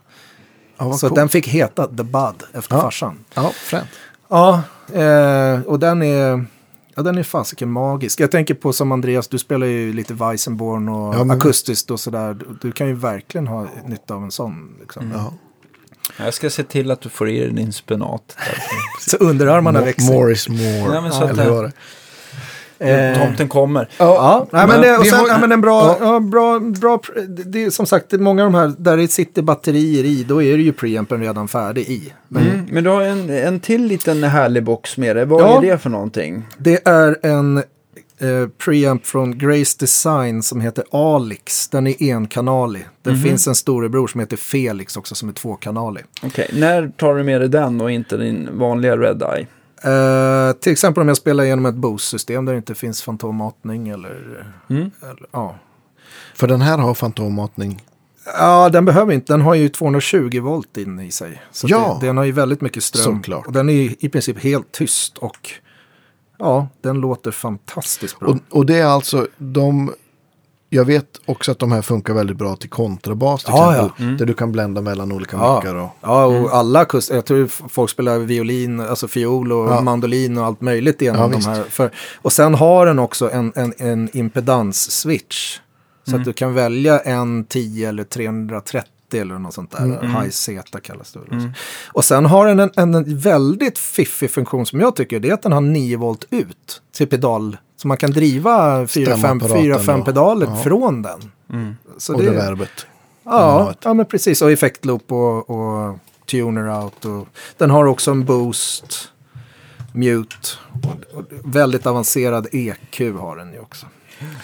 Speaker 2: Ja, vad
Speaker 3: så att
Speaker 2: coolt.
Speaker 3: den fick heta The Bud efter
Speaker 2: Ja.
Speaker 3: farsan.
Speaker 2: Ja, fränt.
Speaker 3: Ja, eh, och den är, ja, den är fasiken magisk. Jag tänker på som Andreas, du spelar ju lite Weissenborn och
Speaker 2: Ja, men-
Speaker 3: akustiskt och sådär. Du, du kan ju verkligen ha nytta av en sån. Liksom.
Speaker 2: Ja.
Speaker 1: Jag ska se till att du får i dig din spenat. där.
Speaker 3: Så underarmarna
Speaker 2: Mo-
Speaker 3: växer.
Speaker 2: More is more.
Speaker 1: Ja, men så att
Speaker 2: Eller
Speaker 1: det-
Speaker 2: hur var det?
Speaker 3: Eh,
Speaker 1: Tomten kommer.
Speaker 3: Ja, nej, men
Speaker 2: men
Speaker 3: det, och
Speaker 2: vi
Speaker 3: sen,
Speaker 2: har-
Speaker 3: ja, men en bra,
Speaker 2: Ja.
Speaker 3: ja, bra, bra, pr- det, det är som sagt det är många av de här där det sitter batterier i, då är det ju preampen redan färdig i. Men
Speaker 1: Mm. Men du har en, en till liten härlig box med dig. Vad
Speaker 3: Ja.
Speaker 1: är det för någonting?
Speaker 3: det är en eh, preamp från Grace Design som heter Alix, den är enkanalig. Det
Speaker 2: Mhm.
Speaker 3: finns en storebror som heter Felix också som är tvåkanalig.
Speaker 1: Okej, när tar du med dig den och inte din vanliga Red Eye?
Speaker 3: Eh, till exempel om jag spelar genom ett Bose-system där det inte finns fantommatning eller,
Speaker 1: Mm.
Speaker 3: eller ja.
Speaker 2: För den här har fantommatning.
Speaker 3: Ja, den behöver inte. Den har ju 220 volt in i sig. Så
Speaker 2: Ja.
Speaker 3: det, den har ju väldigt mycket ström.
Speaker 2: Såklart.
Speaker 3: Och den är ju i princip helt tyst och ja, den låter fantastiskt bra.
Speaker 2: Och, och det är alltså de... Jag vet också att de här funkar väldigt bra till kontrabas till
Speaker 3: Ja, Mm.
Speaker 2: exempel. Där du kan blända mellan olika
Speaker 3: Ja.
Speaker 2: mickar. Och,
Speaker 3: Ja, och alla kust, jag tror f- folk spelar violin, alltså fiol och
Speaker 2: Ja.
Speaker 3: mandolin och allt möjligt genom
Speaker 2: Ja,
Speaker 3: de
Speaker 2: visst.
Speaker 3: här. För, och sen har den också en, en, en impedans-switch. Så att du kan välja en 10 eller 330 eller något sånt där. High Z kallas det. väl också. Och sen har den en, en, en väldigt fiffig funktion som jag tycker. Det är att den har 9 volt ut till pedal. Så man kan driva
Speaker 2: Stämapparaten
Speaker 3: 4-5
Speaker 2: då.
Speaker 3: pedaler
Speaker 2: Ja.
Speaker 3: från den. Så
Speaker 2: och det verbet.
Speaker 3: Ja,
Speaker 2: Innehållet.
Speaker 3: ja men precis. Och effektloop och, och tuner out. Och, den har också en boost, mute. Och, och väldigt avancerad EQ har den ju också.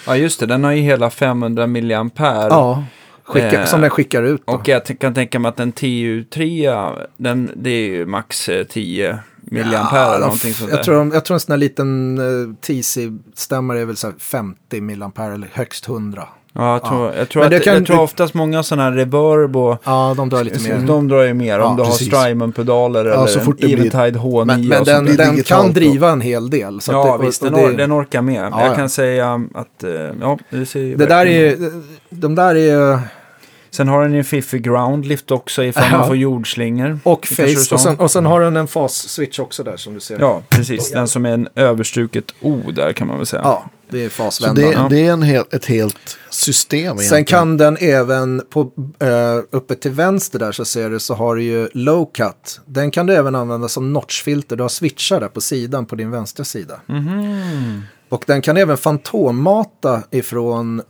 Speaker 1: Ja, just det. Den har ju hela 500 milliampere.
Speaker 3: Ja, skicka,
Speaker 1: Eh,
Speaker 3: som den skickar ut. Då.
Speaker 1: Och jag t- kan tänka mig att en TU3, den, det är ju max eh, 10 milliampere eller
Speaker 3: de f-
Speaker 1: någonting sånt där.
Speaker 3: jag, tror de, jag tror en sån här liten eh, TC-stämmare är väl så här 50 milliampere eller högst 100.
Speaker 1: Ja, jag tror, jag tror,
Speaker 3: Men
Speaker 1: att,
Speaker 3: det kan-
Speaker 1: jag tror oftast många sådana här reverb och
Speaker 3: Ja, de drar lite mer.
Speaker 1: De drar ju mer
Speaker 3: Ja,
Speaker 1: om du
Speaker 2: precis.
Speaker 1: har Strymon-pedaler
Speaker 2: Ja,
Speaker 1: eller
Speaker 2: så fort
Speaker 1: en
Speaker 2: det blir-
Speaker 1: Eventide H9.
Speaker 3: Men,
Speaker 1: och
Speaker 3: men
Speaker 1: sånt
Speaker 3: den,
Speaker 1: där.
Speaker 2: blir
Speaker 3: den
Speaker 2: digitalt
Speaker 3: kan
Speaker 2: då.
Speaker 3: driva en hel del. Så
Speaker 1: ja,
Speaker 3: att det, och-
Speaker 1: visst.
Speaker 3: och
Speaker 1: Den,
Speaker 3: det-
Speaker 1: or- den orkar med.
Speaker 3: Ja,
Speaker 1: jag
Speaker 3: ja.
Speaker 1: kan säga att... eh, Ja, det ser ju
Speaker 3: det där
Speaker 1: verkligen-
Speaker 3: är, de där är
Speaker 1: Sen har den ju en fiffig groundlift också ifall
Speaker 3: Ja.
Speaker 1: man får jordslingor.
Speaker 3: Och
Speaker 1: Det kanske du
Speaker 3: face.
Speaker 1: sa.
Speaker 3: Och sen, och sen har den en fas-switch också där som du ser.
Speaker 1: Ja, precis. Den som är en överstruket O där kan man väl säga.
Speaker 3: Ja, det är
Speaker 2: Så
Speaker 3: fasvändarna.
Speaker 2: det, det är en hel, ett helt system egentligen.
Speaker 3: Sen kan den även, på, eh, uppe till vänster där så ser du så har du ju low cut. Den kan du även använda som notchfilter. Du har switchar där på sidan på din vänstra sida.
Speaker 1: Mhm.
Speaker 3: Och den kan även fantommata ifrån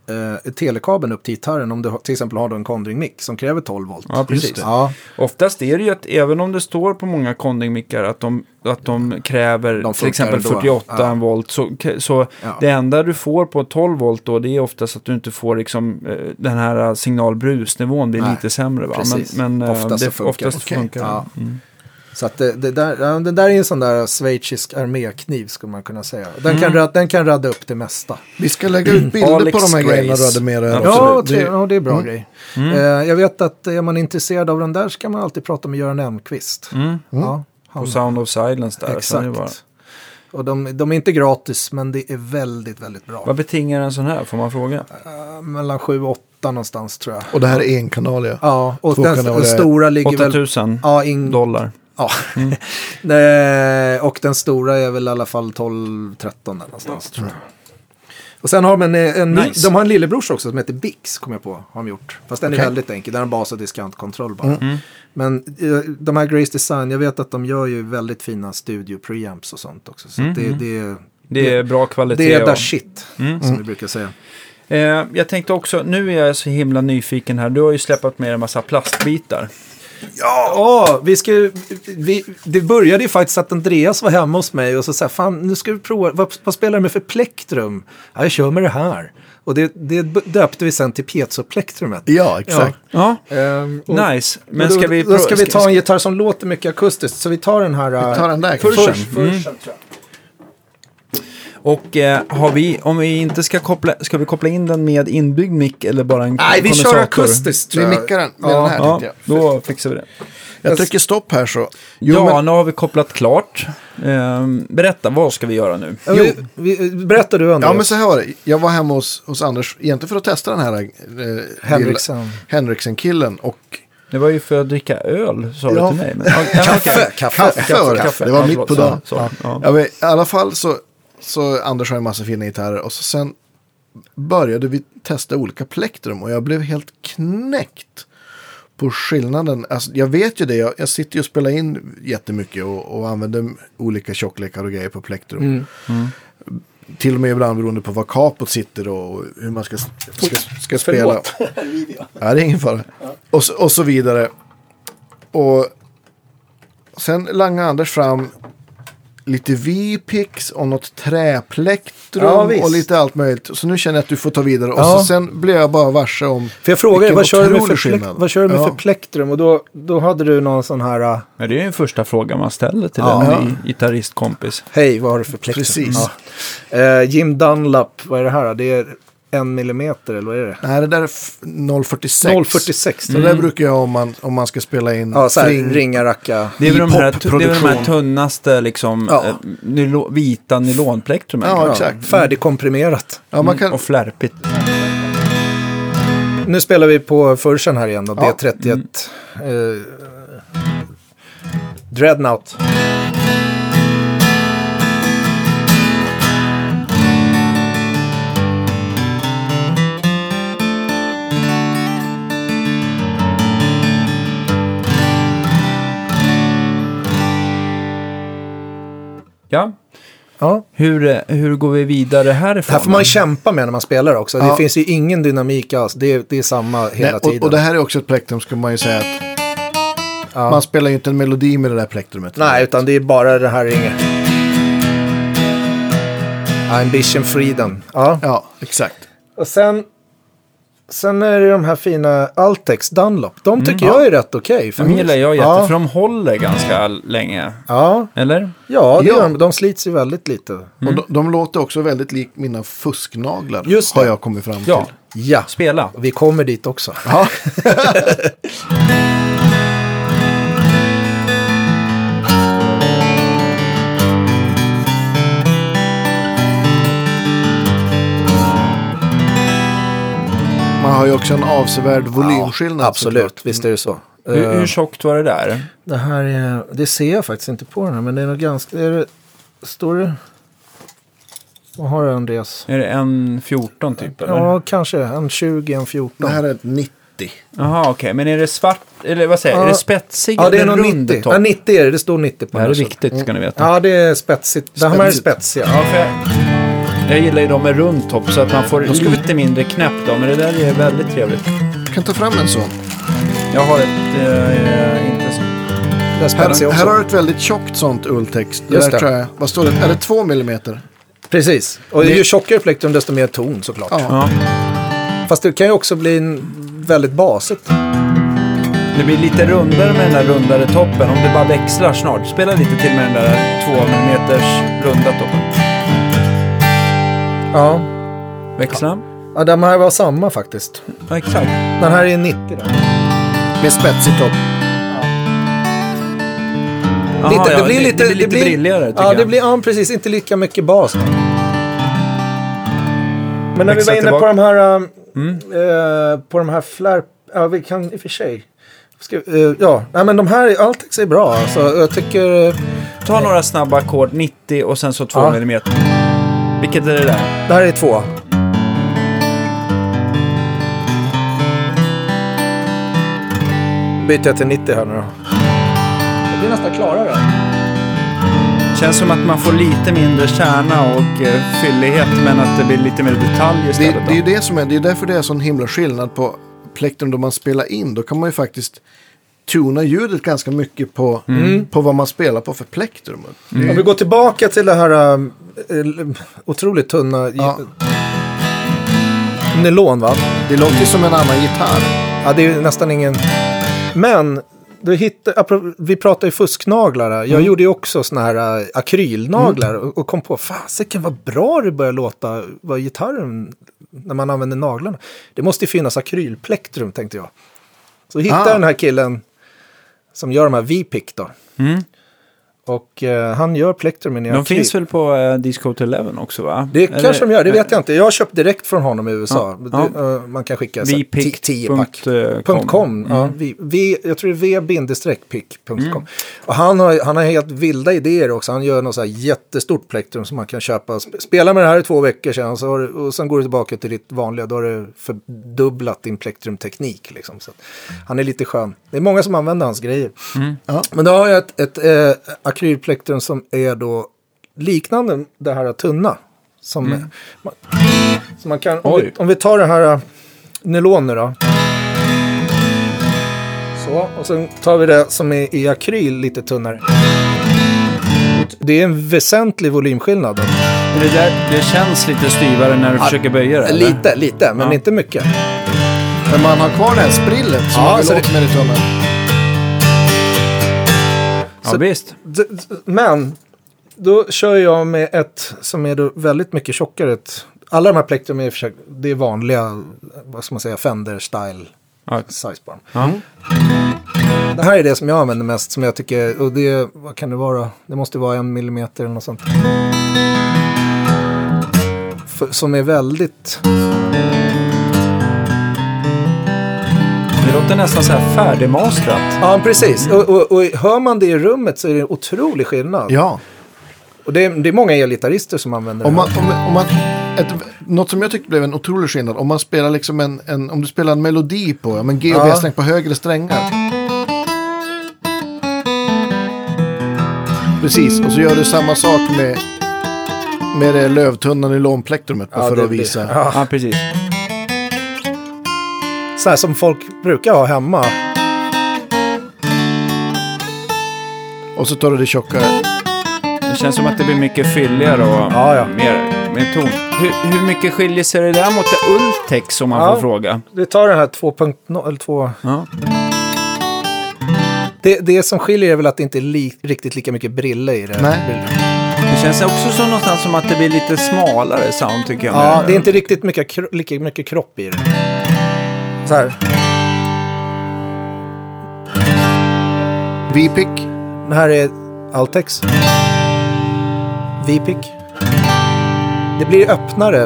Speaker 3: eh, telekabeln upp till gitarren om du har- till exempel har du en Conring-mick som kräver 12 volt.
Speaker 1: Ja, precis.
Speaker 3: Ja,
Speaker 1: Oftast är det ju att även om det står på många kondingmickar att de, att de kräver
Speaker 3: funkar
Speaker 1: till exempel
Speaker 3: ändå.
Speaker 1: 48
Speaker 3: Ja.
Speaker 1: volt så, så
Speaker 3: Ja.
Speaker 1: det enda du får på 12 volt då det är oftast att du inte får liksom, eh, den här signalbrusnivån blir
Speaker 3: Nej,
Speaker 1: lite sämre. Va?
Speaker 3: precis.
Speaker 1: Men, men eh,
Speaker 3: Oftast så
Speaker 1: det,
Speaker 3: funkar det.
Speaker 1: oftast
Speaker 2: Okej.
Speaker 1: funkar det.
Speaker 3: Ja.
Speaker 1: Mm.
Speaker 3: Så att det, det, där, ja, det där är en sån där schweizisk armékniv skulle man kunna säga. Den,
Speaker 1: Mm.
Speaker 3: kan, rad- den kan radda upp det mesta.
Speaker 2: Vi ska lägga ut bilder
Speaker 3: Alex
Speaker 2: på de här
Speaker 3: Grace.
Speaker 2: grejerna du hade med dig. här
Speaker 3: Ja,
Speaker 2: också.
Speaker 3: det, ja, det är bra
Speaker 2: Mm.
Speaker 3: grej. Eh, jag vet att är man intresserad av den där så kan man alltid prata med Göran Elmqvist.
Speaker 1: Mm.
Speaker 3: Ja, han,
Speaker 1: På Sound of Silence där. så det är bara-
Speaker 3: exakt. Och de, de är inte gratis men det är väldigt, väldigt bra.
Speaker 1: Vad betingar en sån här? Får man fråga?
Speaker 3: Eh, mellan 7 och 8 någonstans tror jag.
Speaker 2: Och det här är enkanaliga.
Speaker 3: Ja, och
Speaker 2: Två
Speaker 3: den,
Speaker 2: kanaler.
Speaker 3: den stora ligger väl... Mm.
Speaker 1: 8000
Speaker 3: Ja, in,
Speaker 1: dollar.
Speaker 3: ja.
Speaker 1: Mm.
Speaker 3: Eh, och den stora är väl i alla fall 12-13 där någonstans tror jag. Och sen har man en, en ny-
Speaker 1: Nice.
Speaker 3: de har en lillebrors också som heter Bix, kommer jag på, har de gjort. Fast den är
Speaker 2: Okej.
Speaker 3: väldigt enkel, den har bas och diskantkontroll bara.
Speaker 1: Mm.
Speaker 3: Men eh, de här Grace Design, jag vet att de gör ju väldigt fina studio preamps och sånt också. Så
Speaker 1: Mm,
Speaker 3: det,
Speaker 1: mm.
Speaker 3: det,
Speaker 1: Det är bra kvalitet.
Speaker 3: det är
Speaker 1: och-
Speaker 3: där shit,
Speaker 1: Mm.
Speaker 3: som vi brukar säga.
Speaker 1: Eh, jag tänkte också, nu är jag så himla nyfiken här. Du har ju släppt med en massa plastbitar.
Speaker 3: Ja, åh, vi ska, ju- vi, det började ju faktiskt att Andreas var hemma hos mig och så sa fan nu ska vi prova, vad, vad spelar du med för plektrum? Ja, jag kör med det här. Och det, det döpte vi sen till piezo-plektrumet.
Speaker 2: Ja, exakt.
Speaker 1: Ja,
Speaker 3: Ehm, och-
Speaker 1: nice. Men
Speaker 3: och då,
Speaker 1: ska vi...
Speaker 3: då ska vi ta en gitarr som låter mycket akustiskt, så vi tar den här...
Speaker 2: Vi tar den där
Speaker 3: Furschen.
Speaker 2: kanske.
Speaker 3: Furschen, tror jag.
Speaker 1: Och eh, har vi, om vi inte ska koppla, ska vi koppla in den med inbyggd mick eller bara en
Speaker 3: Nej, vi kör
Speaker 1: kondensator?
Speaker 3: akustiskt tror
Speaker 2: Vi
Speaker 3: jag.
Speaker 2: mickar den med
Speaker 3: Ja,
Speaker 2: den här
Speaker 1: Ja,
Speaker 2: tänkte jag.
Speaker 1: då fixar vi det.
Speaker 2: Jag trycker stopp här så.
Speaker 1: ja,
Speaker 2: men-
Speaker 1: nu har vi kopplat klart. Eh, berätta, vad ska vi göra nu?
Speaker 3: Ja, vi, vi, berättar du Andreas.
Speaker 2: Ja, men så här var det. Jag var hemma hos, hos Anders, egentligen för att testa den här eh,
Speaker 3: Henriksen.
Speaker 2: lilla- Henriksen-killen. Och
Speaker 1: Det var ju för att dricka öl, sa
Speaker 2: Ja.
Speaker 1: du till mig. Men, Ja, ja, okej.
Speaker 2: Kaffe, var det. Det var
Speaker 1: Ja,
Speaker 2: mitt
Speaker 1: förlåt,
Speaker 2: på
Speaker 1: så-
Speaker 2: dagen.
Speaker 1: så, ja.
Speaker 2: Ja, men, I alla fall så, så Anders har en massa fina gitarrer och så sen började vi testa olika plektrum och jag blev helt knäckt på skillnaden. Alltså, jag vet ju det, jag, jag sitter ju och spelar in jättemycket och, och använder olika tjocklekar och grejer på plektrum. Till och med ibland beroende på var kapot sitter och hur man ska, ska, ska spela. Ja, det är ingen fara. Och, så, och så vidare. Och sen langade Anders fram lite V-pix och något träplektrum
Speaker 3: Ja, visst.
Speaker 2: och lite allt möjligt. Så nu känner jag att du får ta vidare. Och
Speaker 3: Ja.
Speaker 2: så sen blev jag bara varse om...
Speaker 3: För jag frågade dig,
Speaker 2: Vilken
Speaker 3: vad kör du med för,
Speaker 2: otrolig
Speaker 3: plek-
Speaker 2: skillnad.
Speaker 3: vad kör du med
Speaker 2: Ja.
Speaker 3: för plektrum? Och då, då hade du någon sån här, äh,
Speaker 1: Men det är ju den första frågan man ställer till
Speaker 3: Ja.
Speaker 1: en ny gitarristkompis.
Speaker 3: hej vad har du för plektrum?
Speaker 2: Precis.
Speaker 3: Ja. Eh, Jim Dunlap, vad är det här? då? Det är en millimeter eller vad är det?
Speaker 2: Nej, det där är f- 046.
Speaker 3: 0,46.
Speaker 2: Så där brukar jag om man, om man ska spela in
Speaker 3: Ja, så här,
Speaker 2: fling.
Speaker 3: ringa, racka.
Speaker 1: Det är, väl de här, det är väl de här
Speaker 2: Hiphop-produktion.
Speaker 1: tunnaste liksom,
Speaker 3: Ja.
Speaker 1: eh, nylo, vita nylonplektrumen.
Speaker 2: Ja,
Speaker 1: kanske.
Speaker 2: exakt.
Speaker 3: Färdigkomprimerat.
Speaker 2: Ja, man
Speaker 3: Mm,
Speaker 2: kan,
Speaker 1: Och flärpigt.
Speaker 3: Nu spelar vi på Fursen här igen då,
Speaker 2: Ja. Mm.
Speaker 3: D31. eh, Dreadnought.
Speaker 1: Ja.
Speaker 3: Ja.
Speaker 1: Hur, eh, hur går vi vidare härifrån?
Speaker 3: Det här får man kämpa med när man spelar också. Det
Speaker 2: Ja.
Speaker 3: finns ju ingen dynamik alls. Det är, det är samma hela
Speaker 2: nej,
Speaker 3: tiden.
Speaker 2: och, och det här är också ett plektrum, ska man ju säga att
Speaker 3: Ja.
Speaker 2: man spelar ju inte en melodi med det där plektrumet.
Speaker 3: Nej, utan det är bara det här ringer. Ambition Freedom. Ja.
Speaker 2: Ja, exakt.
Speaker 3: Och sen, sen är det de här fina Altex Dunlop. De tycker jag är rätt okej.
Speaker 1: Mm. De
Speaker 3: faktiskt.
Speaker 1: gillar jag jätte,
Speaker 3: ja. Mm.
Speaker 1: för de håller ganska länge.
Speaker 3: Ja,
Speaker 1: Eller?
Speaker 3: ja, det
Speaker 2: Ja.
Speaker 3: Gör de. de slits ju väldigt lite.
Speaker 2: Och de, de låter också väldigt lik mina fusknaglar.
Speaker 3: Mm. Just
Speaker 2: har
Speaker 3: det.
Speaker 2: jag kommit fram till.
Speaker 1: Ja,
Speaker 3: Ja,
Speaker 1: spela.
Speaker 3: vi kommer dit också.
Speaker 2: Ja. Man har ju också en avsevärd volymskillnad. såklart. Mm.
Speaker 3: Absolut, visst är det så.
Speaker 1: Hur,
Speaker 3: Eh,
Speaker 1: hur tjockt var det där?
Speaker 3: Det här är, det ser jag faktiskt inte på den här, men det är nog ganska, är det, står det? Vad har du Andreas?
Speaker 1: Är det en 14 typ? Eller?
Speaker 3: Ja, kanske en 20, en 14.
Speaker 2: Det här är ett 90.
Speaker 1: Jaha, okej. Men är det svart, eller vad säger jag,
Speaker 3: Ja.
Speaker 1: är det spetsig
Speaker 3: ja, det är
Speaker 1: eller
Speaker 3: nog
Speaker 1: rund
Speaker 3: 90.
Speaker 1: topp?
Speaker 3: Ja, 90 är det, det står 90 på
Speaker 1: Det här är
Speaker 3: den. här.
Speaker 1: viktigt ska ni veta.
Speaker 3: Ja, det är spetsigt. Det här är
Speaker 2: Spetsigt.
Speaker 3: spetsiga.
Speaker 1: Ja, för jag, jag gillar ju dem med rund topp så att man får lite mindre knäpp då, men det där är väldigt trevligt.
Speaker 2: Kan ta fram en sån.
Speaker 1: Jag har ett, eh, inte så.
Speaker 3: Det är
Speaker 2: Här,
Speaker 3: spetsiga också.
Speaker 2: här har du ett väldigt tjockt sånt ulltext. Det
Speaker 3: Just
Speaker 2: där
Speaker 3: det.
Speaker 2: tror jag. Vad står det? Är det 2 millimeter?
Speaker 3: Precis. Och ju tjockare plektrum desto mer ton såklart.
Speaker 2: Ja.
Speaker 1: Ja.
Speaker 3: Fast det kan ju också bli en väldigt basigt.
Speaker 1: Det blir lite rundare med den där rundare toppen om det bara växlar snart. Spela lite till med den där 2 mm runda toppen.
Speaker 3: Ja.
Speaker 1: Växla.
Speaker 3: ja, de här var samma faktiskt.
Speaker 1: Ja, exakt.
Speaker 3: Den här är 90 då.
Speaker 5: Med spetsig topp.
Speaker 1: Jaha,
Speaker 3: Lite-
Speaker 1: ja, det blir lite brilligare tycker
Speaker 3: Ja,
Speaker 1: jag.
Speaker 3: det blir, ja, precis. Inte lika mycket bas. Men när vi
Speaker 1: Växla
Speaker 3: var inne på
Speaker 1: tillbaka. Mm.
Speaker 3: de här... um, eh, på de här flärp... Ja, vi kan i och för sig... Ska, eh, ja, Nej, men de här... Altex är bra. Alltså, jag tycker... eh,
Speaker 1: Ta några snabba ackord, 90 och sen så 2
Speaker 3: Ja.
Speaker 1: mm. Vilket är det där?
Speaker 3: Det här är två. Byter jag till 90 här nu då. Det blir nästan klarare.
Speaker 1: Känns som att man får lite mindre kärna och eh, fyllighet men att det blir lite mer detalj
Speaker 2: Det,
Speaker 1: istället.
Speaker 2: det är ju det som är, det är därför det är sån himla skillnad på plektrum då man spelar in. Då kan man ju faktiskt tuna ljudet ganska mycket på,
Speaker 3: Mm.
Speaker 2: på vad man spelar på för plektrumet.
Speaker 3: Om vi går tillbaka till det här ähm, eh, otroligt tunna
Speaker 2: Ja.
Speaker 3: nylon va?
Speaker 2: Det låter ju som en annan gitarr.
Speaker 3: Ja, det är ju nästan ingen... Men, du hittar, apro- vi pratar ju fusknaglar. här. Jag gjorde ju också såna här äh, akrylnaglar och, och kom på, fasiken vad bra det börjar låta, vad gitarren, när man använder naglarna. Det måste ju finnas akrylplektrum tänkte jag. Så hittade
Speaker 2: Ah.
Speaker 3: jag den här killen som gör de här V-pick då.
Speaker 1: Mm.
Speaker 3: Och eh, han gör plektrumen i
Speaker 1: De
Speaker 3: akryl.
Speaker 1: finns väl på eh, Disco 11 också va?
Speaker 3: Det kanske de gör, det vet jag inte. Jag har köpt direkt från honom i USA.
Speaker 1: Ja, ja.
Speaker 3: Du, eh, man kan skicka så här ti- 10 pack.
Speaker 1: Vipick.com.
Speaker 3: Punkt .com. Ja, vi, vi, jag tror det är v-pick.com. Och han har, han har helt vilda idéer också. Han gör något så här jättestort plektrum som man kan köpa. Sp- Spela med det här i två veckor sedan så har, du- och sen går du tillbaka till ditt vanliga. Då har du fördubblat din plektrumteknik. Liksom. Så att han är lite skön. Det är många som använder hans grejer.
Speaker 2: Ja.
Speaker 3: Men då har jag ett, ett eh, akrylplektrum som är då liknande det här tunna. Som, man, så man kan, om, vi,
Speaker 1: Mm. Oj.
Speaker 3: om vi tar det här eh, nylon nu då. Så, och sen tar vi det som är i akryl lite tunnare. Det är en väsentlig volymskillnad. då.
Speaker 1: Det, där, det känns lite styvare när du försöker böja det. eller?
Speaker 3: Lite, lite, men
Speaker 1: Ja.
Speaker 3: inte mycket.
Speaker 2: Men man har kvar det här sprillet som
Speaker 3: Ja,
Speaker 2: man vill
Speaker 3: så
Speaker 2: åt med det tummen.
Speaker 1: Ja, visst.
Speaker 3: D- d- Men då kör jag med ett som är då väldigt mycket tjockare. Ett, alla de här plektrum är i och för sig, det är vanliga, vad ska man säga, Fender style
Speaker 1: Ja.
Speaker 3: sizebarn.
Speaker 1: Ja.
Speaker 3: Det här är det som jag använder mest som jag tycker, och det, vad kan det vara? Det måste vara en millimeter eller något sånt. F- som är väldigt,
Speaker 1: Det låter nästan så här färdigmastrat.
Speaker 3: ja precis. Och, och, och hör man det i rummet så är det en otrolig skillnad.
Speaker 2: Ja.
Speaker 3: Och det är, det är många elgitarrister som använder
Speaker 2: Alltså. Om
Speaker 3: det.
Speaker 2: man,
Speaker 3: här.
Speaker 2: om, om man, ett, något som jag tyckte blev en otrolig skillnad. Om man spelar liksom en, en om du spelar en melodi på, ja men G och
Speaker 3: Ja.
Speaker 2: B-sträng på högre strängar. Precis, och så gör du samma sak med, med det lövtunna nylonplektrumet då,
Speaker 3: Ja,
Speaker 2: för
Speaker 3: det
Speaker 2: att
Speaker 3: blir-
Speaker 2: visa.
Speaker 3: Ja.
Speaker 1: Ja, precis.
Speaker 3: Så här som folk brukar ha hemma.
Speaker 2: Och så tar du det tjockare.
Speaker 1: Det känns som att det blir mycket fylligare och
Speaker 3: Ja, ja.
Speaker 1: mer, mer ton. Hur, hur mycket skiljer sig det där mot det Ultex om man
Speaker 3: Ja.
Speaker 1: får fråga?
Speaker 3: Vi tar den här 2.0, eller 2...
Speaker 1: Ja.
Speaker 3: Det, det som skiljer är väl att det inte är li, riktigt lika mycket brille i det. här
Speaker 2: Nej.
Speaker 3: bilden.
Speaker 1: Det känns också som någonstans som att det blir lite smalare sound tycker jag.
Speaker 3: Ja,
Speaker 1: med-
Speaker 3: det är inte riktigt mycket, kro- lika mycket kropp i det. Så här.
Speaker 2: V-pick.
Speaker 3: Det här är Altex. V-pick. Det blir öppnare.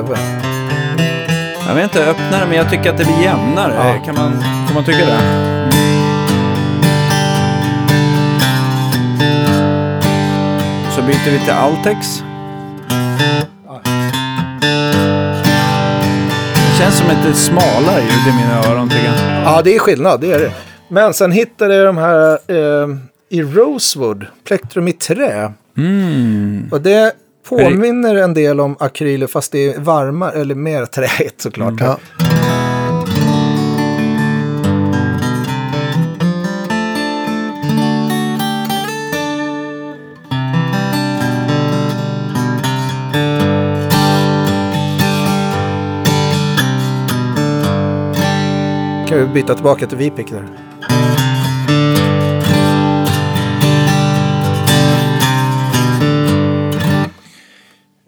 Speaker 1: Jag vet inte, öppnare, men jag tycker att det blir jämnare.
Speaker 3: Ja.
Speaker 1: Kan man, kan man tycka det? Så byter vi till Altex. Det känns som ett smalare ljud i mina öron tycker jag.
Speaker 3: Ja, det är skillnad, det är det. Men sen hittade jag de här eh, i Rosewood, plektrum i trä.
Speaker 1: Mm.
Speaker 3: Och det påminner en del om akryler fast det är varmare, eller mer träigt såklart.
Speaker 2: Mm, Ja.
Speaker 3: Kan vi byta tillbaka till Vipic där?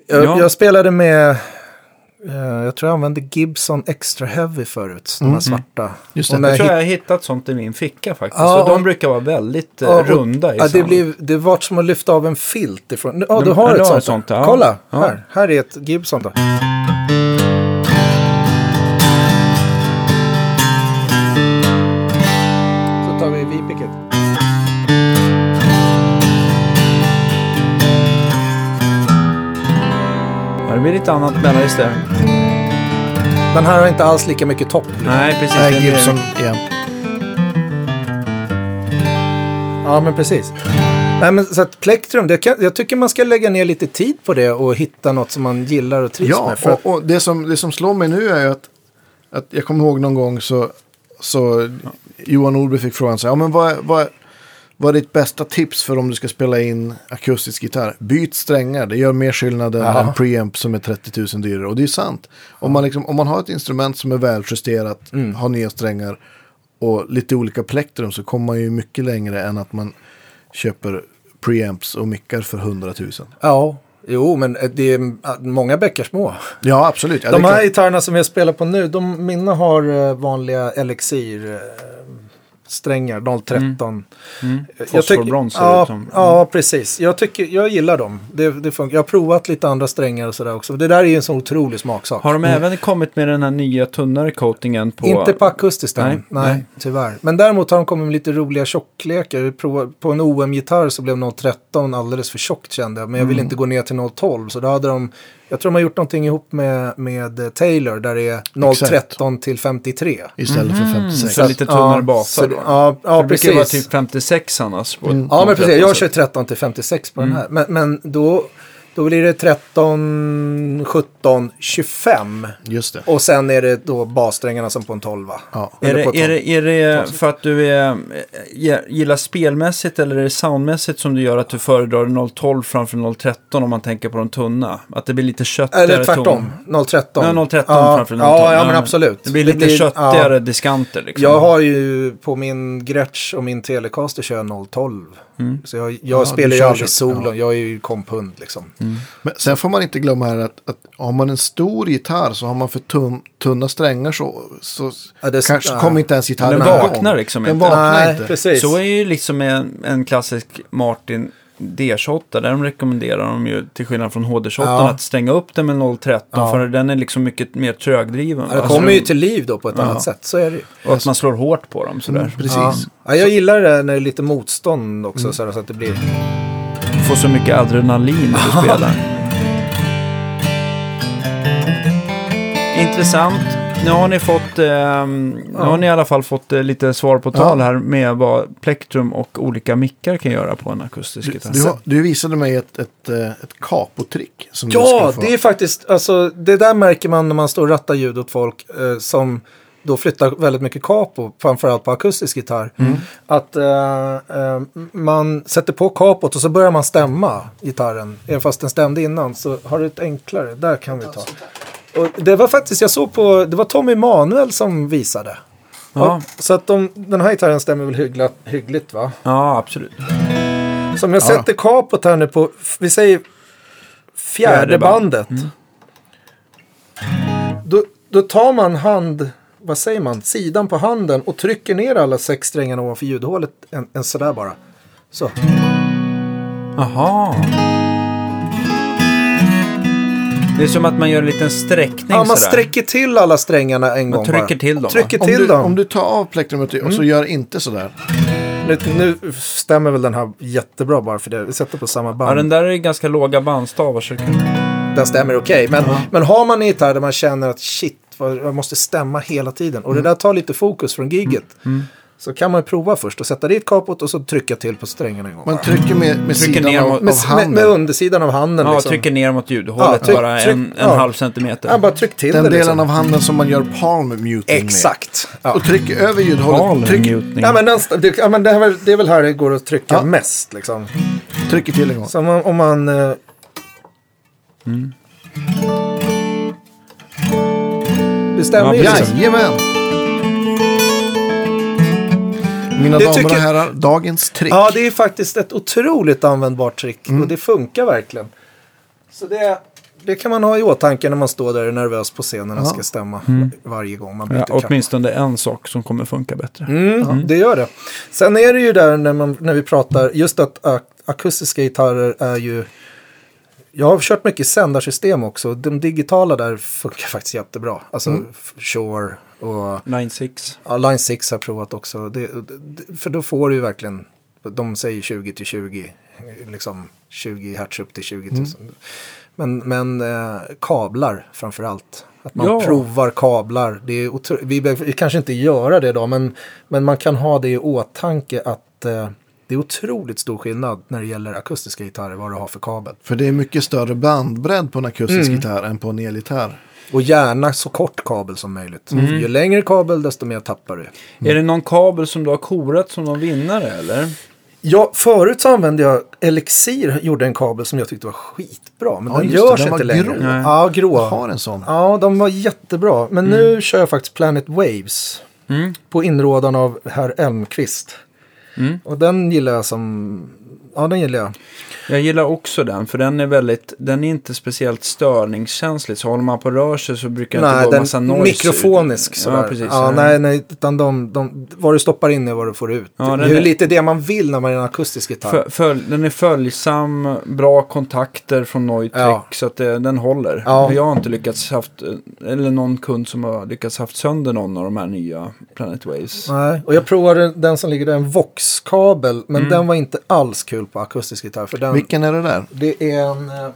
Speaker 3: Jag,
Speaker 1: Ja.
Speaker 3: jag spelade med, eh, jag tror jag använde Gibson Extra Heavy förut, de här svarta.
Speaker 2: Just
Speaker 3: Och
Speaker 2: det.
Speaker 3: när
Speaker 1: Mm-hmm. Jag tror
Speaker 3: jag
Speaker 1: jag har hittat sånt i min ficka faktiskt.
Speaker 3: Ja,
Speaker 1: och de
Speaker 3: och-
Speaker 1: brukar vara väldigt eh,
Speaker 3: Ja, och-
Speaker 1: runda i
Speaker 3: Ja, det,
Speaker 1: sanden.
Speaker 3: blev, det var som att lyfta av en filt ifrån. Ja, du
Speaker 1: Men-
Speaker 3: har
Speaker 1: ja,
Speaker 3: ett
Speaker 1: du har
Speaker 3: sånt.
Speaker 1: ett sånt, ja.
Speaker 3: Kolla,
Speaker 1: Ja.
Speaker 3: här. Här är ett Gibson då. Så tar vi vipicket.
Speaker 1: Ja, det blir lite annat mellanregister. där.
Speaker 3: Den här har inte alls lika mycket topp.
Speaker 1: Nej, precis.
Speaker 2: Nej,
Speaker 1: Den är-
Speaker 2: Gibson igen.
Speaker 3: Ja, men precis. Nej, men så att plektrum, det kan, jag tycker man ska lägga ner lite tid på det och hitta något som man gillar och trivs
Speaker 2: Ja,
Speaker 3: med. För att,
Speaker 2: och, och det, som, det som slår mig nu är ju att, att jag kommer ihåg någon gång så, så Johan Norberg fick frågan så här, ja, men vad, vad, vad är ditt bästa tips för om du ska spela in akustisk gitarr? Byt strängar, det gör mer skillnad än
Speaker 3: Ja.
Speaker 2: en preamp som är 30 000 dyrare. Och det är sant. Om man, liksom, om man har ett instrument som är väljusterat, har nya strängar och lite olika plektrum så kommer man ju mycket längre än att man köper preamps och mickar för 100 000.
Speaker 3: ja, jo, men det är äh, många bäckar små.
Speaker 2: Ja, absolut. Ja, det är
Speaker 3: de här
Speaker 2: klart.
Speaker 3: gitarrerna som jag spelar på nu, de, mina har eh, vanliga Elixir eh, strängar, 013.
Speaker 1: Mm.
Speaker 3: Jag tycker-
Speaker 1: Fosforbrons ser det
Speaker 3: ja,
Speaker 1: ut som. Mm.
Speaker 3: ja, precis. Jag, tycker, jag gillar dem. Det, det funkar. Jag har provat lite andra strängar och sådär också. Det där är ju en så otrolig smaksak.
Speaker 1: Har de även kommit med den här nya tunnare coatingen på...
Speaker 3: Mm. Inte på akustiskt än. Nej,
Speaker 1: Nej, nej.
Speaker 3: tyvärr. Men däremot har de kommit med lite roliga tjocklekar. Vi provade- På en OM-gitarr så blev 013 alldeles för tjockt kände jag. Men jag
Speaker 1: Mm.
Speaker 3: ville inte gå ner till 012. Så då hade de, jag tror de har gjort någonting ihop med, med eh, Taylor där det är 013 till 53.
Speaker 2: Istället för 56.
Speaker 1: Så lite tunnare basar
Speaker 3: så-
Speaker 1: då.
Speaker 3: Ja, ja
Speaker 1: det brukar ju vara
Speaker 3: precis. Mm.
Speaker 1: typ Mm. 56 annars. På
Speaker 3: Ja, men precis. Jag kör 13 till 56 på
Speaker 1: Mm.
Speaker 3: den här. Men, men då, då blir det 13, 17, 25.
Speaker 2: Just det.
Speaker 3: Och sen är det då bassträngarna som på en 12.
Speaker 2: Ja.
Speaker 1: Är
Speaker 3: Eller på
Speaker 1: det,
Speaker 3: ett
Speaker 1: är, det, är det för att du är, eh, gillar spelmässigt eller är det soundmässigt som du gör att du föredrar 012 framför 013 om man tänker på de tunna? Att det blir lite köttigare
Speaker 3: Eller tvärtom,
Speaker 1: ton?
Speaker 3: 013.
Speaker 1: Nej, 013
Speaker 3: ja,
Speaker 1: framför 012.
Speaker 3: Ja, ja men absolut.
Speaker 1: Det blir lite köttigare
Speaker 3: ja.
Speaker 1: diskanter liksom.
Speaker 3: Jag har ju på min Gretsch och min Telecaster kör jag 012.
Speaker 1: Mm.
Speaker 3: Så jag, jag
Speaker 2: Ja,
Speaker 3: spelar
Speaker 2: du
Speaker 3: ju
Speaker 2: kör
Speaker 3: aldrig
Speaker 2: så.
Speaker 3: solon, jag är ju komphund liksom.
Speaker 1: Mm.
Speaker 2: Men sen får man inte glömma här att, att har man en stor gitarr så har man för tum, tunna strängar så, så
Speaker 3: Ja, det-
Speaker 2: kanske
Speaker 3: ja.
Speaker 2: kommer inte ens gitarren
Speaker 1: Den
Speaker 2: igång.
Speaker 1: vaknar liksom
Speaker 2: Den
Speaker 1: inte.
Speaker 2: vaknar
Speaker 3: Nej,
Speaker 2: inte.
Speaker 3: precis.
Speaker 1: Så är ju liksom en, en klassisk Martin D28. Där de rekommenderar de ju, till skillnad från HD28,
Speaker 3: Ja.
Speaker 1: att stänga upp den med 013. För den är liksom mycket mer trögdriven.
Speaker 3: Ja, det
Speaker 1: Alltså,
Speaker 3: kommer ju till liv då på ett
Speaker 1: Ja.
Speaker 3: annat sätt, så är det ju.
Speaker 1: Och att man slår hårt på dem sådär.
Speaker 2: Mm, precis.
Speaker 3: Ja. Ja, jag gillar det när det är lite motstånd också,
Speaker 1: Mm.
Speaker 3: så, här, så att det blir...
Speaker 1: Du får så mycket adrenalin när du spelar. Intressant. Nu har ni fått, ehm, nu har ni i alla fall fått eh, lite svar på tal här med vad plektrum och olika mickar kan göra på en akustisk gitarr.
Speaker 2: Du, har- du visade mig ett, ett, eh, ett kapotrick. Som du
Speaker 3: Ja,
Speaker 2: skulle få.
Speaker 3: det är faktiskt, alltså det där märker man när man står och rattar ljud åt folk eh, som då flyttar väldigt mycket capo, framförallt på akustisk gitarr.
Speaker 2: Mm.
Speaker 3: Att eh, eh, man sätter på capot och så börjar man stämma gitarren. Även fast den stämde innan så har du ett enklare, där kan vi ta. Och det var faktiskt, jag såg på, det var Tommy Manuel som visade.
Speaker 1: Ja.
Speaker 3: Så att de, den här gitarren stämmer väl hyggla, hyggligt va?
Speaker 1: Ja, absolut.
Speaker 3: Så om jag
Speaker 2: Ja.
Speaker 3: sätter kapot här nu på, vi säger fjärde,
Speaker 1: Fjärde band. Mm.
Speaker 3: bandet. Då, då tar man hand, vad säger man, sidan på handen och trycker ner alla sex strängarna ovanför ljudhålet en, en sådär bara. Så.
Speaker 1: Jaha. Det är som att man gör en liten sträckning
Speaker 3: Ja, man
Speaker 1: sådär.
Speaker 3: sträcker till alla strängarna en gång
Speaker 1: trycker
Speaker 3: bara.
Speaker 1: till dem, va?
Speaker 3: Trycker
Speaker 2: om,
Speaker 3: till
Speaker 2: du,
Speaker 3: dem.
Speaker 2: om du tar av plektrumet och
Speaker 1: Mm.
Speaker 2: så gör inte sådär.
Speaker 3: Nu, nu stämmer väl den här jättebra bara för det. Vi sätter på samma band.
Speaker 1: Ja, den där är ganska låga bandstavar. Så det kan...
Speaker 3: den stämmer okej. Men, men har man en gitarr där man känner att shit, vad- jag måste stämma hela tiden. Och
Speaker 2: Mm.
Speaker 3: det där tar lite fokus från giget. Så kan man ju prova först och sätta dit kapot och så trycka till på strängarna en gång.
Speaker 2: Man
Speaker 3: bara.
Speaker 2: trycker med, med
Speaker 1: Trycker
Speaker 2: sidan
Speaker 1: ner
Speaker 2: av,
Speaker 1: mot-
Speaker 2: av
Speaker 3: med, med,
Speaker 2: handen.
Speaker 3: med undersidan av handen
Speaker 1: Ja,
Speaker 3: liksom.
Speaker 1: trycker ner mot ljudhållet
Speaker 3: Ja, tryck-
Speaker 1: bara en,
Speaker 3: tryck-
Speaker 1: en
Speaker 3: ja.
Speaker 1: halv centimeter.
Speaker 3: ja, bara tryck till
Speaker 2: Den
Speaker 3: det
Speaker 2: delen
Speaker 3: liksom.
Speaker 2: av handen som man gör palm muting med.
Speaker 3: Exakt. Ja.
Speaker 2: Och trycker över
Speaker 1: Valen
Speaker 2: ljudhålet. Tryck,
Speaker 1: njutning.
Speaker 3: Ja, men den, st- det, ja, men det, här, är väl- det är väl här det går att trycka mest liksom.
Speaker 2: trycker till en gång.
Speaker 3: Så om man... Om man eh,
Speaker 2: Mm.
Speaker 3: Det
Speaker 1: Ja,
Speaker 3: stämmer ju liksom.
Speaker 2: Jajamän! Mina
Speaker 3: Det
Speaker 2: damer och
Speaker 3: tycker-
Speaker 2: herrar, dagens trick.
Speaker 3: Ja, det är
Speaker 1: Mm.
Speaker 3: faktiskt ett otroligt användbart trick och det funkar verkligen. Så det, det kan man ha i åtanke när man står där och är nervös på scenen och
Speaker 2: Ja.
Speaker 3: ska stämma
Speaker 1: Mm.
Speaker 3: varje gång man byter
Speaker 1: Ja,
Speaker 3: katt.
Speaker 1: åtminstone en sak som kommer funka bättre.
Speaker 3: Mm, Det gör det. Sen är det ju där när, man, när vi pratar, just att ak- akustiska gitarrer är ju... Jag har kört mycket sändarsystem också. De digitala där funkar faktiskt jättebra. Alltså
Speaker 1: Mm.
Speaker 3: f- Shure och
Speaker 1: Line 6.
Speaker 3: ja, Line 6 har jag provat också. Det, det, för då får du ju verkligen, de säger 20 till 20, liksom 20 hertz upp till 20 000. Men, men eh, kablar framför allt. Att man
Speaker 1: Ja.
Speaker 3: provar kablar. Det är otro- vi behöver kanske inte göra det då, men, men man kan ha det i åtanke att eh, det är otroligt stor skillnad när det gäller akustiska gitarrer, vad du har för kabel.
Speaker 2: För det är mycket större bandbredd på en
Speaker 3: Mm.
Speaker 2: akustisk gitarr än på en elgitarr.
Speaker 3: Och gärna så kort kabel som möjligt. Ju längre kabel, desto mer tappar du.
Speaker 1: Är det någon kabel som du har korat som någon vinnare eller?
Speaker 3: Ja, förut så använde jag Elixir, gjorde en kabel som jag tyckte var skitbra. Men
Speaker 2: Ja,
Speaker 3: den
Speaker 2: just det,
Speaker 3: görs
Speaker 2: den var
Speaker 3: inte längre.
Speaker 2: grå.
Speaker 1: Nej.
Speaker 3: Ja, grå.
Speaker 2: Jag har en sån.
Speaker 3: Ja, de var jättebra. Men nu kör jag faktiskt Planet Waves.
Speaker 1: Mm.
Speaker 3: På inrådan av herr Elmqvist.
Speaker 1: Mm.
Speaker 3: Och den gillar jag som... Ja, den gillar jag.
Speaker 1: Jag gillar också den, för den är väldigt, den är inte speciellt störningskänslig. Så håller man på och rör sig så brukar det inte gå en massa noise.
Speaker 3: mikrofonisk
Speaker 1: ut.
Speaker 3: sådär.
Speaker 1: Ja, precis.
Speaker 3: Ja, nej, nej, utan de, de, vad du stoppar in är vad du får ut.
Speaker 1: Ja,
Speaker 3: det
Speaker 1: den
Speaker 3: är ju
Speaker 1: är-
Speaker 3: lite det man vill när man är en akustisk gitarr.
Speaker 1: Fö- följ- den är följsam, bra kontakter från Neutech
Speaker 3: Ja.
Speaker 1: så att det, den håller.
Speaker 3: Ja.
Speaker 1: Jag har inte lyckats haft, eh, eller någon kund som har lyckats haft sönder någon av de här nya Planet Waves.
Speaker 3: Nej, och jag provade den som ligger där, en Vox-kabel. Men den var inte alls kul på akustisk gitarr. För den,
Speaker 2: Vilken är det där?
Speaker 3: det är en... eh,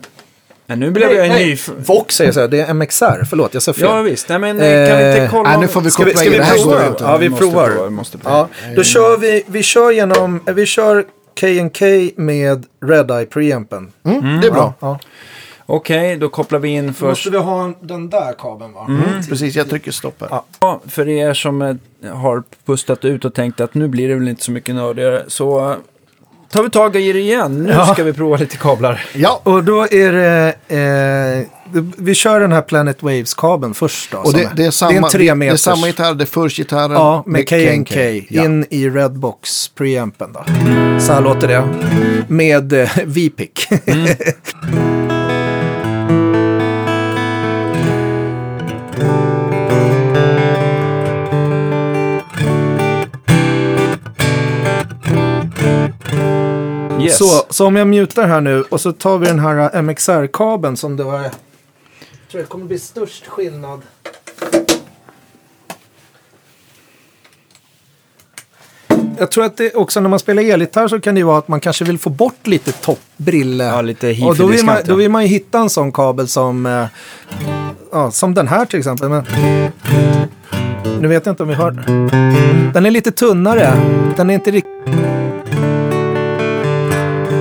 Speaker 1: Men nu blev jag
Speaker 3: nej,
Speaker 1: ny...
Speaker 3: Vox säger jag så här, det är MXR. Förlåt, jag sa fel.
Speaker 1: Ja visst, nej men eh, kan vi inte
Speaker 3: Eh,
Speaker 1: kolla?
Speaker 2: nej,
Speaker 1: om-
Speaker 2: nu får vi
Speaker 3: Ska vi,
Speaker 2: koppla
Speaker 3: ska
Speaker 2: in
Speaker 3: vi
Speaker 2: det här går
Speaker 3: prova?
Speaker 2: inte.
Speaker 3: Ja, vi
Speaker 1: måste prova,
Speaker 3: provar.
Speaker 1: vi måste prova.
Speaker 3: Ja, då kör vi, vi kör genom, eh, vi kör K&K med Red Eye preampen.
Speaker 2: Mm, Det är bra.
Speaker 3: Ja.
Speaker 1: Okej, då kopplar vi in
Speaker 3: Då
Speaker 1: först.
Speaker 3: vi ha den där kabeln va?
Speaker 2: Precis, jag trycker stopp här.
Speaker 3: Ja.
Speaker 1: Ja, för er som eh, har pustat ut och tänkt att nu blir det väl inte så mycket nördigare så eh, tar vi tag i det igen. Nu ska vi prova lite kablar.
Speaker 2: Ja,
Speaker 3: Och då är det, eh, vi kör den här Planet Waves-kabeln först då.
Speaker 2: och
Speaker 3: som
Speaker 2: det, det är samma,
Speaker 3: det är en tre
Speaker 2: det är
Speaker 3: meters.
Speaker 2: samma gitarr, det är förstgitarren.
Speaker 3: Ja,
Speaker 2: det är
Speaker 3: med K&K
Speaker 2: Ja.
Speaker 3: In i Redbox preampen då. Så här låter det. Med eh, V-pick.
Speaker 1: Yes.
Speaker 3: Så, så om jag mutar här nu och så tar vi den här eh, MXR-kabeln som det var... Jag tror det kommer bli störst skillnad. Jag tror att det också när man spelar elgitarr så kan det ju vara att man kanske vill få bort lite toppbrille.
Speaker 1: Ja, lite
Speaker 3: Och då vill, man,
Speaker 1: hifi-diskant.
Speaker 3: då
Speaker 1: ja.
Speaker 3: vill man ju hitta en sån kabel som... Eh, ja, som den här till exempel. Men... Nu vet jag inte om vi hör den. Den är lite tunnare. Den är inte riktigt...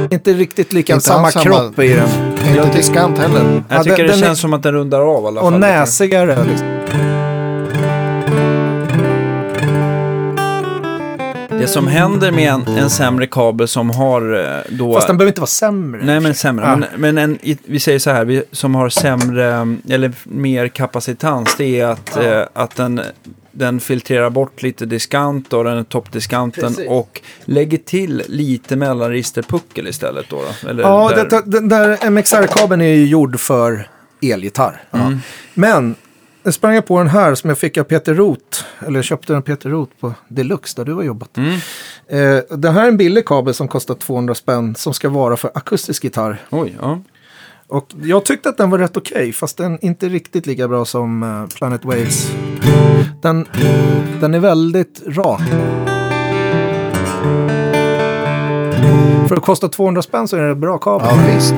Speaker 3: Inte riktigt lika
Speaker 2: Inte
Speaker 3: samma
Speaker 2: alls samma-
Speaker 3: kropp i den.
Speaker 2: Inte diskant heller.
Speaker 1: Jag
Speaker 3: Ja,
Speaker 1: tycker
Speaker 3: den-
Speaker 1: det
Speaker 3: den är-
Speaker 1: känns som att den rundar av i alla
Speaker 3: Och
Speaker 1: fall. lite.
Speaker 3: näsigare. Liksom.
Speaker 1: Det som händer med en, en sämre kabel som har eh, då...
Speaker 3: Fast den behöver inte vara sämre.
Speaker 1: Nej, men sämre.
Speaker 3: Ja.
Speaker 1: Men, men en, i- vi säger så här, vi, som har sämre mm, eller mer kapacitans, det är att, eh, att den, den filtrerar bort lite diskant och den är toppdiskanten
Speaker 3: Precis.
Speaker 1: och lägger till lite mellanregisterpuckel istället då. då eller
Speaker 3: Ja,
Speaker 1: där-
Speaker 3: det, den där MXR-kabeln är ju gjord för elgitarr.
Speaker 1: Mm.
Speaker 3: Ja. Men nu sprang jag på den här som jag fick av Peter Roth. Eller jag köpte den av Peter Roth på Deluxe där du har jobbat.
Speaker 1: Mm.
Speaker 3: Eh, det här är en billig kabel som kostar 200 spänn som ska vara för akustisk gitarr.
Speaker 1: Oj, ja.
Speaker 3: Och jag tyckte att den var rätt okej, fast den är inte riktigt lika bra som eh, Planet Waves. Den, den är väldigt rak. För att kosta 200 spänn så är det en bra kabel.
Speaker 2: Ja, visst.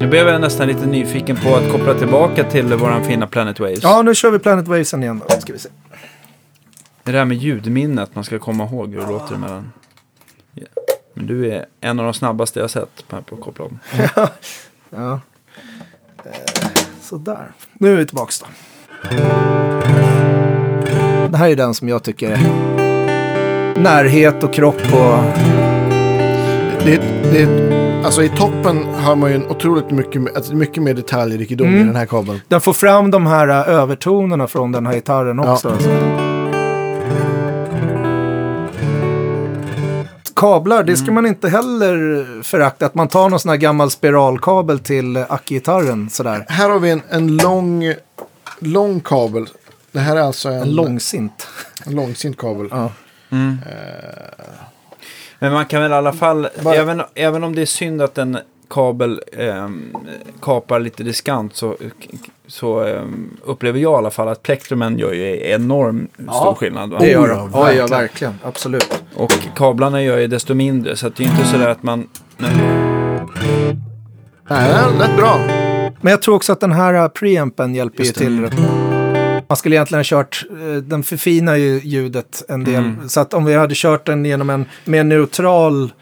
Speaker 1: Nu blev jag nästan lite nyfiken på att koppla tillbaka till våran fina Planet Waves.
Speaker 3: Ja, nu kör vi Planet Wavesen igen då. Ska vi se.
Speaker 1: Det där med ljudminnet, man ska komma ihåg hur det låter emellan. Ja. Men du är en av de snabbaste jag sett på på att koppla om.
Speaker 3: Ja. Eh, Sådär. Nu är vi tillbaka då. Det här är den som jag tycker är närhet och kropp och...
Speaker 2: Det, det, alltså i toppen har man ju en otroligt mycket, alltså mycket mer
Speaker 3: Mm.
Speaker 2: detaljrikedom i den här kabeln.
Speaker 3: Den får fram de här eh, övertonerna från den här gitarren också. kablar, det ska man inte heller förakta. Att man tar någon sån här gammal spiralkabel till ackgitarren sådär.
Speaker 2: Här har vi en, en lång, lång kabel. Det här är alltså en,
Speaker 3: En långsint.
Speaker 2: en långsint kabel.
Speaker 3: Mm. Ja.
Speaker 1: Men man kan väl i alla fall,
Speaker 2: Bara-
Speaker 1: även, även om det är synd att en kabel ehm, kapar lite diskant så, så ehm, upplever jag i alla fall att plektrumen gör ju enorm stor skillnad. Va?
Speaker 3: Det gör
Speaker 2: Oh,
Speaker 3: de.
Speaker 2: ja,
Speaker 3: Ja, ja, verkligen. Absolut.
Speaker 1: Och kablarna gör ju desto mindre så att det är ju inte sådär att man... Nej.
Speaker 2: Nej, det här lät bra.
Speaker 3: Men jag tror också att den här eh, preampen hjälper ju
Speaker 1: Just det.
Speaker 3: till. rätt mycket. Man skulle egentligen ha kört, eh, den förfinar ju ljudet en del.
Speaker 1: Mm.
Speaker 3: Så att om vi hade kört den genom en mer neutral,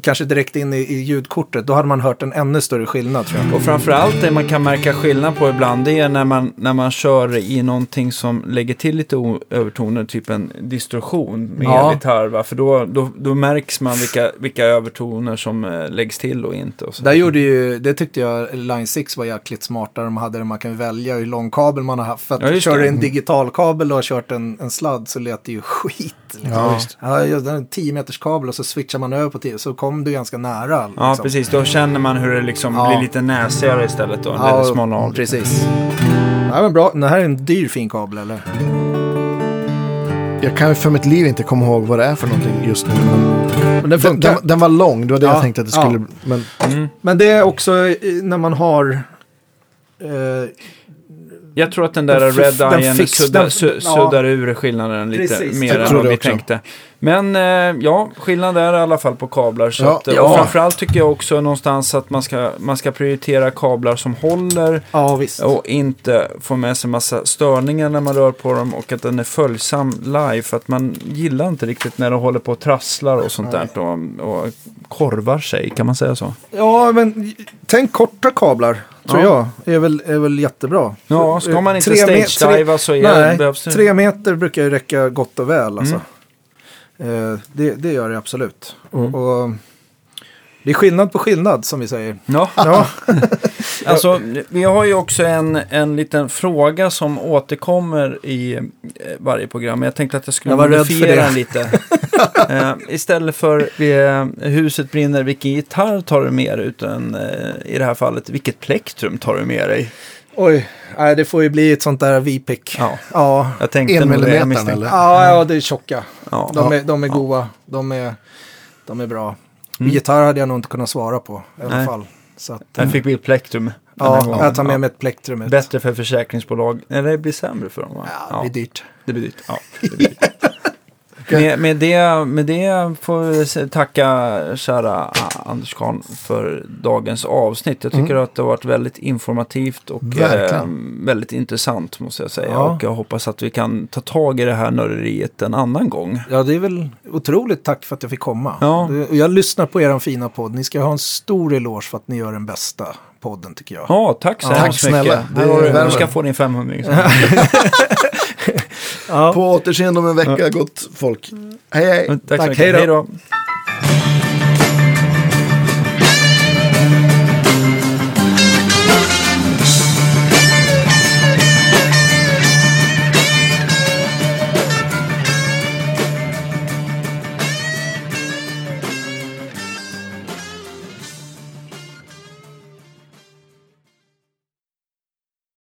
Speaker 3: kanske direkt in i, i ljudkortet, då hade man hört en ännu större skillnad tror jag.
Speaker 1: Och framförallt det man kan märka skillnad på ibland det är när man, när man kör i någonting som lägger till lite o- övertoner, typ en distorsion med
Speaker 3: Ja.
Speaker 1: gitarr. Va? För då, då, då märks man vilka, vilka övertoner som eh, läggs till och inte. Och så.
Speaker 3: Där gjorde ju, det tyckte jag Line 6 var jäkligt smarta. De hade det, man kan välja hur lång kabel man har haft. För att
Speaker 1: Ja, just
Speaker 3: kör
Speaker 1: det. Mm.
Speaker 3: du en digital kabel och har kört en, en sladd så lät det ju skit. Liksom.
Speaker 2: Ja, visst.
Speaker 3: Ja, just det, en 10 meters kabel och så switchar man över på 10 så kom du ganska nära. Liksom.
Speaker 1: Ja, precis. Då känner man hur det liksom
Speaker 3: Ja.
Speaker 1: blir lite näsigare istället. Då, när det smalnar av.
Speaker 3: precis. Ja, men bra. Den här är en dyr fin kabel eller?
Speaker 2: Jag kan ju för mitt liv inte komma ihåg vad det är för någonting just nu.
Speaker 3: Men den
Speaker 2: Den,
Speaker 3: funkar.
Speaker 2: den, den var lång, det var det
Speaker 3: Ja,
Speaker 2: jag tänkte att det
Speaker 3: ja.
Speaker 2: skulle... Men
Speaker 1: Mm.
Speaker 3: Men det är också eh, när man har... Eh,
Speaker 1: Jag tror att den där
Speaker 3: Den
Speaker 1: Red
Speaker 3: fix- den
Speaker 1: Iron
Speaker 3: fix-
Speaker 1: suddar,
Speaker 3: den-
Speaker 1: su,
Speaker 3: ja.
Speaker 1: suddar ur skillnaden lite
Speaker 3: Precis.
Speaker 1: mer
Speaker 2: Jag
Speaker 1: än
Speaker 2: tror
Speaker 1: vad
Speaker 2: det
Speaker 1: vi
Speaker 2: också.
Speaker 1: tänkte. Men eh, ja, skillnad är i alla fall på kablar. Så
Speaker 2: Ja,
Speaker 1: att, eh,
Speaker 3: ja.
Speaker 1: Och framförallt tycker jag också någonstans att man ska, man ska prioritera kablar som håller
Speaker 3: ja, visst.
Speaker 1: och inte få med sig massa störningar när man rör på dem och att den är följsam live. För att man gillar inte riktigt när de håller på och trasslar och sånt där och, och korvar sig, kan man säga så?
Speaker 3: Ja, men tänk korta kablar. Tror
Speaker 1: Ja.
Speaker 3: jag. Är väl, är väl jättebra.
Speaker 1: Ja, ska man inte
Speaker 3: Tre me-
Speaker 1: stage-diva så är,
Speaker 3: Nej,
Speaker 1: behövs det
Speaker 3: tre meter brukar ju räcka gott och väl. Alltså.
Speaker 1: Mm.
Speaker 3: Eh, det, det gör det absolut. Och, det är skillnad på skillnad som vi säger.
Speaker 1: Ja.
Speaker 3: Ja.
Speaker 1: Alltså, vi har ju också en, en liten fråga som återkommer i eh, varje program. Jag tänkte att jag skulle
Speaker 3: Jag var rädd för
Speaker 1: modifiera
Speaker 3: det.
Speaker 1: den lite. eh, istället för eh, huset brinner, vilken gitarr tar du med dig? Utan eh, i det här fallet, vilket plektrum tar du med dig?
Speaker 3: Oj, nej, det får ju bli ett sånt där VPIC.
Speaker 1: Ja,
Speaker 3: Ja.
Speaker 1: jag tänkte nog det, jag
Speaker 2: enmillimetern
Speaker 1: misstänkte-
Speaker 2: eller?
Speaker 3: Ja, ja, det är tjocka.
Speaker 1: Ja.
Speaker 3: De är, de är goa. De är, de är bra. Gitarr hade jag nog inte kunnat svara på i alla
Speaker 1: Mm. Nej.
Speaker 3: fall. Så att, mm.
Speaker 1: Där fick vi plektrum. den här
Speaker 3: ja,
Speaker 1: gången.
Speaker 3: jag tar med mig ett plektrum.
Speaker 1: Ja.
Speaker 3: ut.
Speaker 1: Bättre för försäkringsbolag. Eller det blir sämre för dem va?
Speaker 3: Ja, det är dyrt.
Speaker 1: Det blir dyrt. Ja, det blir dyrt. Med, med, det, med det får vi se- tacka kära Anders Kahn för dagens avsnitt. Jag tycker att det har varit väldigt informativt och eh,
Speaker 2: Verkligen.
Speaker 1: väldigt intressant måste jag säga.
Speaker 3: Ja.
Speaker 1: Och jag hoppas att vi kan ta tag i det här nörderiet en annan gång.
Speaker 3: Ja, det är väl otroligt tack för att jag fick komma.
Speaker 1: Ja.
Speaker 3: Det- och Jag lyssnar på er fina podd. Ni ska ha en stor eloge för att ni gör den bästa podden tycker jag.
Speaker 1: Ja, tack så
Speaker 3: Ja,
Speaker 1: hemskt
Speaker 2: tack
Speaker 1: mycket.
Speaker 2: snälla.
Speaker 1: Här
Speaker 2: Det
Speaker 1: har du, du
Speaker 2: värmer.
Speaker 1: ska få din 500
Speaker 2: På återseende om en vecka, gott folk. Hej, hej.
Speaker 1: Tack så
Speaker 3: Tack,
Speaker 1: mycket.
Speaker 3: hej då.
Speaker 1: Hej då.